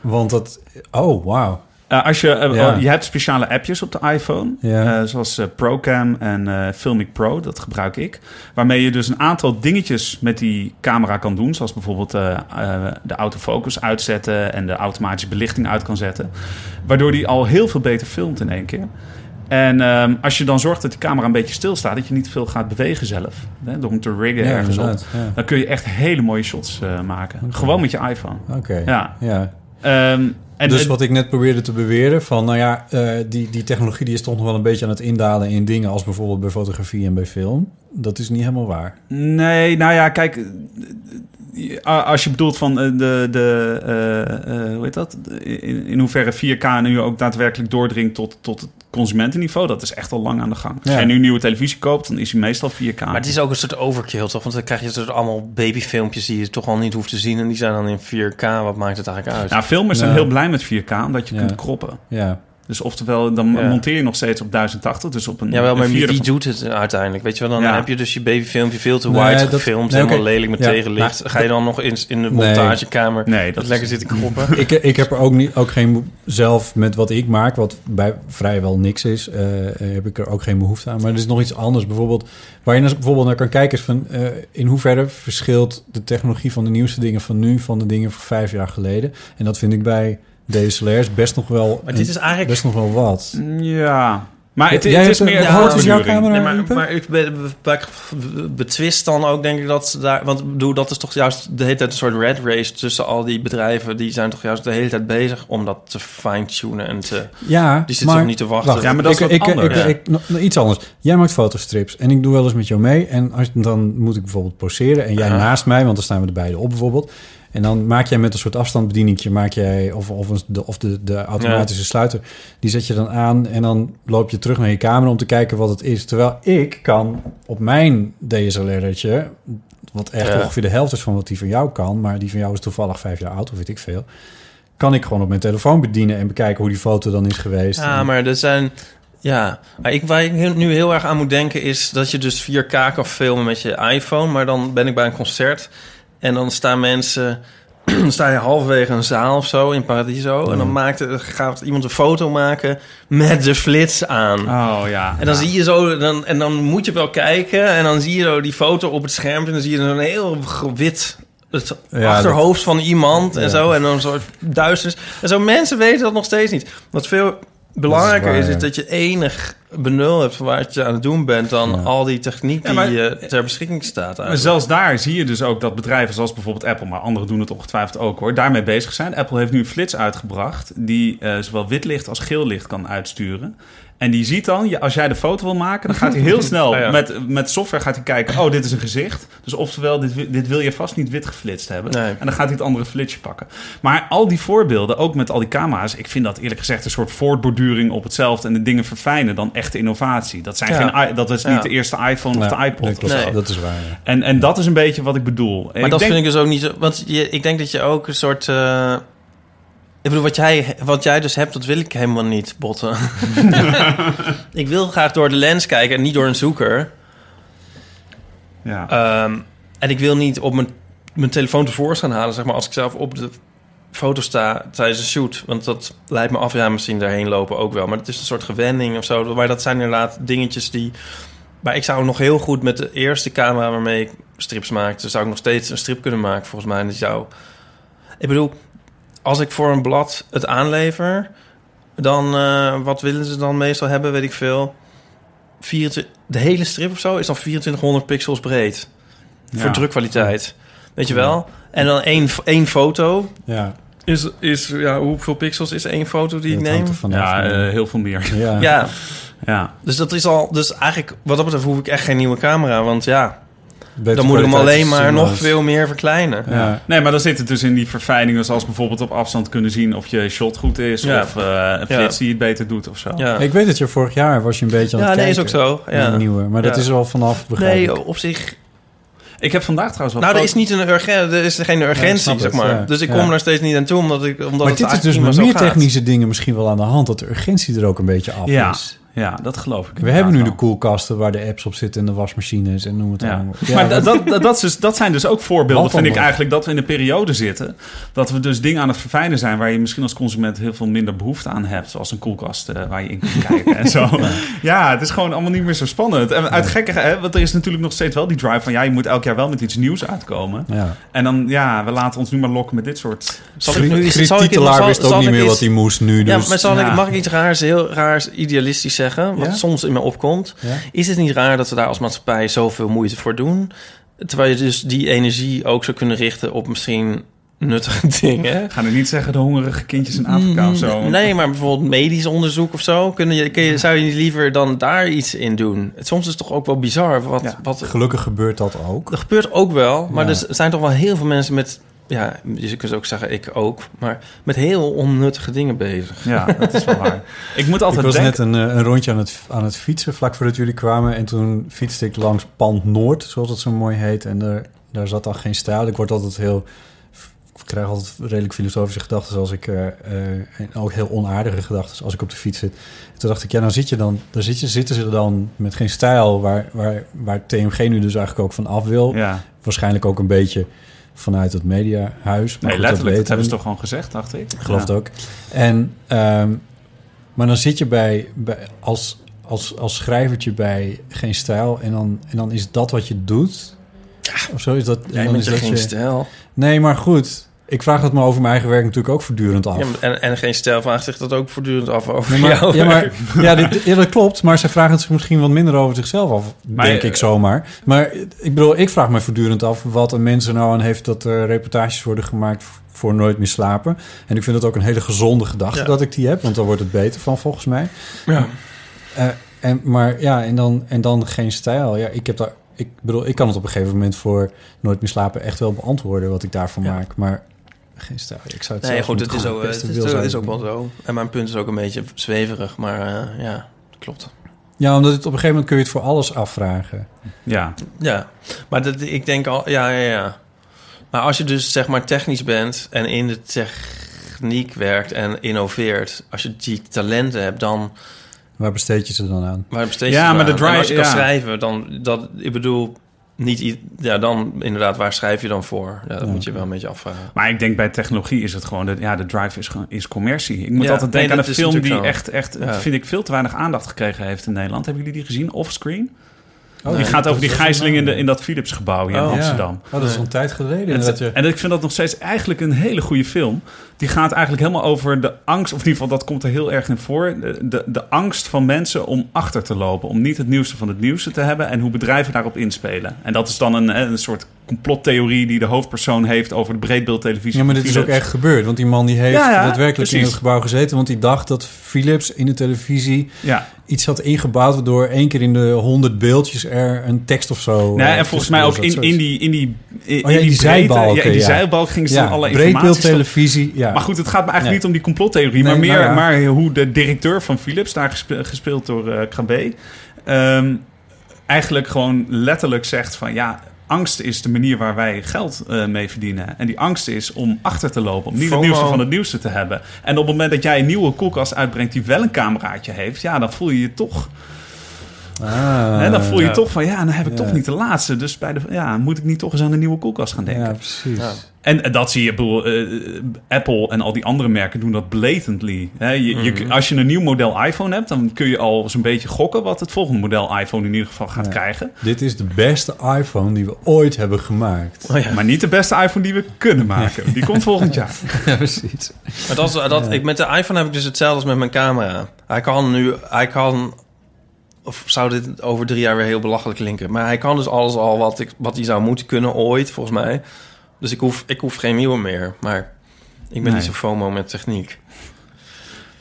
Speaker 2: Want dat... Oh, wauw.
Speaker 3: Eh, als je, eh,
Speaker 2: Ja.
Speaker 3: eh, je hebt speciale appjes op de iPhone,
Speaker 2: Ja.
Speaker 3: eh, zoals eh, Procam en eh, Filmic Pro, dat gebruik ik. Waarmee je dus een aantal dingetjes met die camera kan doen, zoals bijvoorbeeld eh, eh, de autofocus uitzetten en de automatische belichting uit kan zetten. Waardoor die al heel veel beter filmt in één keer. En ehm, als je dan zorgt dat die camera een beetje stilstaat, dat je niet veel gaat bewegen zelf, hè, door hem te riggen
Speaker 2: Ja,
Speaker 3: ergens op,
Speaker 2: inderdaad, ja.
Speaker 3: dan kun je echt hele mooie shots eh, maken. Gewoon met je iPhone.
Speaker 2: Oké.
Speaker 3: Ja.
Speaker 2: ja.
Speaker 3: Ehm, en
Speaker 2: dus
Speaker 3: en-
Speaker 2: wat ik net probeerde te beweren, van nou ja, eh, die, die technologie die is toch nog wel een beetje aan het indalen in dingen als bijvoorbeeld bij fotografie en bij film. Dat is niet helemaal waar.
Speaker 3: Nee, nou ja, kijk. eh, eh, Als je bedoelt van eh, de. de eh, eh, hoe heet dat? De- In, in hoeverre 4K nu ook daadwerkelijk doordringt tot, tot het consumentenniveau, dat is echt al lang aan de gang. Als
Speaker 2: Ja.
Speaker 3: jij nu een nieuwe televisie koopt, dan is hij meestal 4K.
Speaker 4: Maar het is ook een soort overkill, toch? Want dan krijg je soort allemaal babyfilmpjes die je toch al niet hoeft te zien. En die zijn dan in 4K. Wat maakt het eigenlijk uit?
Speaker 3: Nou, filmers zijn
Speaker 2: Ja.
Speaker 3: heel blij met 4K, omdat je
Speaker 2: Ja.
Speaker 3: kunt kroppen.
Speaker 2: Ja.
Speaker 3: Dus oftewel, dan
Speaker 4: Ja.
Speaker 3: monteer je nog steeds op 1080, dus op een.
Speaker 4: ja, wel,
Speaker 3: een
Speaker 4: maar
Speaker 3: vierde
Speaker 4: wie
Speaker 3: van-
Speaker 4: doet het uiteindelijk? Weet je wel, dan
Speaker 3: Ja.
Speaker 4: heb je dus je babyfilmpje veel te
Speaker 2: Nee,
Speaker 4: wide
Speaker 2: dat-
Speaker 4: gefilmd.
Speaker 2: nee, oké.
Speaker 4: helemaal lelijk met
Speaker 2: Ja,
Speaker 4: tegenlicht.
Speaker 2: maar-
Speaker 4: Ga je dan nog in, in
Speaker 2: Nee.
Speaker 4: de montagekamer
Speaker 3: Nee, dat
Speaker 4: dat
Speaker 3: is-
Speaker 4: lekker zitten kroppen?
Speaker 2: Ik, ik heb er ook, niet, ook geen beho- zelf met wat ik maak, wat bij vrijwel niks is, eh, heb ik er ook geen behoefte aan. Maar er is nog iets anders. Bijvoorbeeld, waar je dus bijvoorbeeld naar kan kijken is van eh, in hoeverre verschilt de technologie van de nieuwste dingen van nu van de dingen van vijf jaar geleden. En dat vind ik bij DSLR's best nog wel,
Speaker 4: Maar dit
Speaker 2: een-
Speaker 4: is eigenlijk...
Speaker 2: best nog wel wat.
Speaker 3: Ja. Maar het,
Speaker 2: Jij
Speaker 3: het
Speaker 2: hebt
Speaker 3: is
Speaker 2: een-
Speaker 3: meer.
Speaker 2: Ja, wat is jouw
Speaker 3: verduring.
Speaker 2: camera?
Speaker 4: Nee, maar,
Speaker 2: Iepen?
Speaker 4: maar ik be- be- be- be- betwist dan ook, denk ik, dat ze daar... Want ik bedoel, dat is toch juist de hele tijd een soort red race tussen al die bedrijven. Die zijn toch juist de hele tijd bezig om dat te fine-tunen en te...
Speaker 2: Ja,
Speaker 4: Die zitten
Speaker 2: maar-
Speaker 4: toch niet te wachten?
Speaker 3: Ja, maar dat is
Speaker 2: ik,
Speaker 3: wat
Speaker 2: ik,
Speaker 3: anders.
Speaker 2: Ik,
Speaker 4: Ja.
Speaker 2: ik- nog- nog iets anders. Jij maakt fotostrips en ik doe wel eens met jou mee. En als, dan moet ik bijvoorbeeld poseren en jij
Speaker 4: Ja.
Speaker 2: naast mij, want dan staan we er beide op bijvoorbeeld. En dan maak jij met een soort afstandsbedieningje, maak jij, of, of, een- de, of de, de automatische sluiter, die zet je dan aan en dan loop je terug naar je camera om te kijken wat het is. Terwijl ik kan op mijn DSLR'tje, wat echt
Speaker 4: Ja.
Speaker 2: ongeveer de helft is van wat die van jou kan, maar die van jou is toevallig vijf jaar oud of weet ik veel, kan ik gewoon op mijn telefoon bedienen en bekijken hoe die foto dan is geweest.
Speaker 4: Ja,
Speaker 2: En-
Speaker 4: maar er zijn... Ja, maar ik, waar ik heel- nu heel erg aan moet denken is dat je dus 4K kan filmen met je iPhone. Maar dan ben ik bij een concert en dan staan mensen... dan sta je halverwege een zaal of zo in Paradiso. En dan maakt, gaat iemand een foto maken met de flits aan.
Speaker 3: Oh ja.
Speaker 4: En dan
Speaker 3: Ja.
Speaker 4: zie je zo, dan, en dan moet je wel kijken. En dan zie je zo die foto op het scherm. En dan zie je zo'n heel gro- wit het
Speaker 2: Ja,
Speaker 4: achterhoofd van iemand en
Speaker 2: Ja.
Speaker 4: zo. En dan een soort duisternis. En zo mensen weten dat nog steeds niet. Wat veel belangrijker
Speaker 2: waar,
Speaker 4: is, is,
Speaker 2: ja.
Speaker 4: dat je enig benul hebt van wat je aan het doen bent... dan
Speaker 2: Ja.
Speaker 4: al die techniek
Speaker 3: Ja, maar-
Speaker 4: die eh, ter beschikking staat.
Speaker 3: Maar
Speaker 4: eigenlijk.
Speaker 3: zelfs daar zie je dus ook dat bedrijven zoals bijvoorbeeld Apple, maar anderen doen het ongetwijfeld ook hoor, daarmee bezig zijn. Apple heeft nu een flits uitgebracht die eh, zowel wit licht als geel licht kan uitsturen. En die ziet dan, je- als jij de foto wil maken, dan gaat hij heel snel
Speaker 4: Ah, ja.
Speaker 3: met, met software gaat hij kijken, oh dit is een gezicht. Dus oftewel, dit, wi- dit wil je vast niet wit geflitst hebben.
Speaker 4: Nee.
Speaker 3: En dan gaat hij het andere flitsje pakken. Maar al die voorbeelden, ook met al die camera's, ik vind dat eerlijk gezegd een soort voortborduring op hetzelfde en de dingen verfijnen dan echte innovatie. Dat, zijn
Speaker 4: Ja.
Speaker 3: geen, i- dat is niet
Speaker 4: Ja.
Speaker 3: de eerste iPhone of
Speaker 2: Nou Ja,
Speaker 3: de iPod.
Speaker 2: dat, klopt.
Speaker 3: of zo.
Speaker 4: Nee.
Speaker 2: dat is waar. ja.
Speaker 3: En, en dat is een beetje wat ik bedoel.
Speaker 4: Maar dat vind ik dus ook niet zo... Want je, ik denk dat je ook een soort... eh, ik bedoel, wat jij, wat jij dus hebt, dat wil ik helemaal niet, botten. ik wil graag door de lens kijken en niet door een zoeker.
Speaker 3: Ja.
Speaker 4: Ehm, en ik wil niet op mijn, mijn telefoon tevoorschijn halen, zeg maar, als ik zelf op de foto sta tijdens een shoot. Want dat leidt me af, ja, misschien daarheen lopen ook wel. Maar het is een soort gewenning of zo. Maar dat zijn inderdaad dingetjes die... Maar ik zou nog heel goed met de eerste camera waarmee ik strips maakte... zou ik nog steeds een strip kunnen maken, volgens mij. En die zou... Ik bedoel, als ik voor een blad het aanlever... dan, eh, wat willen ze dan meestal hebben, weet ik veel... 24, de hele strip of zo is dan 2400 pixels breed.
Speaker 3: Ja.
Speaker 4: Voor drukkwaliteit. Weet je wel? En dan één, één foto.
Speaker 2: Ja.
Speaker 4: Is, is, ja, hoeveel pixels is één foto die ik
Speaker 2: Dat
Speaker 4: neem?
Speaker 2: hangt er vanaf.
Speaker 3: Ja, eh, heel veel meer.
Speaker 2: ja.
Speaker 4: Ja,
Speaker 3: Ja.
Speaker 4: dus dat is al... Dus eigenlijk, wat dat betreft, hoef ik echt geen nieuwe camera. Want ja,
Speaker 2: Betere
Speaker 4: dan moet ik hem
Speaker 2: kwaliteit
Speaker 4: alleen
Speaker 2: is
Speaker 4: maar nog
Speaker 2: zinloos.
Speaker 4: veel meer verkleinen.
Speaker 2: Ja.
Speaker 3: Nee, maar dan zit het dus in die verfijningen, zoals bijvoorbeeld op afstand kunnen zien of je shot goed is
Speaker 4: Ja.
Speaker 3: of eh een flits die het beter doet of zo.
Speaker 4: Ja.
Speaker 2: Ik weet dat je vorig jaar was je een beetje aan
Speaker 4: Ja,
Speaker 2: het
Speaker 4: nee,
Speaker 2: kijken.
Speaker 4: is ook zo.
Speaker 2: naar
Speaker 4: Ja.
Speaker 2: die nieuwe. Maar dat
Speaker 4: Ja.
Speaker 2: is al vanaf begrijp ik.
Speaker 4: Nee, op zich
Speaker 3: Ik heb vandaag trouwens wel
Speaker 4: Nou, er
Speaker 3: foto-
Speaker 4: is, niet een urgen- er is geen
Speaker 2: ik
Speaker 4: urgentie,
Speaker 2: snap
Speaker 4: zeg
Speaker 2: het,
Speaker 4: maar.
Speaker 2: ja.
Speaker 4: Dus ik
Speaker 2: Ja.
Speaker 4: kom er steeds niet aan toe, omdat, ik, omdat
Speaker 2: maar
Speaker 4: het
Speaker 2: dit is
Speaker 4: eigenlijk
Speaker 2: dus
Speaker 4: niet
Speaker 2: met
Speaker 4: meer
Speaker 2: meer
Speaker 4: zo gaat.
Speaker 2: technische dingen misschien wel aan de hand... dat de urgentie er ook een beetje af
Speaker 3: Ja,
Speaker 2: is.
Speaker 3: ja, dat geloof ik.
Speaker 2: We hebben nu de
Speaker 3: inderdaad wel.
Speaker 2: koelkasten waar de apps op zitten... en de wasmachines en noem het
Speaker 3: Ja.
Speaker 2: allemaal.
Speaker 3: maar
Speaker 2: dat-
Speaker 3: dat, dat, dat, is dus, dat zijn dus ook voorbeelden,
Speaker 2: Wat
Speaker 3: vind ik
Speaker 2: allemaal.
Speaker 3: eigenlijk, dat we in een periode zitten. Dat we dus dingen aan het verfijnen zijn waar je misschien als consument heel veel minder behoefte aan hebt. Zoals een koelkast eh, waar je in kunt kijken en zo. Ja. het is gewoon allemaal niet meer zo spannend. En uit gekke, hè, want er is natuurlijk nog steeds wel die drive van ja, je moet elk jaar wel met iets nieuws uitkomen.
Speaker 2: ja.
Speaker 3: En dan, ja, we laten ons nu maar lokken met dit soort...
Speaker 4: Zal ik nu iets-
Speaker 2: Griet
Speaker 4: zal ik-
Speaker 2: Titelaar
Speaker 4: zal-
Speaker 2: wist ook
Speaker 4: zal
Speaker 2: niet
Speaker 4: ik
Speaker 2: meer
Speaker 4: iets-
Speaker 2: wat hij moest nu.
Speaker 4: Ja,
Speaker 2: Dus
Speaker 4: maar zal
Speaker 3: ja.
Speaker 4: ik, mag ik iets raars, heel raars idealistisch zeggen? Wat
Speaker 2: Ja?
Speaker 4: soms in me opkomt.
Speaker 2: Ja.
Speaker 4: Is het niet raar dat we daar als maatschappij zoveel moeite voor doen? Terwijl je dus die energie ook zou kunnen richten op misschien nuttige dingen. Mm,
Speaker 3: Ik ga nu niet zeggen de hongerige kindjes in Afrika of
Speaker 2: Mm,
Speaker 3: zo.
Speaker 4: Nee, maar bijvoorbeeld medisch onderzoek of zo. Kun je, kun je, zou je niet liever dan daar iets in doen? Het- Soms is het toch ook wel bizar wat,
Speaker 3: Ja.
Speaker 4: wat,
Speaker 2: gelukkig gebeurt dat ook.
Speaker 4: Dat gebeurt ook wel, maar
Speaker 2: Ja.
Speaker 4: er zijn toch wel heel veel mensen met... Ja, dus je kunt ook zeggen, ik ook. Maar met heel onnuttige dingen bezig.
Speaker 3: Ja, dat is wel waar. Ik moet
Speaker 2: Ik
Speaker 3: altijd
Speaker 2: was
Speaker 3: denken...
Speaker 2: net een, eh, een rondje aan het, aan het fietsen, vlak voordat jullie kwamen. En toen fietste ik langs Pand Noord, zoals het zo mooi heet. En er, daar zat dan geen straat. Ik word altijd heel... Ik krijg altijd redelijk filosofische gedachten als ik... eh, eh, en ook heel onaardige gedachten als ik op de fiets zit. En toen dacht ik, ja, dan zit je dan... Daar zit je, zitten ze dan met geen stijl... Waar, waar, waar TMG nu dus eigenlijk ook van af wil.
Speaker 3: Ja.
Speaker 2: Waarschijnlijk ook een beetje vanuit het mediahuis. maar
Speaker 3: Nee,
Speaker 2: goed,
Speaker 3: letterlijk. Dat,
Speaker 2: weten we
Speaker 3: hebben ze
Speaker 2: niet.
Speaker 3: toch gewoon gezegd, dacht ik.
Speaker 2: Ik geloof
Speaker 3: Ja.
Speaker 2: het ook. En, ehm, maar dan zit je bij, bij als, als, als schrijvertje bij geen stijl en dan, en dan is dat wat je doet. Of zo is dat. en
Speaker 4: Jij
Speaker 2: dan
Speaker 4: bent
Speaker 2: is
Speaker 4: er
Speaker 2: dat
Speaker 4: geen
Speaker 2: je-
Speaker 4: stijl.
Speaker 2: Nee, maar goed. Ik vraag dat me over mijn eigen werk natuurlijk ook voortdurend af.
Speaker 4: Ja, maar- en, en geen stijl vraagt zich dat ook voortdurend af over
Speaker 2: Nee, maar-
Speaker 4: jou.
Speaker 2: ja, maar, ja, dit, ja, dat klopt. Maar ze vragen het zich misschien wat minder over zichzelf af.
Speaker 3: Maar-
Speaker 2: denk ik zomaar. Maar eh, ik bedoel, ik vraag me voortdurend af wat een mens er nou aan heeft dat er reportages worden gemaakt voor nooit meer slapen. En ik vind dat ook een hele gezonde gedachte
Speaker 4: Ja.
Speaker 2: dat ik die heb, want daar wordt het beter van volgens mij.
Speaker 4: Ja.
Speaker 2: Eh, en, maar ja, en dan, en dan geen stijl. Ja, ik heb daar. Ik bedoel, ik kan het op een gegeven moment voor nooit meer slapen echt wel beantwoorden wat ik daarvan
Speaker 4: Ja.
Speaker 2: maak. Maar geen stijl. Ik zou het
Speaker 4: Nee,
Speaker 2: zelf
Speaker 4: goed,
Speaker 2: niet
Speaker 4: het is,
Speaker 2: gewoon
Speaker 4: ook,
Speaker 2: best
Speaker 4: het
Speaker 2: een
Speaker 4: is,
Speaker 2: wil
Speaker 4: het
Speaker 2: zijn.
Speaker 4: is ook wel zo. En mijn punt is ook een beetje zweverig, maar eh, ja, klopt.
Speaker 2: Ja, omdat het op een gegeven moment kun je het voor alles afvragen.
Speaker 3: Ja.
Speaker 4: Ja, maar dat, ik denk al, ja, ja, ja. Maar als je dus zeg maar technisch bent en in de techniek werkt en innoveert, als je die talenten hebt, dan
Speaker 2: Waar besteed je ze dan aan?
Speaker 4: Waarom steeds
Speaker 3: Ja,
Speaker 4: te
Speaker 3: maar de
Speaker 4: vragen?
Speaker 3: drive-
Speaker 4: En als je kan
Speaker 3: ja.
Speaker 4: schrijven, dan dat ik bedoel niet i- ja dan inderdaad waar schrijf je dan voor? Ja, dat
Speaker 2: Ja.
Speaker 4: moet je wel een beetje afvragen.
Speaker 3: Maar ik denk bij technologie is het gewoon... De, ja, de drive is, gewoon- is commercie. Ik moet
Speaker 4: Ja,
Speaker 3: altijd
Speaker 4: nee,
Speaker 3: denken
Speaker 4: dat
Speaker 3: aan een
Speaker 4: is
Speaker 3: film die
Speaker 4: natuurlijk zo.
Speaker 3: echt, echt
Speaker 4: Ja.
Speaker 3: vind ik, veel te weinig aandacht gekregen heeft in Nederland. Hebben jullie die gezien? Offscreen?
Speaker 2: Oh,
Speaker 3: die
Speaker 2: ja,
Speaker 3: gaat over die
Speaker 2: dat is
Speaker 3: gijzeling in, de,
Speaker 2: een- eh,
Speaker 3: in dat Philipsgebouw hier
Speaker 4: Oh,
Speaker 3: in
Speaker 4: ja.
Speaker 3: Amsterdam.
Speaker 2: Oh, dat is al een tijd geleden.
Speaker 3: En,
Speaker 2: inderdaad,
Speaker 3: het-
Speaker 2: ja.
Speaker 3: en ik vind dat nog steeds eigenlijk een hele goede film. Die gaat eigenlijk helemaal over de angst, of in ieder geval dat komt er heel erg in voor. De, de, de angst van mensen om achter te lopen. Om niet het nieuwste van het nieuwste te hebben en hoe bedrijven daarop inspelen. En dat is dan een, eh, een soort complottheorie die de hoofdpersoon heeft over de breedbeeldtelevisie.
Speaker 2: Ja, maar
Speaker 3: van
Speaker 2: dit is ook
Speaker 3: Philips.
Speaker 2: echt gebeurd. Want die man die heeft
Speaker 3: Ja, ja,
Speaker 2: daadwerkelijk in
Speaker 3: precies.
Speaker 2: het gebouw gezeten. Want die dacht dat Philips in de televisie
Speaker 3: Ja.
Speaker 2: iets had ingebouwd... waardoor één keer in de honderd beeldjes er een tekst of zo...
Speaker 3: Nee,
Speaker 2: eh,
Speaker 3: en volgens mij ook
Speaker 2: tussendoor
Speaker 3: in,
Speaker 2: zat.
Speaker 3: in die. In die, in,
Speaker 2: Oh ja, in die
Speaker 3: breedte-
Speaker 2: zijbalken,
Speaker 3: Ja, in die
Speaker 2: ja.
Speaker 3: zijbalk gingen ze dan alle informatie. stoppen.
Speaker 2: breedbeeldtelevisie. Ja.
Speaker 3: Maar goed, het gaat me eigenlijk
Speaker 2: Nee.
Speaker 3: niet om die complottheorie,
Speaker 2: Nee,
Speaker 3: maar meer
Speaker 2: nou ja.
Speaker 3: maar hoe de directeur van Philips, daar gespe- gespeeld door eh Krabbe, ehm, eigenlijk gewoon letterlijk zegt van ja. Angst is de manier waar wij geld eh, mee verdienen. En die angst is om achter te lopen. Om niet
Speaker 4: FOMO.
Speaker 3: het nieuwste van het nieuwste te hebben. En op het moment dat jij een nieuwe koelkast uitbrengt... die wel een cameraatje heeft... ja, dan voel je je toch...
Speaker 2: Ah.
Speaker 3: hè, dan voel je
Speaker 4: ja.
Speaker 3: toch van... ja, dan heb ik
Speaker 2: Ja.
Speaker 3: toch niet de laatste. Dus bij de, ja, moet ik niet toch eens aan een nieuwe koelkast gaan denken.
Speaker 2: Ja, precies.
Speaker 4: Ja.
Speaker 3: En eh, dat zie je, ik bedoel, eh, Apple en al die andere merken doen dat blatantly. Hè, je, je- als je een nieuw model iPhone hebt, dan kun je al zo'n beetje gokken wat het volgende model iPhone in ieder geval gaat
Speaker 2: Ja.
Speaker 3: krijgen.
Speaker 2: Dit is de beste iPhone die we ooit hebben gemaakt.
Speaker 4: Oh ja.
Speaker 3: Maar niet de beste iPhone die we kunnen maken. Die komt volgend jaar.
Speaker 2: Ja, precies.
Speaker 4: Maar dat, is- dat, ik, met de iPhone heb ik dus hetzelfde als met mijn camera. Hij kan nu, hij kan, of zou dit over drie jaar weer heel belachelijk klinken, maar hij kan dus alles al wat ik, wat hij zou moeten kunnen ooit, volgens mij. Dus ik hoef, ik hoef geen nieuwe meer. Maar Ik ben
Speaker 3: Nee.
Speaker 4: niet zo FOMO met techniek.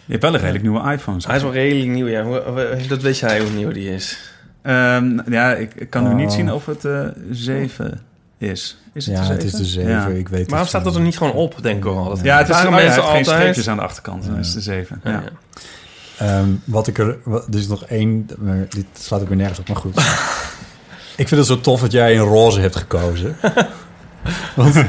Speaker 3: Je hebt wel een redelijk nieuwe iPhone. zeg.
Speaker 4: Hij is wel redelijk nieuw, ja. Hoe- hoe- Dat weet jij hoe nieuw die is.
Speaker 3: Ehm, ja, ik, ik kan nu niet
Speaker 2: Oh.
Speaker 3: zien of het eh 7 is. Is het
Speaker 2: ja,
Speaker 3: de
Speaker 2: het is de 7.
Speaker 3: Ja.
Speaker 2: Ik weet
Speaker 4: Waarom staat dat er niet gewoon op, denk ik al? Dat
Speaker 3: Ja, het is oh
Speaker 4: waren
Speaker 3: ja, hij
Speaker 4: mensen
Speaker 3: heeft geen
Speaker 4: altijd.
Speaker 3: streepjes aan de achterkant. Dan is het de 7.
Speaker 4: Ja,
Speaker 3: Ja.
Speaker 4: ja.
Speaker 2: Ehm, wat ik er, wat- er is nog één, maar dit slaat ook weer nergens op, maar goed. ik vind het zo tof dat jij een roze hebt gekozen. Want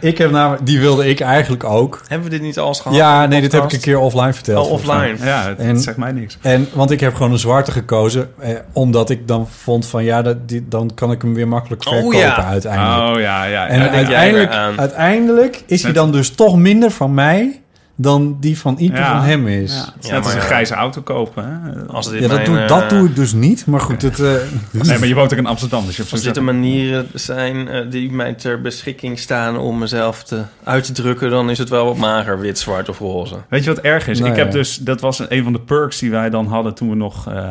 Speaker 2: ik heb namelijk, die wilde ik eigenlijk ook.
Speaker 4: Hebben we dit niet al eens gehad?
Speaker 2: ja,
Speaker 4: in de
Speaker 2: nee, dit heb ik een
Speaker 4: Oh, podcast?
Speaker 2: keer offline verteld.
Speaker 4: Oh,
Speaker 2: volgens mij.
Speaker 4: offline.
Speaker 3: Ja, het,
Speaker 2: En-
Speaker 3: het zegt mij niks.
Speaker 2: En, want ik heb gewoon een zwarte gekozen, eh, omdat ik dan vond van ja, dat, die, dan kan ik hem weer makkelijk
Speaker 4: Oh,
Speaker 2: verkopen
Speaker 4: ja.
Speaker 2: uiteindelijk.
Speaker 3: Oh ja, ja.
Speaker 2: En
Speaker 3: ja,
Speaker 4: denk jij
Speaker 2: uiteindelijk,
Speaker 4: weer aan.
Speaker 2: uiteindelijk is hij
Speaker 3: Net-
Speaker 2: dan dus toch minder van mij dan die van ieder
Speaker 3: Ja.
Speaker 2: van hem is.
Speaker 3: ja.
Speaker 2: Ja.
Speaker 3: Het is
Speaker 4: Ja,
Speaker 3: net als een
Speaker 4: maar ja.
Speaker 3: grijze auto kopen. Hè?
Speaker 4: Als dit
Speaker 2: dat,
Speaker 4: mijn,
Speaker 2: doe,
Speaker 4: eh,
Speaker 2: dat doe ik dus niet, maar goed. Het, eh,
Speaker 3: Nee, maar je woont ook in Amsterdam, dus je hebt
Speaker 4: Als dit de
Speaker 3: zo'n-
Speaker 4: manieren zijn eh, die mij ter beschikking staan om mezelf te, uit te drukken, dan is het wel wat mager, wit, zwart of roze.
Speaker 3: Weet je wat erg is?
Speaker 2: Nou
Speaker 3: ik heb
Speaker 2: ja.
Speaker 3: dus, dat was een van de perks die wij dan hadden toen we nog eh,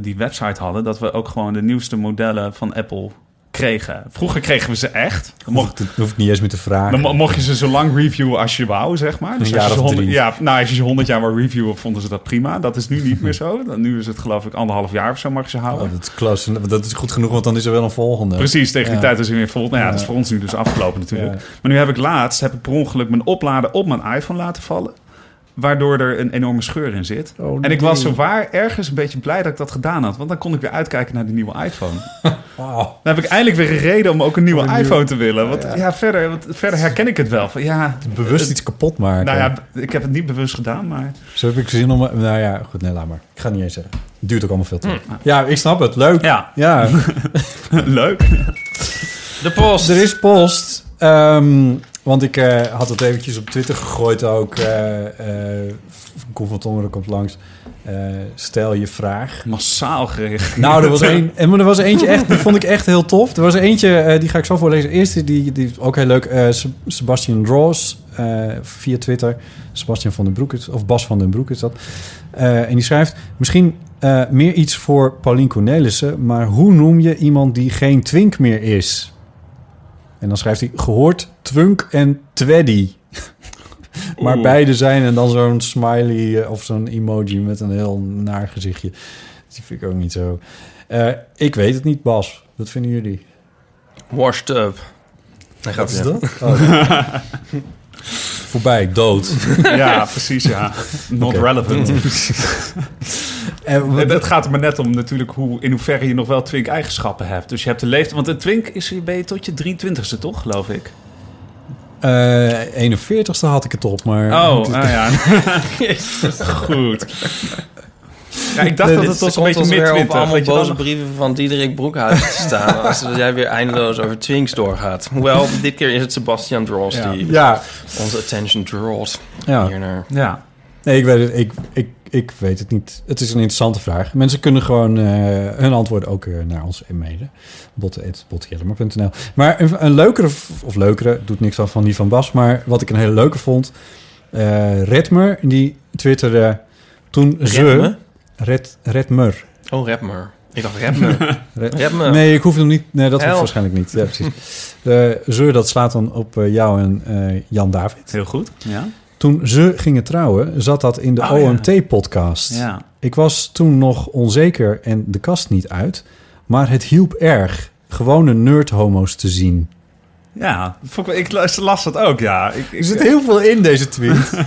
Speaker 3: die website hadden. Dat we ook gewoon de nieuwste modellen van Apple kregen. Vroeger kregen we ze echt. Dan mocht,
Speaker 2: dat hoef ik niet eens meer te vragen.
Speaker 3: dan mo- mocht je ze zo lang reviewen als je wou, zeg maar. Dus
Speaker 2: Een jaar
Speaker 3: als je ze
Speaker 2: of
Speaker 3: 100
Speaker 2: drie.
Speaker 3: Ja, nou, als je ze 100 jaar wou reviewen, vonden ze dat prima. Dat is nu niet meer zo. Dan, nu is het geloof ik anderhalf jaar of zo mag je ze houden.
Speaker 2: Oh, dat is close. En Dat is goed genoeg, want dan is er wel een volgende.
Speaker 3: Precies, tegen die
Speaker 2: Ja.
Speaker 3: tijd is hij weer vol. Nou ja, dat is voor ons nu dus afgelopen natuurlijk.
Speaker 2: Ja.
Speaker 3: Maar nu heb ik laatst, heb ik per ongeluk mijn oplader op mijn iPhone laten vallen. Waardoor er een enorme scheur in zit.
Speaker 2: Oh,
Speaker 3: en ik
Speaker 2: nee.
Speaker 3: was zowaar ergens een beetje blij dat ik dat gedaan had. Want dan kon ik weer uitkijken naar die nieuwe iPhone.
Speaker 2: Wauw.
Speaker 3: Dan heb ik eindelijk weer een reden om ook een nieuwe
Speaker 2: Om een nieuwe-
Speaker 3: iPhone te willen. Want ja, verder, want verder herken ik het wel. Van, ja,
Speaker 2: Bewust
Speaker 3: het-
Speaker 2: iets kapot maken.
Speaker 3: Nou ja, ik heb het niet bewust gedaan, maar...
Speaker 2: Zo heb ik zin om... Nou ja, goed, nee, laat maar. Ik ga het niet eens zeggen. Het duurt ook allemaal veel te
Speaker 4: Hmm.
Speaker 2: lang. Ja, ik snap het. Leuk.
Speaker 3: Ja,
Speaker 2: Ja.
Speaker 3: leuk.
Speaker 4: De post!
Speaker 2: er is post. Ehm, want ik eh, had het eventjes op Twitter gegooid ook. eh eh Koen van Tongeren komt langs. Eh, stel je vraag.
Speaker 3: Massaal gericht.
Speaker 2: Nou, er was, een, en, maar er was eentje echt, die vond ik echt heel tof. Er was eentje, eh, die ga ik zo voorlezen. De eerste, die, die is ook heel leuk. eh, Seb- Sebastian Ross, eh, via Twitter. Sebastian van den Broek, is- of Bas van den Broek is dat. Eh, en die schrijft, misschien eh, meer iets voor Paulien Cornelissen... maar hoe noem je iemand die geen twink meer is? En dan schrijft hij, gehoord, twunk en tweddy. maar
Speaker 3: Oeh.
Speaker 2: beide zijn en dan zo'n smiley eh, of zo'n emoji met een heel naar gezichtje. Dus Die vind ik ook niet zo. Eh, ik weet het niet, Bas. Wat vinden jullie?
Speaker 4: Washed up. Hij gaat ja.
Speaker 2: Oh. Voorbij, dood.
Speaker 3: Ja, precies, ja. Not
Speaker 2: Oké.
Speaker 3: relevant.
Speaker 2: En wat-
Speaker 3: Het, het gaat er maar net om natuurlijk hoe, in hoeverre je nog wel twink-eigenschappen hebt. Dus je hebt de leeftijd... Want een twink is, ben je tot je 23ste, toch, geloof ik?
Speaker 2: eh, 41ste had ik het op, maar...
Speaker 3: Oh, ah, ja. Goed. Ja, ik dacht
Speaker 2: Nee,
Speaker 3: dat
Speaker 2: dit
Speaker 3: het was een
Speaker 4: Komt
Speaker 3: beetje
Speaker 4: ons weer op
Speaker 3: mid-twintig.
Speaker 4: allemaal
Speaker 3: weet je
Speaker 4: boze
Speaker 3: wel.
Speaker 4: brieven van Diederik Broekhuis te staan. als jij weer eindeloos over Twinks doorgaat. Hoewel, dit keer is het Sebastian Dross
Speaker 3: Ja.
Speaker 4: die
Speaker 2: Ja,
Speaker 4: onze attention draws
Speaker 2: ja.
Speaker 4: hiernaar.
Speaker 3: Ja.
Speaker 2: Nee, ik weet, het, ik, ik, ik weet het niet. Het is een interessante vraag. Mensen kunnen gewoon eh, hun antwoorden ook eh, naar ons mailen. botte.bottejellemer.nl Maar een, een leukere, v- of leukere, doet niks af van die van Bas... maar wat ik een hele leuke vond... eh Redmer, die twitterde toen ze...
Speaker 4: Redme?
Speaker 2: Red, Redmer.
Speaker 4: Oh, rap me. Ik dacht, rap me.
Speaker 2: Red-
Speaker 4: Rap me.
Speaker 2: Nee, ik hoef hem niet. Nee, dat hoeft
Speaker 4: Help.
Speaker 2: waarschijnlijk niet. Ja, precies. De zeur, dat slaat dan op eh, jou en eh, Jan David.
Speaker 3: Heel goed. Ja.
Speaker 2: Toen ze gingen trouwen, zat dat in de
Speaker 3: Oh, ja.
Speaker 2: OMT-podcast.
Speaker 3: ja.
Speaker 2: Ik was toen nog onzeker en de kast niet uit. Maar het hielp erg. Gewone nerd-homo's te zien.
Speaker 3: Ja, vond ik, ik las, las dat ook, ja. Ik, ik-
Speaker 2: Er zit heel veel in deze tweet.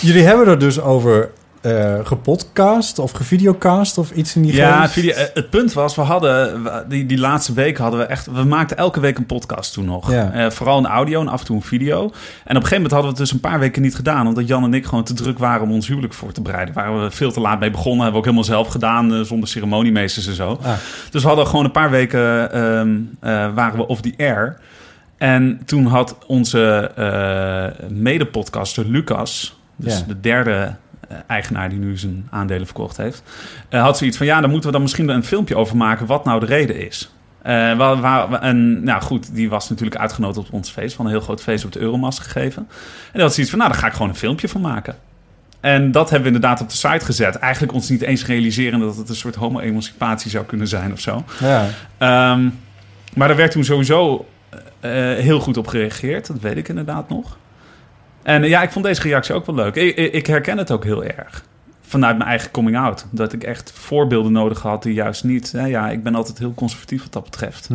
Speaker 2: Jullie hebben er dus over eh, gepodcast of gevideocast of iets in die
Speaker 3: ja,
Speaker 2: geest?
Speaker 3: video, eh, het punt was, we hadden we- die, die laatste week hadden we echt, we maakten elke week een podcast toen nog.
Speaker 2: Ja.
Speaker 3: Eh, vooral een audio en af en toe een video. En op een gegeven moment hadden we het dus een paar weken niet gedaan, omdat Jan en ik gewoon te druk waren om ons huwelijk voor te bereiden. Waren we veel te laat mee begonnen, hebben we ook helemaal zelf gedaan, eh, zonder ceremoniemeesters en zo.
Speaker 2: Ah.
Speaker 3: Dus we hadden gewoon een paar weken ehm, eh, waren we off the air. En toen had onze eh mede-podcaster Lucas, dus
Speaker 2: Ja.
Speaker 3: de derde eh, eigenaar die nu zijn aandelen verkocht heeft, eh, had zoiets van ja, daar moeten we dan misschien een filmpje over maken wat nou de reden is. Eh, wa- wa- wa- en nou goed, die was natuurlijk uitgenodigd op ons feest, van een heel groot feest op de Euromast gegeven. En dat was iets van, nou, daar ga ik gewoon een filmpje van maken. En dat hebben we inderdaad op de site gezet. Eigenlijk ons niet eens realiseren dat het een soort homo-emancipatie zou kunnen zijn of zo.
Speaker 2: Ja.
Speaker 3: Ehm, eh, maar daar werd toen sowieso eh, heel goed op gereageerd. Dat weet ik inderdaad nog. En eh, ja, ik vond deze reactie ook wel leuk. Ik, ik ik herken het ook heel erg. Vanuit mijn eigen coming out. Dat ik echt voorbeelden nodig had die juist niet. Nou ja, ik ben altijd heel conservatief wat dat betreft.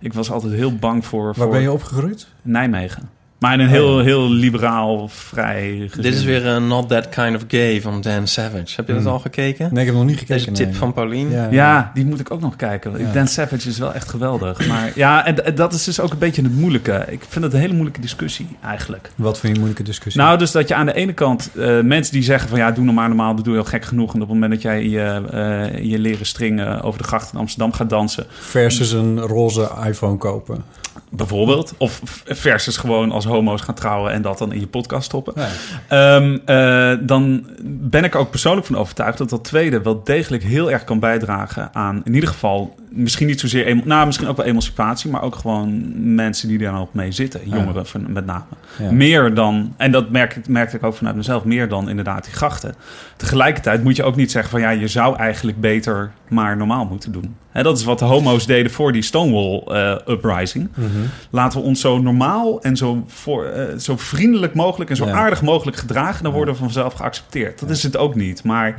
Speaker 3: Ik was altijd heel bang voor,
Speaker 2: Waar
Speaker 3: voor
Speaker 2: ben je Oh, opgegroeid?
Speaker 3: Nijmegen. Maar in een heel, heel liberaal, vrij. gezin.
Speaker 4: Dit is weer een Not That Kind of Gay van Dan Savage. Heb je
Speaker 3: Mm.
Speaker 4: dat al gekeken?
Speaker 2: Nee, ik heb nog niet gekeken.
Speaker 4: Deze tip
Speaker 2: nee.
Speaker 4: van Pauline.
Speaker 3: Ja, die moet ik ook nog kijken.
Speaker 2: Ja.
Speaker 3: Dan Savage is wel echt geweldig. Maar ja, en, en dat is dus ook een beetje het moeilijke. Ik vind het een hele moeilijke discussie eigenlijk.
Speaker 2: Wat voor je moeilijke discussie.
Speaker 3: Nou, dus dat je aan de ene kant eh, mensen die zeggen van ja, doe normaal normaal, dat doe je al gek genoeg. En op het moment dat jij je, eh, je leren string eh, over de gracht in Amsterdam gaat dansen,
Speaker 2: Versus een roze iPhone kopen.
Speaker 3: bijvoorbeeld. Of v- versus gewoon als homo's gaan trouwen en dat dan in je podcast stoppen.
Speaker 2: Ja.
Speaker 3: Ehm, eh, dan ben ik er ook persoonlijk van overtuigd dat dat tweede wel degelijk heel erg kan bijdragen aan, in ieder geval, misschien niet zozeer, emo- nou misschien ook wel emancipatie, maar ook gewoon mensen die daar nog mee zitten, jongeren van- met name.
Speaker 2: Ja.
Speaker 3: Meer dan, en dat merk ik, merkte ik ook vanuit mezelf, meer dan inderdaad die grachten. Tegelijkertijd moet je ook niet zeggen van ja, je zou eigenlijk beter maar normaal moeten doen. Hè, dat is wat de homo's deden voor die Stonewall eh, uprising.
Speaker 2: Mhm.
Speaker 3: Laten we ons zo normaal en zo, voor, eh, zo vriendelijk mogelijk en zo
Speaker 2: Ja.
Speaker 3: aardig mogelijk gedragen. Dan worden we vanzelf geaccepteerd. Dat is het ook niet. Maar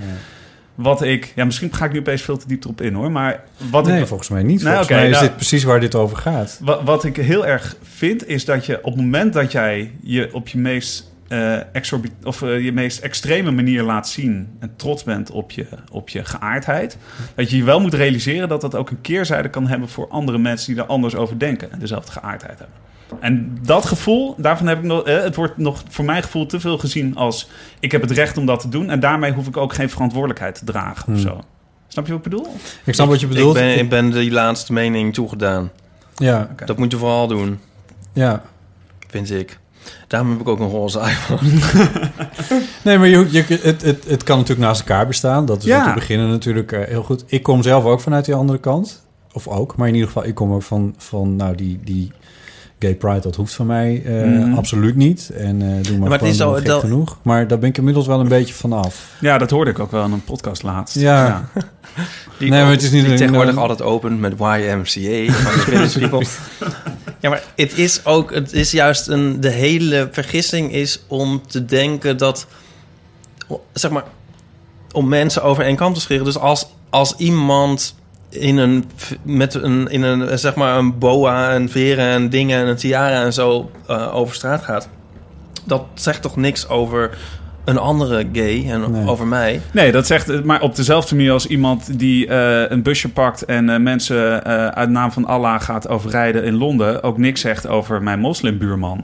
Speaker 3: wat ik, ja, misschien ga ik nu opeens veel te diep erop in hoor. Maar wat
Speaker 2: Nee,
Speaker 3: ik
Speaker 2: volgens mij niet.
Speaker 3: Nee,
Speaker 2: Volgens
Speaker 3: oké,
Speaker 2: mij is
Speaker 3: nou-
Speaker 2: dit precies waar dit over gaat.
Speaker 3: Wa- Wat ik heel erg vind, is dat je op het moment dat jij je op je meest, eh, exorbi- of, eh, je meest extreme manier laat zien en trots bent op je, op je geaardheid, dat je je wel moet realiseren dat dat ook een keerzijde kan hebben voor andere mensen die er anders over denken en dezelfde geaardheid hebben. En dat gevoel, daarvan heb ik nog, eh, het wordt nog voor mijn gevoel te veel gezien als ik heb het recht om dat te doen en daarmee hoef ik ook geen verantwoordelijkheid te dragen of zo. Snap je wat ik bedoel?
Speaker 2: Ik snap wat je
Speaker 4: Ik
Speaker 2: bedoelt.
Speaker 4: ben, ik ben die laatste mening toegedaan.
Speaker 2: Ja,
Speaker 3: Oké.
Speaker 4: Dat moet je vooral doen,
Speaker 2: ja.
Speaker 4: vind ik. Daarom heb ik ook een roze iPhone.
Speaker 2: Nee, maar je, je, het, het, het kan natuurlijk naast elkaar bestaan. Dat is
Speaker 3: Ja.
Speaker 2: om te beginnen natuurlijk eh, heel goed. Ik kom zelf ook vanuit die andere kant. Of ook, maar in ieder geval, ik kom ook van, van nou, die, die gay pride, dat hoeft van mij eh,
Speaker 3: Mhm.
Speaker 2: absoluut niet. En eh, doe maar,
Speaker 4: maar het
Speaker 2: gewoon,
Speaker 4: is al-
Speaker 2: doe gek
Speaker 4: dat-
Speaker 2: genoeg. Maar daar ben ik inmiddels wel een beetje van af.
Speaker 3: Ja, dat hoorde ik ook wel in een podcast laatst.
Speaker 2: Ja.
Speaker 4: Die,
Speaker 2: Nee, maar het is niet eh,
Speaker 4: die
Speaker 2: een-
Speaker 4: tegenwoordig
Speaker 2: een-
Speaker 4: altijd opent met YMCA. van de Spanish people. ja, maar het is ook... Het is juist een... De hele vergissing is om te denken dat... Zeg maar... Om mensen over één kam te scheren. Dus als, als iemand in een, v- met een, in een, eh, zeg maar een boa en veren en dingen en een tiara en zo eh, over straat gaat... Dat zegt toch niks over een andere gay en
Speaker 2: Nee.
Speaker 4: over mij?
Speaker 3: Nee, dat zegt eh, maar op dezelfde manier als iemand die eh, een busje pakt en eh, mensen eh, uit naam van Allah gaat overrijden in Londen. Ook niks zegt over mijn moslimbuurman.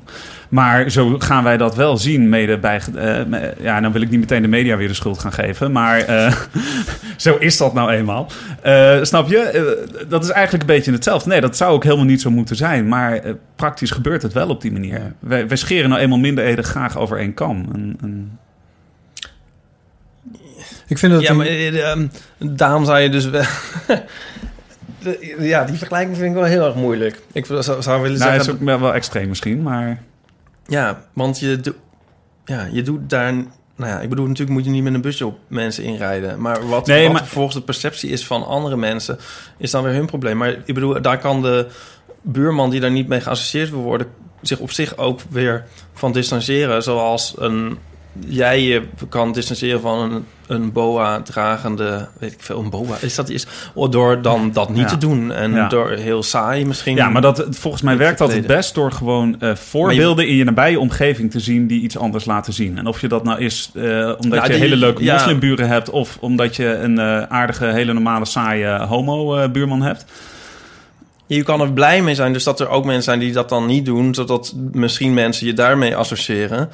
Speaker 3: Maar zo gaan wij dat wel zien, mede bij. eh, me- ja, dan wil ik niet meteen de media weer de schuld gaan geven. Maar eh, zo is dat nou eenmaal. Eh, snap je? Eh, dat is eigenlijk een beetje hetzelfde. Nee, dat zou ook helemaal niet zo moeten zijn. Maar eh, praktisch gebeurt het wel op die manier.
Speaker 2: Ja.
Speaker 3: Wij, wij scheren nou eenmaal minderheden graag over één kam. En- en-
Speaker 2: Ik vind dat...
Speaker 4: Ja,
Speaker 2: een-
Speaker 4: maar eh, ehm, daarom zou je dus wel... De- ja, die vergelijking vind ik wel heel erg moeilijk. Ik zou, zou willen
Speaker 3: Nou,
Speaker 4: zeggen...
Speaker 3: dat is ook wel wel extreem misschien, maar...
Speaker 4: Ja, want je, doe- ja, je doet daar... Nou ja, ik bedoel, natuurlijk moet je niet met een busje op mensen inrijden. Maar wat,
Speaker 3: Nee,
Speaker 4: wat
Speaker 3: maar-
Speaker 4: volgens de perceptie is van andere mensen... is dan weer hun probleem. Maar ik bedoel, daar kan de buurman die daar niet mee geassocieerd wil worden... zich op zich ook weer van distancieren. Zoals een, jij je kan distancieren van een, een boa-dragende... weet ik veel, een boa. Is dat is Door dan dat niet
Speaker 3: Ja.
Speaker 4: te doen. En
Speaker 3: Ja.
Speaker 4: door heel saai misschien.
Speaker 3: Ja, maar dat, volgens mij
Speaker 4: Niet
Speaker 3: werkt dat het
Speaker 4: verkleden.
Speaker 3: best door gewoon eh, voorbeelden in je nabije omgeving te zien die iets anders laten zien. En of je dat nou is eh, omdat
Speaker 4: Nou,
Speaker 3: je
Speaker 4: die-
Speaker 3: hele leuke
Speaker 4: ja.
Speaker 3: moslimburen hebt of omdat je een eh, aardige, hele normale, saaie eh, homo-buurman hebt.
Speaker 4: Je kan er blij mee zijn, dus dat er ook mensen zijn die dat dan niet doen, zodat misschien mensen je daarmee associëren.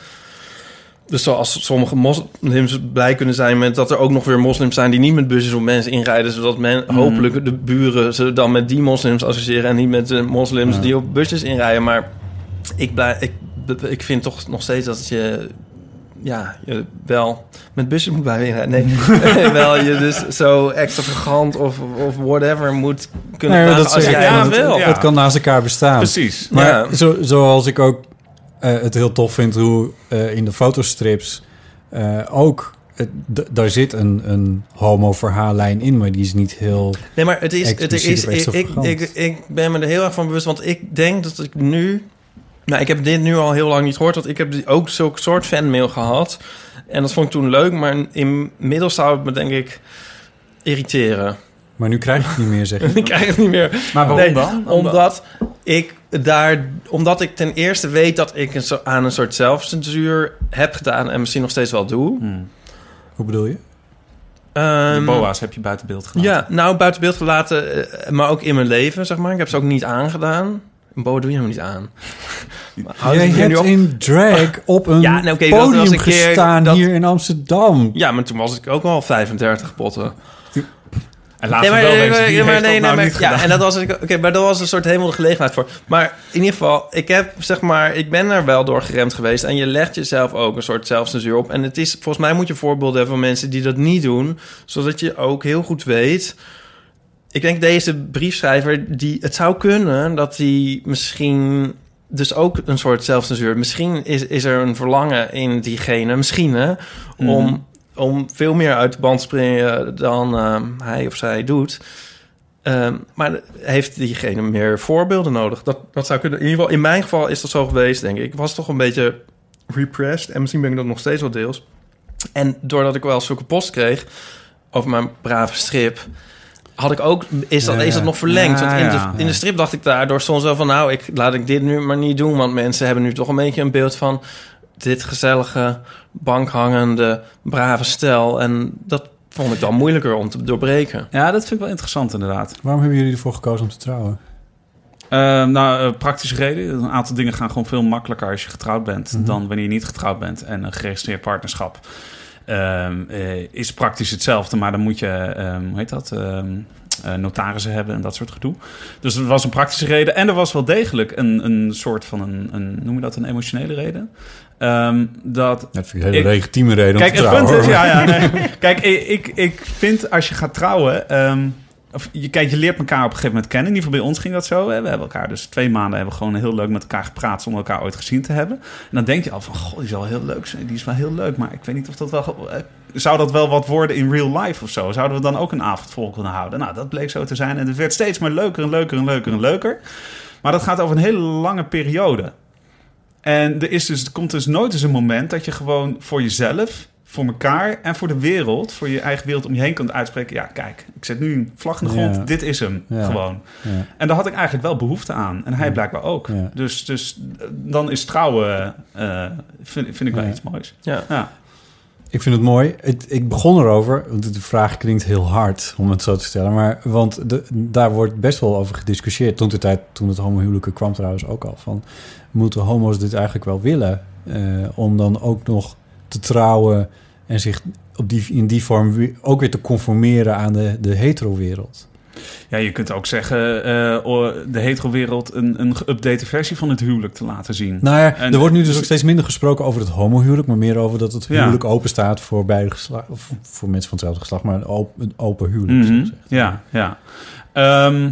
Speaker 4: Dus zoals sommige moslims blij kunnen zijn met dat er ook nog weer moslims zijn die niet met busjes op mensen inrijden, zodat men hopelijk de buren ze dan met die moslims associëren en niet met de moslims die op busjes inrijden. Maar ik, blij, ik, ik vind toch nog steeds dat je, ja, je wel met busjes moet blijven inrijden. Nee, wel je dus zo extravagant of, of whatever moet kunnen
Speaker 2: Nee, maar
Speaker 4: praten
Speaker 2: dat
Speaker 4: als
Speaker 2: zeg ik.
Speaker 4: jij
Speaker 3: Ja,
Speaker 2: want
Speaker 4: wil.
Speaker 2: het,
Speaker 3: Ja.
Speaker 2: het kan naast elkaar bestaan.
Speaker 3: Precies.
Speaker 2: Maar
Speaker 4: Ja.
Speaker 2: zo, zoals ik ook eh, het heel tof vind hoe eh, in de fotostrips eh, ook... het- d- daar zit een, een homo-verhaallijn in, maar die is niet heel...
Speaker 4: Nee, maar het is, het
Speaker 2: Expliciet
Speaker 4: is
Speaker 2: of
Speaker 4: ik, ik,
Speaker 2: extravagant.
Speaker 4: ik, ik ben me er heel erg van bewust, want ik denk dat ik nu Nou, ik heb dit nu al heel lang niet gehoord, want ik heb ook zulk soort fanmail gehad. En dat vond ik toen leuk, maar inmiddels zou het me denk ik irriteren.
Speaker 2: Maar nu krijg je het niet meer, zeg je.
Speaker 4: ik krijg het niet meer.
Speaker 3: Maar waarom
Speaker 4: Nee,
Speaker 3: dan?
Speaker 4: Omdat ik daar, omdat ik ten eerste weet dat ik een zo- aan een soort zelfcensuur heb gedaan en misschien nog steeds wel doe.
Speaker 3: Hmm.
Speaker 2: Hoe bedoel je?
Speaker 3: Die
Speaker 4: Ehm,
Speaker 3: boa's heb je buiten beeld gedaan.
Speaker 4: ja, nou buiten beeld gelaten, eh, maar ook in mijn leven, zeg maar. Ik heb ze ook niet aangedaan. Een boa doe je helemaal niet aan. Maar hou
Speaker 2: Jij
Speaker 4: je hier nu
Speaker 2: hebt
Speaker 4: op?
Speaker 2: in drag op een
Speaker 4: Ja, nee, oké, dat was
Speaker 2: podium
Speaker 4: een keer-
Speaker 2: gestaan
Speaker 4: dat-
Speaker 2: hier in Amsterdam.
Speaker 4: Ja, maar toen was ik ook al 35 potten.
Speaker 3: En laten we
Speaker 4: eh,
Speaker 3: wel weten, wie heeft dat nou niet
Speaker 4: ja,
Speaker 3: gedaan?
Speaker 4: en dat was, ik- oké, maar dat was een soort helemaal de gelegenheid voor. Maar in ieder geval, ik heb, zeg maar, ik ben er wel door geremd geweest. En je legt jezelf ook een soort zelfcensuur op. En het is, volgens mij moet je voorbeelden hebben van mensen die dat niet doen. Zodat je ook heel goed weet. Ik denk deze briefschrijver, die, het zou kunnen dat hij misschien... Dus ook een soort zelfcensuur. Misschien is, is er een verlangen in diegene, misschien hè, om,
Speaker 3: Mhm.
Speaker 4: om veel meer uit de band te springen dan ehm, hij of zij doet. Ehm, maar heeft diegene meer voorbeelden nodig? Dat, dat zou kunnen. In ieder geval, in mijn geval is dat zo geweest, denk ik. Ik was toch een beetje repressed. En misschien ben ik dat nog steeds wel deels. En doordat ik wel zulke post kreeg over mijn brave strip... had ik ook... Is dat,
Speaker 2: Ja,
Speaker 4: is dat
Speaker 2: ja.
Speaker 4: nog verlengd?
Speaker 3: Ja,
Speaker 4: Want in,
Speaker 3: ja,
Speaker 4: de, in de
Speaker 2: ja.
Speaker 4: strip dacht ik daardoor soms wel van... nou, ik, laat ik dit nu maar niet doen. Want mensen hebben nu toch een beetje een beeld van... dit gezellige, bankhangende, brave stel. En dat vond ik dan moeilijker om te doorbreken.
Speaker 3: Ja, dat vind ik wel interessant inderdaad.
Speaker 2: Waarom hebben jullie ervoor gekozen om te trouwen?
Speaker 3: Eh, nou, eh, praktische reden. Een aantal dingen gaan gewoon veel makkelijker als je getrouwd bent dan wanneer je niet getrouwd bent. En een geregistreerd partnerschap ehm, eh, is praktisch hetzelfde, maar dan moet je, ehm, hoe heet dat, ehm, eh, notarissen hebben en dat soort gedoe. Dus er was een praktische reden en er was wel degelijk een, een soort van, een, een, noem je dat, een emotionele reden. Ehm, dat
Speaker 2: Dat vind ik een hele
Speaker 3: Ik-
Speaker 2: legitieme reden
Speaker 3: Kijk,
Speaker 2: om te
Speaker 3: het
Speaker 2: trouwen.
Speaker 3: punt is,
Speaker 2: hoor.
Speaker 3: ja, ja, nee. Kijk, ik, ik, ik vind als je gaat trouwen. ehm, of je, kijk, je leert elkaar op een gegeven moment kennen. In ieder geval bij ons ging dat zo. Hè. We hebben elkaar dus twee maanden hebben we gewoon heel leuk met elkaar gepraat zonder elkaar ooit gezien te hebben. En dan denk je al van, goh, die is wel heel leuk. zijn. Die is wel heel leuk, maar ik weet niet of dat wel... eh, Zou dat wel wat worden in real life of zo? Zouden we dan ook een avond vol kunnen houden? Nou, dat bleek zo te zijn. En het werd steeds maar leuker en leuker en leuker en leuker. Maar dat gaat over een hele lange periode. En er, is dus, er komt dus nooit eens een moment dat je gewoon voor jezelf, voor elkaar en voor de wereld, voor je eigen wereld om je heen kunt uitspreken. Ja, kijk, ik zet nu een vlag in de grond.
Speaker 2: Ja.
Speaker 3: Dit is hem
Speaker 2: Ja.
Speaker 3: gewoon.
Speaker 2: Ja.
Speaker 3: En daar had ik eigenlijk wel behoefte aan. En hij blijkbaar ook.
Speaker 2: Ja.
Speaker 3: Dus, dus eh, dan is trouwen, eh, vind, vind ik wel
Speaker 2: Ja.
Speaker 3: iets moois.
Speaker 4: Ja.
Speaker 3: Ja.
Speaker 2: Ik vind het mooi. Het- ik begon erover. want De vraag klinkt heel hard om het zo te stellen. Maar, want de- daar wordt best wel over gediscussieerd. Toen, de tijd, toen het homohuwelijken kwam trouwens ook al. Van, moeten homo's dit eigenlijk wel willen? Eh, om dan ook nog te trouwen en zich op die, in die vorm weer- ook weer te conformeren aan de, de hetero-wereld.
Speaker 3: Ja, je kunt ook zeggen eh, o- de hetero-wereld een, een geüpdate versie van het huwelijk te laten zien.
Speaker 2: Nou ja,
Speaker 3: En-
Speaker 2: er wordt nu dus ook steeds minder gesproken over het homohuwelijk, maar meer over dat het
Speaker 3: Ja.
Speaker 2: huwelijk open staat voor beide geslacht, of voor mensen van hetzelfde geslacht, maar een op- een open huwelijk.
Speaker 3: Mhm,
Speaker 2: zo gezegd.
Speaker 3: Ja, ja. Ehm,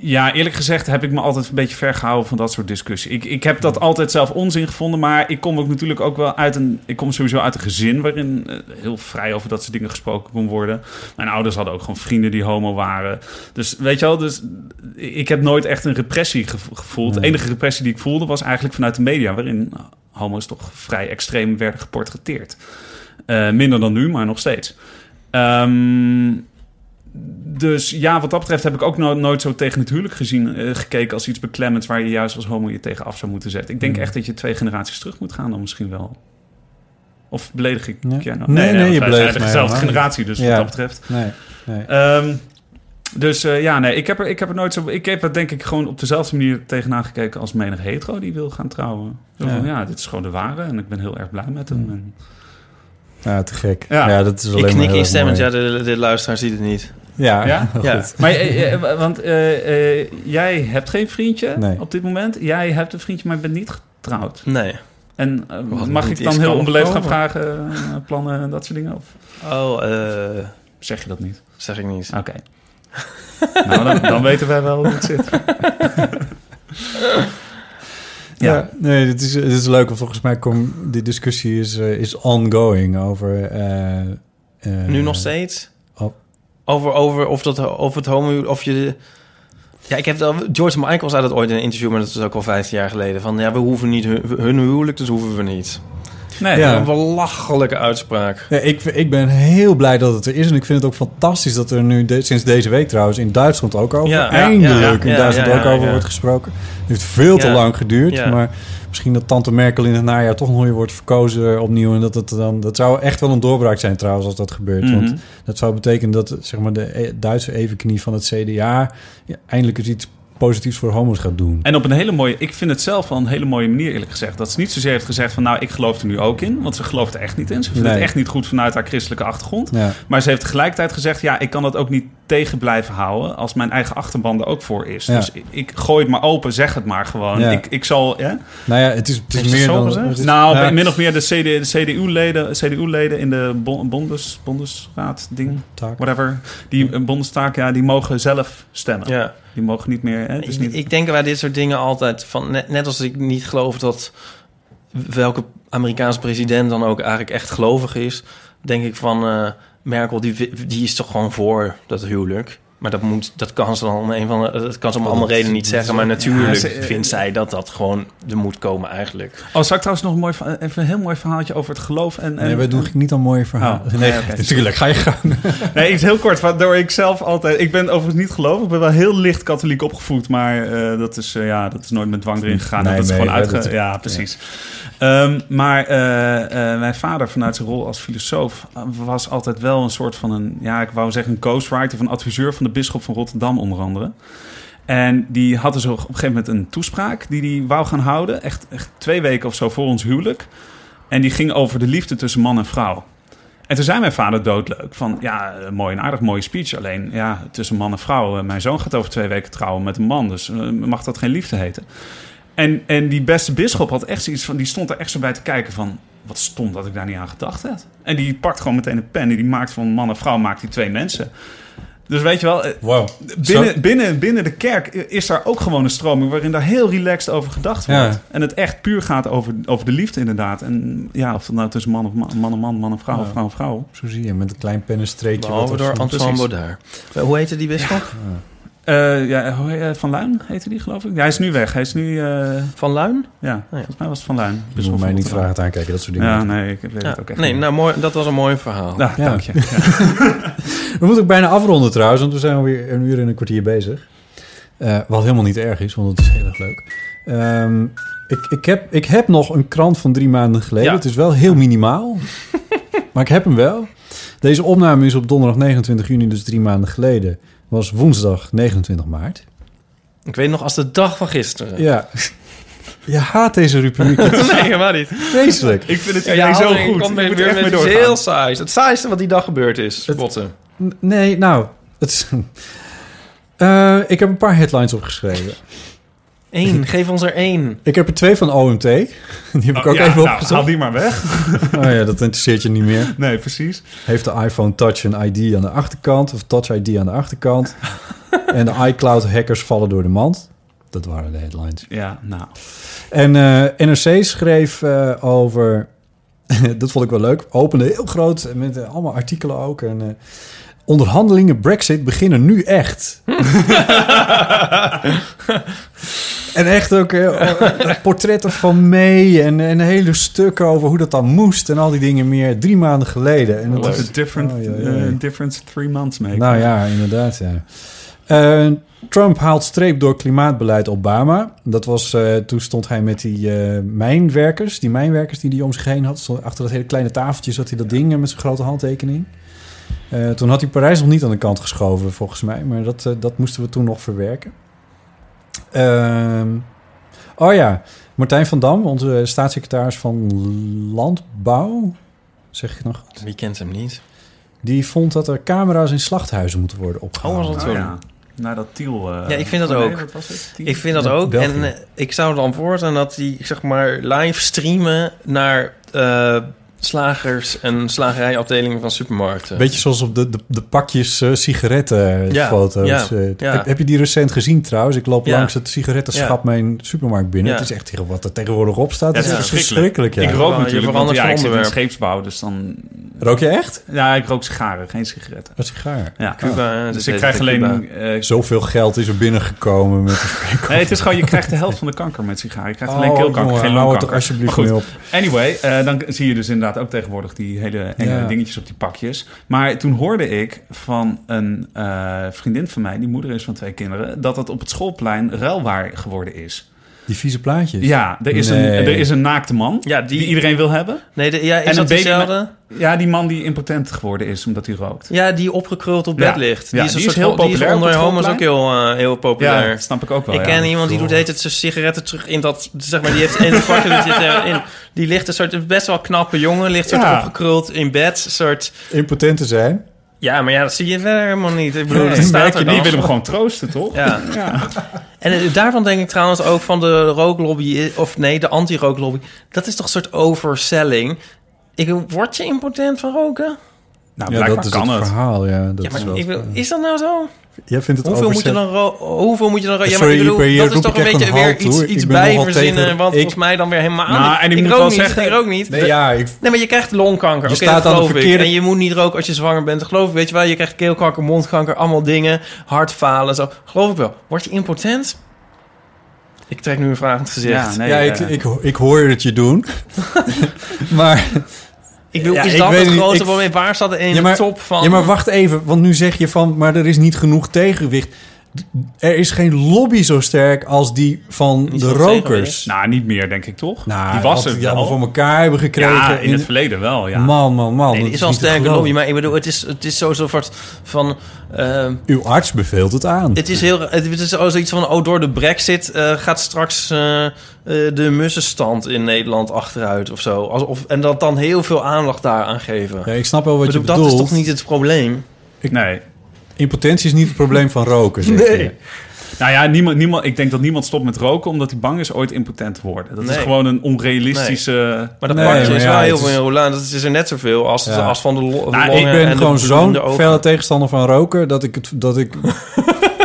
Speaker 3: ja, eerlijk gezegd heb ik me altijd een beetje ver gehouden van dat soort discussie. Ik, ik heb dat altijd zelf onzin gevonden, maar ik kom ook natuurlijk ook wel uit een. Ik kom sowieso uit een gezin waarin eh, heel vrij over dat soort dingen gesproken kon worden. Mijn ouders hadden ook gewoon vrienden die homo waren. Dus weet je wel, dus ik heb nooit echt een repressie gev- gevoeld. De enige repressie die ik voelde was eigenlijk vanuit de media, waarin homo's toch vrij extreem werden geportretteerd. Eh, minder dan nu, maar nog steeds. Ehm, dus ja, wat dat betreft heb ik ook no- nooit zo tegen het huwelijk gezien, eh, gekeken als iets beklemmends waar je juist als homo je tegen af zou moeten zetten. Ik denk
Speaker 2: Hmm.
Speaker 3: echt dat je twee generaties terug moet gaan dan misschien wel. Of beledig ik
Speaker 2: Ja.
Speaker 3: jij nou?
Speaker 2: Nee, nee, je
Speaker 3: want wij
Speaker 2: beledigt
Speaker 3: zijn
Speaker 2: mij
Speaker 3: dezelfde
Speaker 2: helemaal
Speaker 3: generatie, dus
Speaker 2: Ja.
Speaker 3: wat dat betreft.
Speaker 2: Nee, nee.
Speaker 3: Ehm, dus eh, ja, nee, ik heb, er, ik heb er nooit zo. Ik heb er denk ik gewoon op dezelfde manier tegenaan gekeken als menig hetero die wil gaan trouwen. Zo
Speaker 2: Ja.
Speaker 3: van, ja, dit is gewoon de ware en ik ben heel erg blij met hem. En,
Speaker 2: Ja, Ah, te gek.
Speaker 3: Ja.
Speaker 2: Ja, dat is alleen
Speaker 4: Ik
Speaker 2: maar
Speaker 4: knik
Speaker 2: heel erg
Speaker 4: instemmend.
Speaker 2: mooi.
Speaker 4: Ja, de, de, de luisteraar ziet het niet.
Speaker 2: Ja,
Speaker 3: Ja?
Speaker 2: heel
Speaker 4: Ja.
Speaker 2: goed.
Speaker 3: Maar eh, eh, wa- want eh, eh, jij hebt geen vriendje
Speaker 2: Nee.
Speaker 3: op dit moment. Jij hebt een vriendje, maar bent niet getrouwd.
Speaker 4: Nee.
Speaker 3: En eh,
Speaker 4: Wat
Speaker 3: mag
Speaker 4: niet
Speaker 3: ik
Speaker 4: is,
Speaker 3: dan heel
Speaker 4: kan
Speaker 3: onbeleefd gaan
Speaker 4: komen.
Speaker 3: vragen, eh, plannen en dat soort dingen? Of
Speaker 4: Oh, eh,
Speaker 3: zeg je dat niet?
Speaker 4: zeg ik niet.
Speaker 3: Oké. nou, dan, dan weten wij wel hoe het zit.
Speaker 2: Ja.
Speaker 3: Ja.
Speaker 2: nee, dit is, dit is leuk. want Volgens mij kom, die discussie is, eh, is ongoing over... eh, eh,
Speaker 4: nu nog steeds?
Speaker 2: oh.
Speaker 4: Over, over of, dat, of, het homo, of je Ja, ik heb wel, George Michael zei dat ooit in een interview, maar dat is ook al 15 jaar geleden. Van ja, we hoeven niet hun, hun huwelijk, dus hoeven we niet.
Speaker 3: Nee,
Speaker 2: Ja.
Speaker 4: Een belachelijke uitspraak.
Speaker 2: Nee, ik, ik ben heel blij dat het er is. En ik vind het ook fantastisch dat er nu, de- sinds deze week trouwens, in Duitsland ook over,
Speaker 4: Ja, ja,
Speaker 2: eindelijk
Speaker 4: ja,
Speaker 2: in
Speaker 4: ja,
Speaker 2: Duitsland
Speaker 4: ja,
Speaker 2: ook
Speaker 4: ja,
Speaker 2: over
Speaker 4: ja.
Speaker 2: wordt gesproken. Het heeft veel te
Speaker 4: Ja.
Speaker 2: lang geduurd.
Speaker 4: Ja.
Speaker 2: Maar misschien dat tante Merkel in het najaar toch nog weer wordt verkozen opnieuw. En dat het dan, dat zou echt wel een doorbraak zijn trouwens als dat gebeurt.
Speaker 3: Mhm.
Speaker 2: Want dat zou betekenen dat zeg maar, de e- Duitse evenknie van het CDA ja, eindelijk eens iets positiefs voor homo's gaat doen.
Speaker 3: En op een hele mooie, ik vind het zelf wel een hele mooie manier eerlijk gezegd. Dat ze niet zozeer heeft gezegd van nou, ik geloof er nu ook in. Want ze gelooft er echt niet in. Ze vindt
Speaker 2: Nee.
Speaker 3: het echt niet goed vanuit haar christelijke achtergrond.
Speaker 2: Ja.
Speaker 3: Maar ze heeft tegelijkertijd gezegd, ja, ik kan dat ook niet tegen blijven houden. Als mijn eigen achterban er ook voor is.
Speaker 2: Ja.
Speaker 3: Dus ik, ik gooi het maar open, zeg het maar gewoon.
Speaker 2: Ja.
Speaker 3: Ik, ik zal, hè?
Speaker 2: Nou ja, het is, het is
Speaker 4: Heeft ze
Speaker 2: meer
Speaker 4: zo
Speaker 2: dan...
Speaker 4: gezegd?
Speaker 2: het is-
Speaker 3: Nou,
Speaker 2: ja,
Speaker 3: min of meer de, CD, de CDU-leden CDU in de bon- bondes, Bondesraad, ding,
Speaker 2: taak.
Speaker 3: whatever. Die eh, bondestaak, ja, die mogen zelf stemmen.
Speaker 4: Ja.
Speaker 3: Die mogen niet meer. Hè? Het is
Speaker 4: Ik,
Speaker 3: niet...
Speaker 4: ik denk bij dit soort dingen altijd van net, net als ik niet geloof dat welke Amerikaans president dan ook eigenlijk echt gelovig is, denk ik van eh, Merkel die, wi- die is toch gewoon voor dat huwelijk. Maar dat, moet, dat kan ze dan om een van de, dat kan ze om
Speaker 2: Dat-
Speaker 4: andere redenen niet
Speaker 2: dat
Speaker 4: zeggen.
Speaker 2: is-
Speaker 4: Maar natuurlijk
Speaker 3: Ja, ze-
Speaker 4: vindt zij dat dat gewoon er moet komen eigenlijk.
Speaker 3: Oh, zou ik trouwens nog een, mooi, verha- even een heel mooi verhaaltje over het geloof en. en
Speaker 2: Nee, we doen niet aan mooie verhalen.
Speaker 3: Oh.
Speaker 2: nee,
Speaker 3: Nee, oké.
Speaker 2: natuurlijk. Ga je gang.
Speaker 3: Nee, iets heel kort, waardoor ik zelf altijd... Ik ben overigens niet gelovig, ik ben wel heel licht katholiek opgevoed... maar eh, dat, is, eh, ja, dat is nooit met dwang erin gegaan.
Speaker 2: Nee,
Speaker 3: dat is
Speaker 2: nee,
Speaker 3: gewoon
Speaker 2: nee,
Speaker 3: uitge...
Speaker 2: dat-
Speaker 3: ja, precies. Ehm, maar eh, eh, mijn vader, vanuit zijn rol als filosoof... eh, was altijd wel een soort van een... ja, ik wou zeggen een ghostwriter... van adviseur van de bisschop van Rotterdam onder andere... En die had dus op een gegeven moment een toespraak die hij wou gaan houden. Echt, echt twee weken of zo voor ons huwelijk. En die ging over de liefde tussen man en vrouw. En toen zei mijn vader doodleuk van, ja, eh, mooi en aardig, mooie speech. Alleen, ja, tussen man en vrouw. eh, Mijn zoon gaat over twee weken trouwen met een man, dus eh, mag dat geen liefde heten. En, en die beste bisschop had echt zoiets van, die stond er echt zo bij te kijken van, wat stom dat ik daar niet aan gedacht had. En die pakt gewoon meteen een pen en die maakt van man en vrouw, maakt die twee mensen. Dus weet je wel, eh,
Speaker 2: Wow.
Speaker 3: Binnen, binnen, binnen de kerk is daar ook gewoon een stroming waarin daar heel relaxed over gedacht wordt.
Speaker 2: Ja.
Speaker 3: En het echt puur gaat over, over de liefde, inderdaad. En ja, of dat nou tussen man of man, man en man, man en vrouw,
Speaker 2: Ja.
Speaker 3: of vrouw en vrouw.
Speaker 2: Zo zie je, met een klein pennenstreekje.
Speaker 4: Behalve
Speaker 2: wat
Speaker 4: door
Speaker 2: er-
Speaker 4: Antoine
Speaker 3: precies.
Speaker 4: Baudard. Hoe heette die bisschop?
Speaker 3: Eh, ja, hoe heet- eh, van Luin heette die, geloof ik. Ja, hij is nu weg. Hij is nu, eh,
Speaker 4: Van Luin?
Speaker 3: ja, volgens mij was het Van Dus Luin.
Speaker 2: Je moet mij niet vragen te aankijken, dat soort dingen.
Speaker 3: Ja, nee, ik weet
Speaker 4: Ja.
Speaker 3: het ook echt
Speaker 4: Nee,
Speaker 3: niet.
Speaker 4: nou, mooi, dat was een mooi verhaal.
Speaker 3: Nou,
Speaker 2: Ja.
Speaker 3: dank je. Ja.
Speaker 2: We moeten ook bijna afronden trouwens, want we zijn alweer een uur en een kwartier bezig. Eh, wat helemaal niet erg is, want het is heel erg leuk. Ehm, ik, ik, heb, ik heb nog een krant van drie maanden geleden.
Speaker 4: Ja.
Speaker 2: Het is wel heel minimaal, maar ik heb hem wel. Deze opname is op donderdag 29 juni, dus drie maanden geleden. Was woensdag 29 maart.
Speaker 4: Ik weet nog als de dag van gisteren.
Speaker 2: Ja. Je haat deze rubriek. Het is
Speaker 4: Nee, helemaal niet.
Speaker 2: vreselijk.
Speaker 3: Ik vind het
Speaker 4: Ja,
Speaker 3: idee
Speaker 4: ja,
Speaker 3: zo
Speaker 4: Aldering
Speaker 3: goed.
Speaker 4: komt
Speaker 3: Ik moet
Speaker 4: weer
Speaker 3: er echt
Speaker 4: met
Speaker 3: mee
Speaker 4: iets
Speaker 3: doorgaan.
Speaker 4: heel saais. Het saaiste wat die dag gebeurd is, botten.
Speaker 2: N- Nee, nou, het is... Eh, ik heb een paar headlines opgeschreven.
Speaker 4: Eén, geef ons er één.
Speaker 2: Ik heb er twee van OMT. Die heb ik ook
Speaker 3: Ja,
Speaker 2: even
Speaker 3: nou,
Speaker 2: opgezocht.
Speaker 3: haal die maar weg.
Speaker 2: Oh ja, dat interesseert je niet meer.
Speaker 3: Nee, precies.
Speaker 2: Heeft de iPhone Touch een ID aan de achterkant? Of Touch ID aan de achterkant? en de iCloud hackers vallen door de mand. Dat waren de headlines.
Speaker 3: Ja, nou.
Speaker 2: En eh, NRC schreef eh, over... dat vond ik wel leuk. Opende heel groot, met eh, allemaal artikelen ook. En, eh, onderhandelingen Brexit beginnen nu echt. en echt ook eh, portretten van May en, en hele stukken over hoe dat dan moest. En al die dingen meer. Drie maanden geleden. En dat
Speaker 3: What
Speaker 2: is-
Speaker 3: a different,
Speaker 2: Oh, ja, ja, ja.
Speaker 3: eh, difference three months make.
Speaker 2: nou ja, inderdaad. Ja. Eh, Trump haalt streep door klimaatbeleid Obama. Dat was, eh, toen stond hij met die eh, mijnwerkers, die mijnwerkers die hij om zich heen had. Stond achter dat hele kleine tafeltje zat hij dat ding eh, met zijn grote handtekening. Eh, toen had hij Parijs nog niet aan de kant geschoven, volgens mij. Maar dat, eh, dat moesten we toen nog verwerken. Ehm, oh ja, Martijn van Dam, onze staatssecretaris van Landbouw. Zeg ik het nog goed?
Speaker 4: Wie kent hem niet?
Speaker 2: Die vond dat er camera's in slachthuizen moeten worden opgehangen.
Speaker 4: Oh, was dat
Speaker 3: Nou ja, naar dat Tiel. eh,
Speaker 4: Ja, ik vind dat
Speaker 3: nee,
Speaker 4: ook.
Speaker 3: wat was het? Tiel?
Speaker 4: Ik vind dat
Speaker 2: Ja,
Speaker 4: ook.
Speaker 2: België.
Speaker 4: En eh, ik zou dan voortaan dat die, zeg maar, live streamen naar eh, slagers en slagerijafdelingen van supermarkten.
Speaker 2: Beetje zoals op de, de, de pakjes eh,
Speaker 4: Ja,
Speaker 2: sigarettenfoto's.
Speaker 4: ja,
Speaker 2: Eh,
Speaker 4: ja.
Speaker 2: Heb, heb je die recent gezien trouwens? Ik loop
Speaker 4: Ja.
Speaker 2: langs het sigarettenschap mijn supermarkt binnen.
Speaker 4: Ja.
Speaker 2: Het is echt tegen wat er tegenwoordig op staat.
Speaker 3: Ja,
Speaker 2: het is
Speaker 4: het
Speaker 3: is
Speaker 2: verschrikkelijk.
Speaker 3: Ik
Speaker 2: ja.
Speaker 4: Ja,
Speaker 3: rook
Speaker 4: je
Speaker 3: natuurlijk, want
Speaker 4: verandert
Speaker 3: ja,
Speaker 4: van
Speaker 3: ik zit in
Speaker 4: onderwerp.
Speaker 3: scheepsbouw, dus dan...
Speaker 2: Rook je echt?
Speaker 3: Ja, ik rook sigaren, geen sigaretten.
Speaker 2: Een sigaar.
Speaker 3: Ja.
Speaker 4: Cuba, dat
Speaker 3: Dus
Speaker 4: heet
Speaker 3: ik krijg
Speaker 4: het,
Speaker 3: alleen...
Speaker 4: Cuba.
Speaker 3: eh,
Speaker 2: Zoveel geld is er binnengekomen met de verkoop.
Speaker 3: nee, het is gewoon, je krijgt de helft van de kanker met sigaren. Je krijgt alleen
Speaker 2: Oh,
Speaker 3: keelkanker,
Speaker 2: jongen,
Speaker 3: geen
Speaker 2: hou het
Speaker 3: longkanker.
Speaker 2: er alsjeblieft
Speaker 3: Maar goed,
Speaker 2: mee op.
Speaker 3: Anyway, eh, dan zie je dus inderdaad ook tegenwoordig die hele enge
Speaker 2: Ja.
Speaker 3: dingetjes op die pakjes. Maar toen hoorde ik van een eh, vriendin van mij, die moeder is van twee kinderen, dat het op het schoolplein ruilwaar geworden is.
Speaker 2: Die vieze plaatjes.
Speaker 3: Ja, er is,
Speaker 2: Nee.
Speaker 3: een, er is een naakte man
Speaker 4: Ja, die-
Speaker 3: die... iedereen wil hebben.
Speaker 4: Nee, de, ja, is
Speaker 3: En
Speaker 4: dat
Speaker 3: een baby met-
Speaker 4: diezelfde?
Speaker 3: Ja, die man die impotent geworden is omdat hij rookt.
Speaker 4: Ja, die opgekruld op bed
Speaker 3: Ja.
Speaker 4: ligt.
Speaker 3: Ja,
Speaker 4: een
Speaker 3: die
Speaker 4: soort
Speaker 3: is heel
Speaker 4: van- die
Speaker 3: populair op
Speaker 4: onder
Speaker 3: het
Speaker 4: homo's ook heel, eh, heel
Speaker 3: Ja,
Speaker 4: populair.
Speaker 3: dat snap ik ook wel.
Speaker 4: ik
Speaker 3: ja.
Speaker 4: ken iemand die doet heet het zijn sigaretten terug in dat zeg maar die heeft in het pakje dat zit erin. Die ligt een soort best wel knappe jongen ligt soort
Speaker 3: Ja.
Speaker 4: opgekruld in bed, soort
Speaker 2: Impotent te zijn.
Speaker 4: ja, maar ja, dat zie je verder helemaal niet. Ik bedoel,
Speaker 3: Nee,
Speaker 4: dat staat
Speaker 3: merk je
Speaker 4: er
Speaker 3: niet,
Speaker 4: dan.
Speaker 3: wil hem gewoon troosten, toch?
Speaker 4: Ja. En eh, daarvan denk ik trouwens ook van de rooklobby, of nee, de anti-rooklobby. Dat is toch een soort overselling. Ik, bedoel, word je impotent van roken?
Speaker 3: Nou,
Speaker 2: Ja,
Speaker 3: blijkbaar
Speaker 2: dat is
Speaker 3: kan
Speaker 2: het,
Speaker 3: het.
Speaker 2: verhaal. Ja, dat
Speaker 4: Ja,
Speaker 2: is
Speaker 4: maar
Speaker 2: wel.
Speaker 4: ik bedoel, is dat nou zo?
Speaker 2: Jij vindt het
Speaker 4: Hoeveel moet, je
Speaker 2: overzet-
Speaker 4: dan ro- hoeveel moet je dan ro- Ja, maar
Speaker 2: Sorry,
Speaker 4: ik bedoel,
Speaker 2: Ipe, hier
Speaker 4: dat is
Speaker 2: roep
Speaker 4: toch
Speaker 2: ik
Speaker 4: een
Speaker 2: echt
Speaker 4: beetje
Speaker 2: een
Speaker 4: weer
Speaker 2: halt,
Speaker 4: iets,
Speaker 2: hoor.
Speaker 4: iets
Speaker 2: Ik ben
Speaker 4: bij
Speaker 2: nogal
Speaker 4: verzinnen,
Speaker 2: tegen-
Speaker 4: want
Speaker 2: ik-
Speaker 4: volgens mij dan weer helemaal
Speaker 3: Nou,
Speaker 4: niet.
Speaker 3: en ik
Speaker 4: ik
Speaker 3: moet
Speaker 4: rook
Speaker 3: wel
Speaker 4: niet,
Speaker 3: zeggen-
Speaker 4: ik rook niet.
Speaker 2: Nee, ja, ik,
Speaker 4: Nee, maar je krijgt longkanker.
Speaker 2: Je
Speaker 4: Oké,
Speaker 2: staat
Speaker 4: dat
Speaker 2: aan de
Speaker 4: geloof ik.
Speaker 2: verkeerde-
Speaker 4: En je moet niet roken als je zwanger bent. Dat geloof ik, weet je wel. Je krijgt keelkanker, mondkanker, allemaal dingen. Hartfalen en zo. Geloof ik wel. Word je impotent? Ik trek nu een vraag in het gezicht.
Speaker 3: Ja, nee,
Speaker 2: ja,
Speaker 3: eh,
Speaker 2: ik, ik, ik hoor het je doen. maar
Speaker 4: Ik bedoel,
Speaker 2: Ja,
Speaker 4: is
Speaker 2: ik
Speaker 4: dat
Speaker 2: weet
Speaker 4: het
Speaker 2: niet,
Speaker 4: grote
Speaker 2: ik-
Speaker 4: probleem? Waar staat er in
Speaker 2: Ja, maar-
Speaker 4: de top van...
Speaker 2: Ja, maar wacht even, want nu zeg je van, maar er is niet genoeg tegenwicht. D- Er is geen lobby zo sterk als die van
Speaker 4: Niet
Speaker 2: de
Speaker 4: veel
Speaker 2: rokers.
Speaker 3: Nou, niet meer, denk ik, toch?
Speaker 2: Nou,
Speaker 3: die was
Speaker 2: wat
Speaker 3: er
Speaker 2: die allemaal
Speaker 3: wel.
Speaker 2: voor elkaar hebben gekregen.
Speaker 3: ja, in het verleden wel, ja.
Speaker 2: Man, man, man.
Speaker 4: Nee,
Speaker 2: dat
Speaker 4: dit is wel een
Speaker 2: niet te
Speaker 4: sterke
Speaker 2: geloven.
Speaker 4: lobby. Maar ik bedoel, het is, het is sowieso soort van... ehm,
Speaker 2: Uw arts beveelt het aan.
Speaker 4: Het is heel, het is al zoiets van, oh, door de brexit eh, gaat straks eh, eh, de mussenstand in Nederland achteruit of zo. Alsof, en dat dan heel veel aandacht daaraan geven.
Speaker 2: Ja, ik snap wel wat
Speaker 4: Ik bedoel,
Speaker 2: je
Speaker 4: dat
Speaker 2: bedoelt.
Speaker 4: is toch niet het probleem?
Speaker 3: Nee.
Speaker 2: Impotentie is niet het probleem van roken, zeg je.
Speaker 3: Nou ja, niemand, niemand, ik denk dat niemand stopt met roken omdat hij bang is ooit impotent te worden. Dat
Speaker 4: Nee.
Speaker 3: is gewoon een onrealistische.
Speaker 4: Maar dat dus-
Speaker 2: Nee,
Speaker 4: pakje
Speaker 2: maar
Speaker 4: is
Speaker 2: ja,
Speaker 4: wel heel
Speaker 2: het is-
Speaker 4: veel rolaan. Dat is er net zoveel als,
Speaker 2: Ja.
Speaker 4: als van de lo-
Speaker 3: Nou,
Speaker 4: longen
Speaker 2: Ik
Speaker 4: en de
Speaker 2: ben gewoon zo'n
Speaker 4: bloedende ogen.
Speaker 2: felle tegenstander van roken dat ik het dat ik.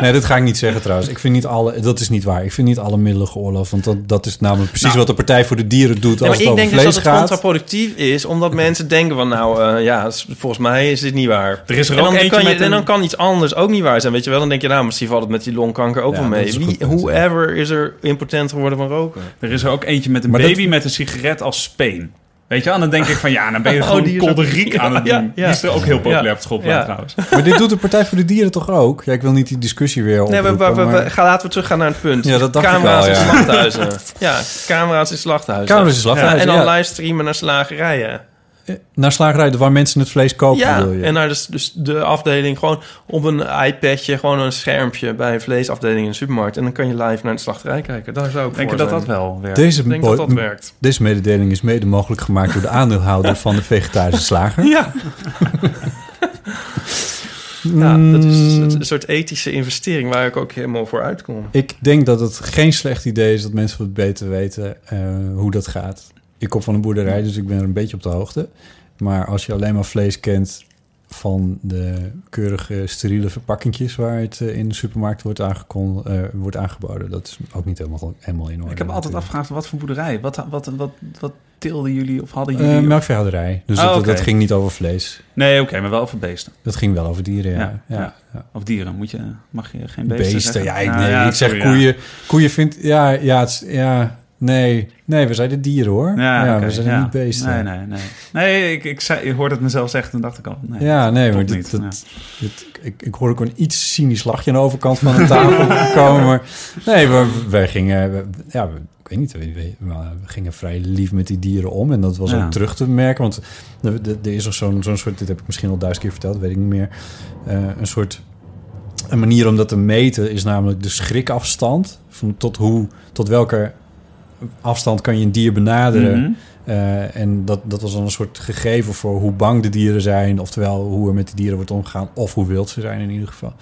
Speaker 2: Nee, dat ga ik niet zeggen trouwens. Ik vind niet alle, dat is niet waar. Ik vind niet alle middelen geoorloofd. Want dat, dat is namelijk precies wat de Partij voor de Dieren doet
Speaker 4: Nou. Ja,
Speaker 2: als
Speaker 4: maar
Speaker 2: het
Speaker 4: ik
Speaker 2: over
Speaker 4: denk dus dat
Speaker 2: vlees
Speaker 4: het
Speaker 2: gaat.
Speaker 4: contraproductief is, omdat mensen denken van, nou, eh, ja, s- volgens mij is dit niet waar.
Speaker 3: Er is er
Speaker 4: en,
Speaker 3: ook
Speaker 4: dan
Speaker 3: eentje
Speaker 4: kan je,
Speaker 3: met
Speaker 4: en dan
Speaker 3: een-
Speaker 4: kan iets anders ook niet waar zijn, weet je wel? Dan denk je, nou, misschien valt het met die longkanker ook
Speaker 2: Ja,
Speaker 4: wel
Speaker 2: dat
Speaker 4: mee.
Speaker 2: is een goed
Speaker 4: Wie,
Speaker 2: punt, ja.
Speaker 4: whoever is er impotent geworden van roken?
Speaker 3: Er is er ook eentje met een
Speaker 2: Maar dat-
Speaker 3: baby met een sigaret als speen. Weet je wel? En dan denk ik van ja, dan ben je
Speaker 4: Oh, die
Speaker 3: gewoon
Speaker 4: is ook-
Speaker 3: kolderiek aan het doen.
Speaker 4: Ja, ja.
Speaker 3: Die is er ook heel populair
Speaker 4: Ja.
Speaker 3: op het schoolplein
Speaker 4: Ja.
Speaker 3: trouwens.
Speaker 2: Maar dit doet de Partij voor de Dieren toch ook? Ja, ik wil niet die discussie weer
Speaker 4: Nee,
Speaker 2: oproepen.
Speaker 4: we, we, we, we-
Speaker 2: maar-
Speaker 4: ga, laten we teruggaan naar het punt.
Speaker 2: Ja, dat dacht ik
Speaker 4: camera's
Speaker 2: al,
Speaker 4: in
Speaker 2: ja.
Speaker 4: slachthuizen. ja, camera's in slachthuizen.
Speaker 2: Camera's in slachthuizen,
Speaker 4: Ja, en dan
Speaker 2: ja.
Speaker 4: livestreamen naar slagerijen.
Speaker 2: eh, Naar slagerijen waar mensen het vlees kopen,
Speaker 4: Ja,
Speaker 2: wil je.
Speaker 4: en naar de, s- dus de afdeling gewoon op een iPadje, gewoon een schermpje bij een vleesafdeling in de supermarkt. En dan kan je live naar de slachterij kijken. Daar zou ik
Speaker 3: Denk je
Speaker 4: voor
Speaker 3: dat
Speaker 4: zijn.
Speaker 3: dat wel werkt?
Speaker 2: deze,
Speaker 4: Ik denk
Speaker 2: bo-
Speaker 4: dat dat werkt.
Speaker 2: deze mededeling is mede mogelijk gemaakt door de aandeelhouder van de vegetarische slager.
Speaker 4: Ja. ja, dat is
Speaker 2: Mm.
Speaker 4: een soort ethische investering waar ik ook helemaal voor uitkom.
Speaker 2: Ik denk dat het geen slecht idee is dat mensen wat beter weten eh, hoe dat gaat. Ik kom van een boerderij, dus ik ben er een beetje op de hoogte. Maar als je alleen maar vlees kent van de keurige steriele verpakkingjes waar het eh, in de supermarkt wordt, aangekondigd, eh, wordt aangeboden, dat is ook niet helemaal, helemaal in orde.
Speaker 3: Ik heb me altijd
Speaker 2: natuurlijk.
Speaker 3: afgevraagd wat voor boerderij. Wat, wat, wat, wat tilden jullie of hadden
Speaker 2: Eh,
Speaker 3: jullie? of-
Speaker 2: melkveehouderij. Dus
Speaker 3: Oh,
Speaker 2: dat,
Speaker 3: oké.
Speaker 2: dat ging niet over vlees.
Speaker 3: Ehm, Nee, oké, maar wel over beesten.
Speaker 2: Dat ging wel over dieren. Ja,
Speaker 3: Ja,
Speaker 2: ja,
Speaker 3: ja.
Speaker 2: ja.
Speaker 3: Of dieren. Moet je, mag je geen beesten,
Speaker 2: Beesten.
Speaker 3: zeggen?
Speaker 2: Ja, ik,
Speaker 3: Nou
Speaker 2: nee, ik zeg
Speaker 3: sorry, ja.
Speaker 2: koeien. Koeien vindt. Ja, ja, het is- ja. Nee, nee, we zijn de dieren hoor.
Speaker 3: Ja,
Speaker 2: Ja,
Speaker 3: oké,
Speaker 2: we zijn
Speaker 3: ja.
Speaker 2: niet beesten.
Speaker 3: Nee, nee, nee. Nee, ik, ik, zei, ik hoorde het mezelf zeggen en dacht ik al. Nee.
Speaker 2: Ja, nee, maar
Speaker 3: Klopt
Speaker 2: dit,
Speaker 3: niet,
Speaker 2: dat, dit- ik, ik hoor ook een iets cynisch lachje aan de overkant van de tafel komen. Maar, nee, maar wij gingen, we- ja, we- ik weet niet, we, we- maar we gingen vrij lief met die dieren om. En dat was
Speaker 3: Ja.
Speaker 2: ook terug te merken, want er, er- er is nog zo'n zo'n soort, dit heb ik misschien al duizend keer verteld, weet ik niet meer. eh, een soort, een manier om dat te meten is namelijk de schrikafstand. Van tot, hoe, tot welke afstand kan je een dier benaderen.
Speaker 3: Mhm.
Speaker 2: Eh, en dat, dat was dan een soort gegeven voor hoe bang de dieren zijn, oftewel hoe er met de dieren wordt omgegaan, of hoe wild ze zijn in ieder geval.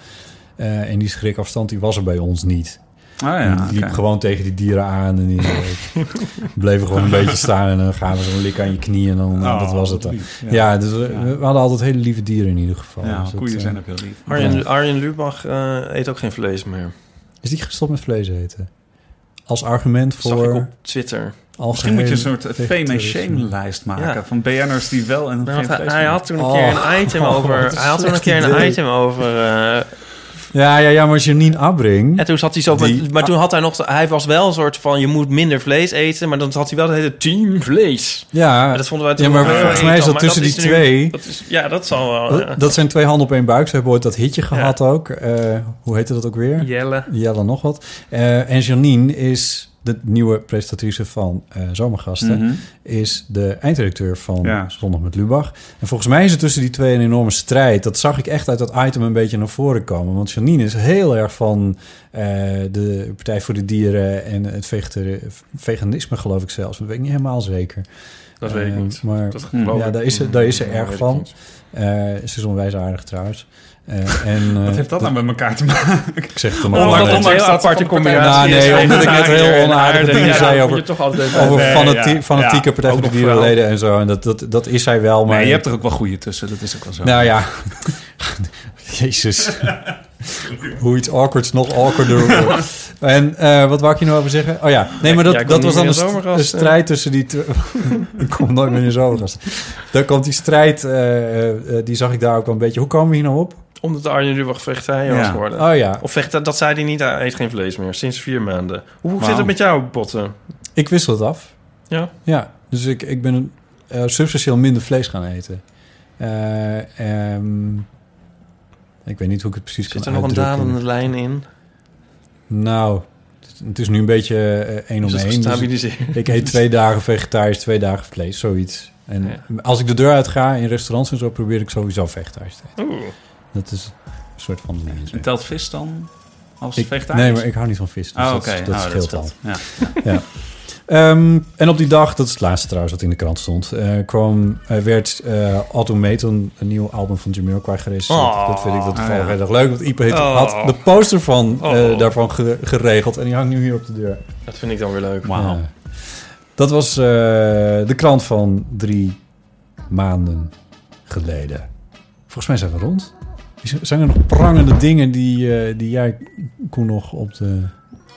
Speaker 2: Eh, en die schrikafstand die was er bij ons niet.
Speaker 3: Oh ja,
Speaker 2: die liep
Speaker 3: oké.
Speaker 2: gewoon tegen die dieren aan en die eh, bleven gewoon een beetje staan en dan gaven ze een lik aan je knie en dan nou, dat
Speaker 3: Oh,
Speaker 2: was het
Speaker 3: wat
Speaker 2: dan.
Speaker 3: lief,
Speaker 2: Ja,
Speaker 3: Ja,
Speaker 2: dus we, we hadden altijd hele lieve dieren in ieder geval.
Speaker 3: Ja,
Speaker 2: Dus dat,
Speaker 3: koeien
Speaker 2: eh,
Speaker 3: zijn ook heel lief.
Speaker 4: Arjen, Arjen Lubach eh, eet ook geen vlees meer.
Speaker 2: Is die gestopt met vlees eten? als argument
Speaker 4: Zag ik op
Speaker 2: voor
Speaker 4: Twitter.
Speaker 3: Misschien moet je een soort fame en
Speaker 2: en
Speaker 3: shame lijst maken
Speaker 4: Ja.
Speaker 3: van BN'ers die wel en
Speaker 4: Nou,
Speaker 3: geen
Speaker 4: hij,
Speaker 3: vlees
Speaker 4: hij
Speaker 3: meer-
Speaker 4: had toen een
Speaker 2: Oh,
Speaker 4: keer een item
Speaker 2: wat
Speaker 4: over.
Speaker 2: een
Speaker 4: Hij had toen een
Speaker 2: slecht
Speaker 4: keer een
Speaker 2: idee.
Speaker 4: item over. eh,
Speaker 2: Ja, ja, ja, maar Janine Abring...
Speaker 4: en toen zat hij zo. met-
Speaker 2: Die-
Speaker 4: maar toen had hij nog. Hij was wel een soort van. Je moet minder vlees eten. Maar dan had hij wel het hele team vlees.
Speaker 2: Ja,
Speaker 4: Maar dat vonden wij toen
Speaker 2: ja, maar
Speaker 4: wel heel
Speaker 2: volgens mij
Speaker 4: eng,
Speaker 2: is dat
Speaker 4: maar
Speaker 2: tussen
Speaker 4: dat
Speaker 2: die
Speaker 4: is nu-
Speaker 2: twee...
Speaker 4: Dat is, ja, dat zal wel. ja.
Speaker 2: Dat, dat zijn twee handen op één buik. Ze hebben ooit dat hitje gehad ook. Eh, hoe heette dat ook weer?
Speaker 4: Jelle.
Speaker 2: Jelle nog wat. Eh, en Janine is de nieuwe presentatrice van eh, Zomergasten.
Speaker 3: Mhm.
Speaker 2: Is de eindredacteur van
Speaker 3: Ja.
Speaker 2: Zondag met Lubach. En volgens mij is er tussen die twee een enorme strijd. Dat zag ik echt uit dat item een beetje naar voren komen. Want Janine is heel erg van eh, de Partij voor de Dieren en het vegetari- veganisme, geloof ik zelfs. Dat weet ik niet helemaal zeker.
Speaker 4: Dat weet ik
Speaker 2: Eh,
Speaker 4: niet.
Speaker 2: Maar
Speaker 4: Dat
Speaker 3: Hmm.
Speaker 4: geloof
Speaker 2: ja,
Speaker 4: ik.
Speaker 2: daar is ze, daar is ze
Speaker 4: Ja, weet
Speaker 2: erg
Speaker 4: ik
Speaker 2: van.
Speaker 4: niet.
Speaker 2: Eh, ze is onwijs aardig trouwens. Eh, en, eh,
Speaker 3: Wat heeft dat nou met elkaar te maken?
Speaker 2: Ik zeg het er
Speaker 3: Omdat-
Speaker 2: maar
Speaker 3: omdat-
Speaker 2: net.
Speaker 3: ondanks dat ze van de
Speaker 2: Nou, nee, omdat
Speaker 4: is,
Speaker 2: ik net
Speaker 4: aardiger
Speaker 2: heel
Speaker 4: en
Speaker 2: onaardige
Speaker 4: aardiger.
Speaker 2: dingen
Speaker 4: Ja,
Speaker 2: zei
Speaker 4: dat
Speaker 2: over-
Speaker 4: moet je toch altijd
Speaker 2: Over
Speaker 3: Nee,
Speaker 2: fanatie-
Speaker 3: ja.
Speaker 2: fanatieke
Speaker 3: Ja,
Speaker 2: Partij
Speaker 3: ook
Speaker 2: voor de
Speaker 3: nog vooral.
Speaker 2: Dierenleden en zo. En dat, dat, dat is hij wel, maar...
Speaker 3: Nee, je hebt er ook wel goede tussen. Dat is ook wel zo.
Speaker 2: Nou ja. Jezus. Hoe iets awkwards nog awkwarder wordt. En eh, wat wou ik je nou over zeggen? Oh ja, nee, maar dat,
Speaker 4: Ja, ik kom
Speaker 2: dat was
Speaker 4: niet
Speaker 2: dan een,
Speaker 4: meer in eh,
Speaker 2: st-
Speaker 4: zomergast,
Speaker 2: een strijd tussen die... twee- ik kom nooit meer in zomergast. Daar komt die strijd, eh, eh, die zag ik daar ook wel een beetje. Hoe komen we hier nou op?
Speaker 4: Omdat de Arjen Lubach vegetariër
Speaker 3: Ja.
Speaker 4: was geworden.
Speaker 2: Oh ja,
Speaker 4: Of vecht, dat, dat zei hij niet, hij eet geen vlees meer. Sinds vier maanden. Hoe hoe zit
Speaker 3: Wauw.
Speaker 4: het met jou, Botten?
Speaker 2: ik wissel het af.
Speaker 4: Ja.
Speaker 2: Ja, dus ik, ik ben eh, substantieel minder vlees gaan eten. Eh, ehm, ik weet niet hoe ik het precies
Speaker 4: Zit er
Speaker 2: kan
Speaker 4: nog een
Speaker 2: uitdrukken.
Speaker 4: dalende lijn in?
Speaker 2: Nou, het is- het is nu een beetje eh, één
Speaker 4: Is
Speaker 2: om
Speaker 4: het
Speaker 2: één. dus ik-
Speaker 4: gestabiliseerd?
Speaker 2: ik eet twee dagen vegetarisch, twee dagen vlees, zoiets. En
Speaker 4: Ja.
Speaker 2: als ik de deur uit ga in restaurants en zo, probeer ik sowieso vegetarisch te eten.
Speaker 4: Oeh.
Speaker 2: Dat is een soort van... eh,
Speaker 3: En telt vis dan als
Speaker 2: Ik-
Speaker 3: vegetarisch?
Speaker 2: nee, maar ik hou niet van vis, dus
Speaker 3: Oh,
Speaker 2: dat,
Speaker 3: oké.
Speaker 2: dat
Speaker 3: Oh,
Speaker 2: scheelt al.
Speaker 3: Ja.
Speaker 2: Ehm, en op die dag, dat is het laatste trouwens wat in de krant stond, eh, kwam, eh, werd eh Automaton, een nieuw album van Jamiroquai gerecenseerd.
Speaker 4: Oh.
Speaker 2: dat vind ik dat toevallig
Speaker 3: Ah, ja.
Speaker 2: heel erg leuk, want Ipe heeft-
Speaker 4: Oh.
Speaker 2: had de poster van, eh,
Speaker 4: Oh.
Speaker 2: daarvan ge- geregeld en die hangt nu hier op de deur.
Speaker 4: Dat vind ik dan weer leuk.
Speaker 3: Wauw.
Speaker 2: Ja. Dat was eh, de krant van drie maanden geleden. Volgens mij zijn we rond. Is- Zijn er nog prangende dingen die, eh, die jij, Koen, nog op de...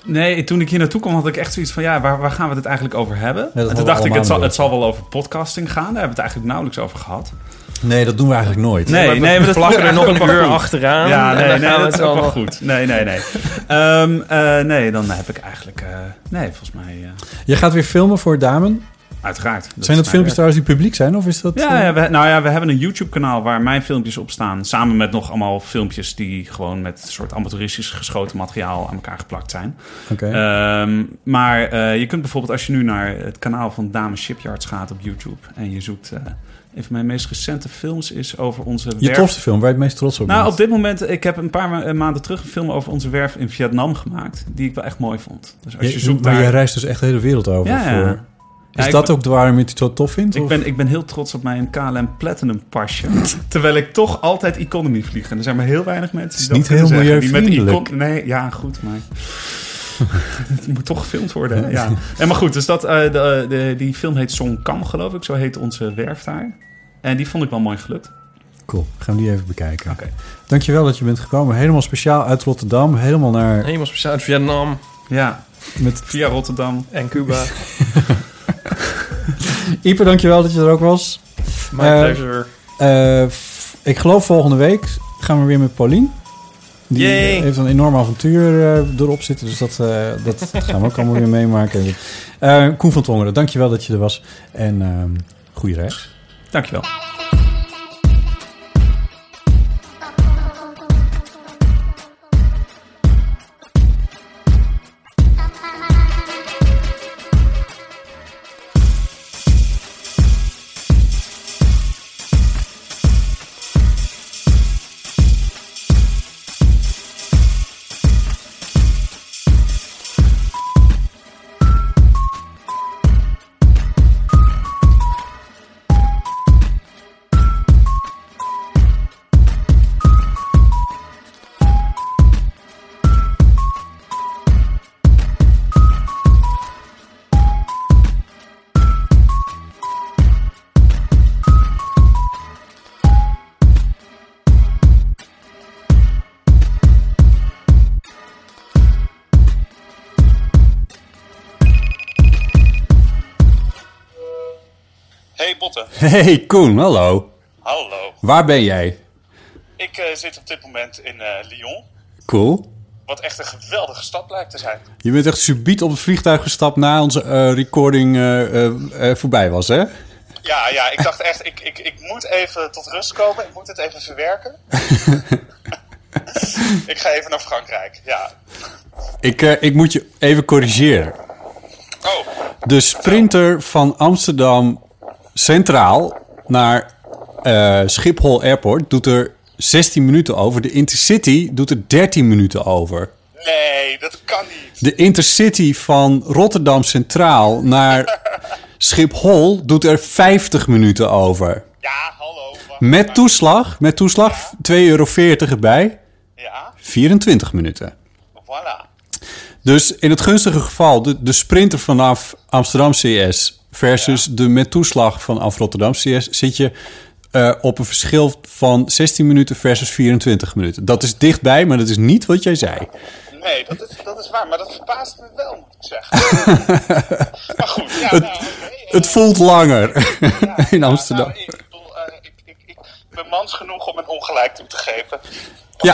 Speaker 3: Nee, toen ik hier naartoe kwam had ik echt zoiets van... ja, waar, waar gaan we het eigenlijk over hebben?
Speaker 2: dat
Speaker 3: en toen
Speaker 2: hadden we
Speaker 3: dacht ik, het
Speaker 2: allemaal
Speaker 3: zal,
Speaker 2: door.
Speaker 3: het zal wel over podcasting gaan. Daar hebben we het eigenlijk nauwelijks over gehad.
Speaker 2: Nee, dat doen we eigenlijk nooit.
Speaker 3: Nee, nee, maar dat
Speaker 4: We plakken er nog
Speaker 3: eigenlijk
Speaker 4: een
Speaker 3: wel
Speaker 4: uur
Speaker 3: goed.
Speaker 4: achteraan.
Speaker 3: Ja,
Speaker 4: en
Speaker 3: nee,
Speaker 4: dan
Speaker 3: nee,
Speaker 4: gaan we
Speaker 3: dat
Speaker 4: het
Speaker 3: is ook wel
Speaker 4: allemaal-
Speaker 3: goed. Nee, nee, nee. Ehm, eh, nee, dan heb ik eigenlijk... eh, nee, volgens mij... eh,
Speaker 2: Je gaat weer filmen voor Damen.
Speaker 3: uiteraard.
Speaker 2: zijn
Speaker 3: is
Speaker 2: dat filmpjes
Speaker 3: mijn werk.
Speaker 2: trouwens die publiek zijn? Of is dat...
Speaker 3: Ja,
Speaker 2: eh,
Speaker 3: ja, we, nou ja, we hebben een YouTube-kanaal waar mijn filmpjes op staan. Samen met nog allemaal filmpjes die gewoon met soort amateuristisch geschoten materiaal aan elkaar geplakt zijn.
Speaker 2: Oké.
Speaker 3: Ehm, maar eh, je kunt bijvoorbeeld als je nu naar het kanaal van Dame Shipyards gaat op YouTube en je zoekt. eh, een van mijn meest recente films is over onze
Speaker 2: je
Speaker 3: werf.
Speaker 2: tofste film, waar je het meest trots op
Speaker 3: Nou,
Speaker 2: bent.
Speaker 3: op dit moment, ik heb een paar ma- eh, maanden terug een film over onze werf in Vietnam gemaakt, die ik wel echt mooi vond. Dus als je,
Speaker 2: Je-
Speaker 3: zoekt
Speaker 2: maar
Speaker 3: naar.
Speaker 2: jij reist dus echt de hele wereld over.
Speaker 3: Ja, ja.
Speaker 2: voor-
Speaker 3: Ja,
Speaker 2: Is
Speaker 3: ik
Speaker 2: dat
Speaker 3: ben-
Speaker 2: ook de waarom je het zo tof vindt?
Speaker 3: Ik
Speaker 2: of-
Speaker 3: ben, ik ben heel trots op mijn KLM Platinum pasje. terwijl ik toch altijd economy vlieg. En er zijn maar heel weinig mensen
Speaker 2: Het
Speaker 3: die
Speaker 2: is
Speaker 3: dat
Speaker 2: niet
Speaker 3: kunnen
Speaker 2: heel
Speaker 3: zeggen. Die met
Speaker 2: milieuvriendelijk.
Speaker 3: econ- Nee, ja, goed, maar... Het moet toch gefilmd worden, hè? ja. En maar goed, dus dat, eh, de, de- die film heet Song Kam, geloof ik. Zo heet onze werf daar. En die vond ik wel mooi gelukt.
Speaker 2: Cool, gaan we die even bekijken.
Speaker 3: Oké.
Speaker 2: Dankjewel dat je bent gekomen. Helemaal speciaal uit Rotterdam. Helemaal naar...
Speaker 4: Helemaal speciaal uit Vietnam
Speaker 3: Ja,
Speaker 2: Met...
Speaker 3: via Rotterdam.
Speaker 4: en Cuba.
Speaker 2: Ieper, dankjewel dat je er ook was.
Speaker 4: My
Speaker 2: Eh,
Speaker 4: pleasure.
Speaker 2: Eh, f- ik geloof volgende week gaan we weer met Paulien. Die
Speaker 4: Yay.
Speaker 2: eh, heeft een enorm avontuur eh, erop zitten. Dus dat, eh, dat gaan we ook allemaal weer meemaken. Eh, Koen van Tongeren, dankjewel dat je er was. En ehm goede reis.
Speaker 3: Dankjewel.
Speaker 5: Botten.
Speaker 2: Hey Koen, hallo.
Speaker 5: Hallo.
Speaker 2: Waar ben jij?
Speaker 5: Ik eh, zit op dit moment in eh, Lyon.
Speaker 2: Cool.
Speaker 5: Wat echt een geweldige stad lijkt te zijn.
Speaker 2: Je bent echt subiet op het vliegtuig gestapt na onze eh, recording eh, eh, eh, voorbij was, hè?
Speaker 5: Ja, ja, ik dacht echt, ik, ik, ik moet even tot rust komen. Ik moet het even verwerken. ik ga even naar Frankrijk. Ja.
Speaker 2: Ik, eh, ik moet je even corrigeren.
Speaker 5: Oh,
Speaker 2: De sprinter van Amsterdam Centraal naar eh, Schiphol Airport doet er 16 minuten over. De Intercity doet er 13 minuten over.
Speaker 5: nee, dat kan niet.
Speaker 2: De Intercity van Rotterdam Centraal naar Schiphol doet er 50 minuten over.
Speaker 5: Ja, hallo. wacht maar.
Speaker 2: Met toeslag, met toeslag 2,40 euro erbij,
Speaker 5: Ja,
Speaker 2: 24 minuten.
Speaker 5: voilà.
Speaker 2: Dus in het gunstige geval de, de sprinter vanaf Amsterdam CS versus de met toeslag vanaf Rotterdam CS zit je eh, op een verschil van 16 minuten versus 24 minuten. Dat is dichtbij, maar dat is niet wat jij zei.
Speaker 5: Nee, dat is, dat is waar. Maar dat verbaast me wel, moet ik zeggen. maar goed, ja, nou, oké, eh,
Speaker 2: Het voelt langer in
Speaker 5: Ja,
Speaker 2: Amsterdam.
Speaker 5: nou, ik, bedoel, eh, ik, ik, ik ben mans genoeg om een ongelijk toe te geven. Wat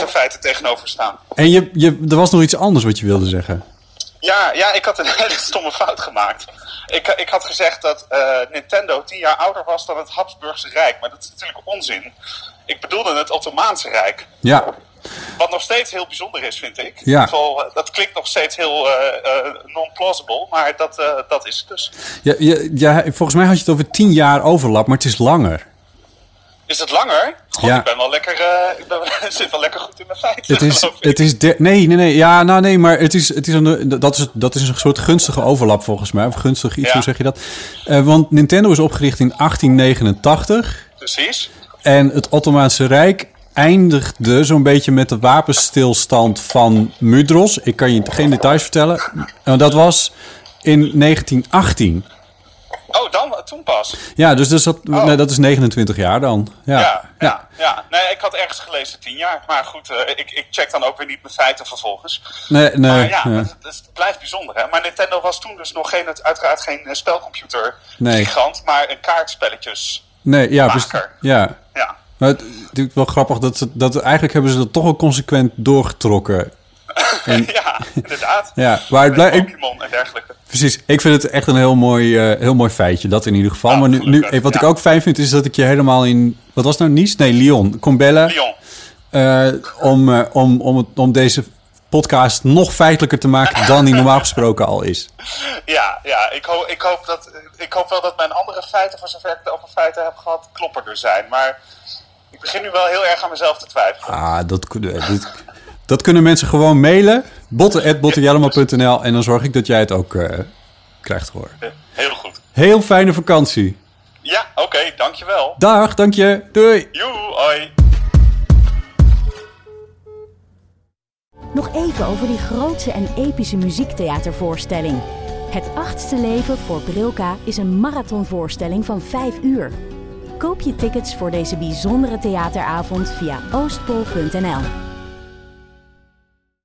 Speaker 2: Ja.
Speaker 5: de feiten tegenover staan.
Speaker 2: En je, je, er was nog iets anders wat je wilde zeggen.
Speaker 5: Ja, ja, ik had een hele stomme fout gemaakt. Ik, ik had gezegd dat eh, Nintendo tien jaar ouder was dan het Habsburgse Rijk. Maar dat is natuurlijk onzin. Ik bedoelde het Ottomaanse Rijk.
Speaker 2: Ja,
Speaker 5: Wat nog steeds heel bijzonder is, vind ik.
Speaker 2: Ja.
Speaker 5: In ieder geval, eh, dat klinkt nog steeds heel eh, eh, non-plausible. Maar dat, eh, dat is het dus.
Speaker 2: ja, ja, ja, volgens mij had je het over 10 jaar overlap, maar het is langer.
Speaker 5: Is het langer? God,
Speaker 2: Ja.
Speaker 5: ik ben wel lekker. eh, ik ben, wel- zit wel lekker goed in mijn feiten.
Speaker 2: Het is,
Speaker 5: geloof ik.
Speaker 2: het is de- nee, nee, nee. Ja, nou nee, maar het is, het is een, dat, is, dat is een soort gunstige overlap volgens mij. Of gunstig iets,
Speaker 5: Ja.
Speaker 2: hoe zeg je dat? Eh, want Nintendo is opgericht in 1889.
Speaker 5: Precies.
Speaker 2: En het Ottomaanse Rijk eindigde zo'n beetje met de wapenstilstand van Mudros. Ik kan je geen details vertellen. Nou, dat was in 1918.
Speaker 5: Oh, dan, toen pas.
Speaker 2: Ja, dus dat, is dat,
Speaker 5: Oh.
Speaker 2: nee, dat is 29 jaar dan. Ja,
Speaker 5: Ja, ja, ja. Nee, ik had ergens gelezen tien jaar. Maar goed, eh, ik, ik check dan ook weer niet mijn feiten vervolgens.
Speaker 2: Nee, nee.
Speaker 5: maar Ah, ja,
Speaker 2: nee.
Speaker 5: Het, het- het blijft bijzonder. Hè? Maar Nintendo was toen dus nog geen, uiteraard geen eh, spelcomputer
Speaker 2: Nee.
Speaker 5: gigant, maar een kaartspelletjes.
Speaker 2: Nee, ja,
Speaker 5: Vaker.
Speaker 2: best- ja.
Speaker 5: Ja.
Speaker 2: Maar het is natuurlijk wel grappig dat, ze, dat eigenlijk hebben ze dat toch wel consequent doorgetrokken.
Speaker 5: ja, inderdaad.
Speaker 2: Ja, maar het blijft- ik-
Speaker 5: Pokémon en dergelijke.
Speaker 2: Precies. Ik vind het echt een heel mooi, eh, heel mooi feitje, dat in ieder geval.
Speaker 5: Ja,
Speaker 2: maar nu, nu,
Speaker 5: gelukkig,
Speaker 2: eh, wat
Speaker 5: ja.
Speaker 2: ik ook fijn vind, is dat ik je helemaal in... Wat was nou Nice? Nee, Lyon. Kon bellen
Speaker 5: Lyon.
Speaker 2: eh, om, eh, om, om, het- om deze podcast nog feitelijker te maken dan die normaal gesproken al is.
Speaker 5: Ja, ja ik, hoop, ik, hoop dat, ik hoop wel dat mijn andere feiten, voor zover ik het over feiten heb gehad, klopperder zijn. Maar ik begin nu wel heel erg aan mezelf te twijfelen.
Speaker 2: Ah, dat, kun- eh, dit- dat kunnen mensen gewoon mailen. botten.bottenjellema.nl En dan zorg ik dat jij het ook eh, krijgt te horen.
Speaker 5: Heel goed.
Speaker 2: Heel fijne vakantie.
Speaker 5: Ja, oké, dankjewel.
Speaker 2: Dag, dank je. Doei.
Speaker 5: Joe, hoi.
Speaker 1: Nog even over die grootse en epische muziektheatervoorstelling. Het achtste leven voor Brilka is een marathonvoorstelling van 5 uur. Koop je tickets voor deze bijzondere theateravond via oostpol.nl.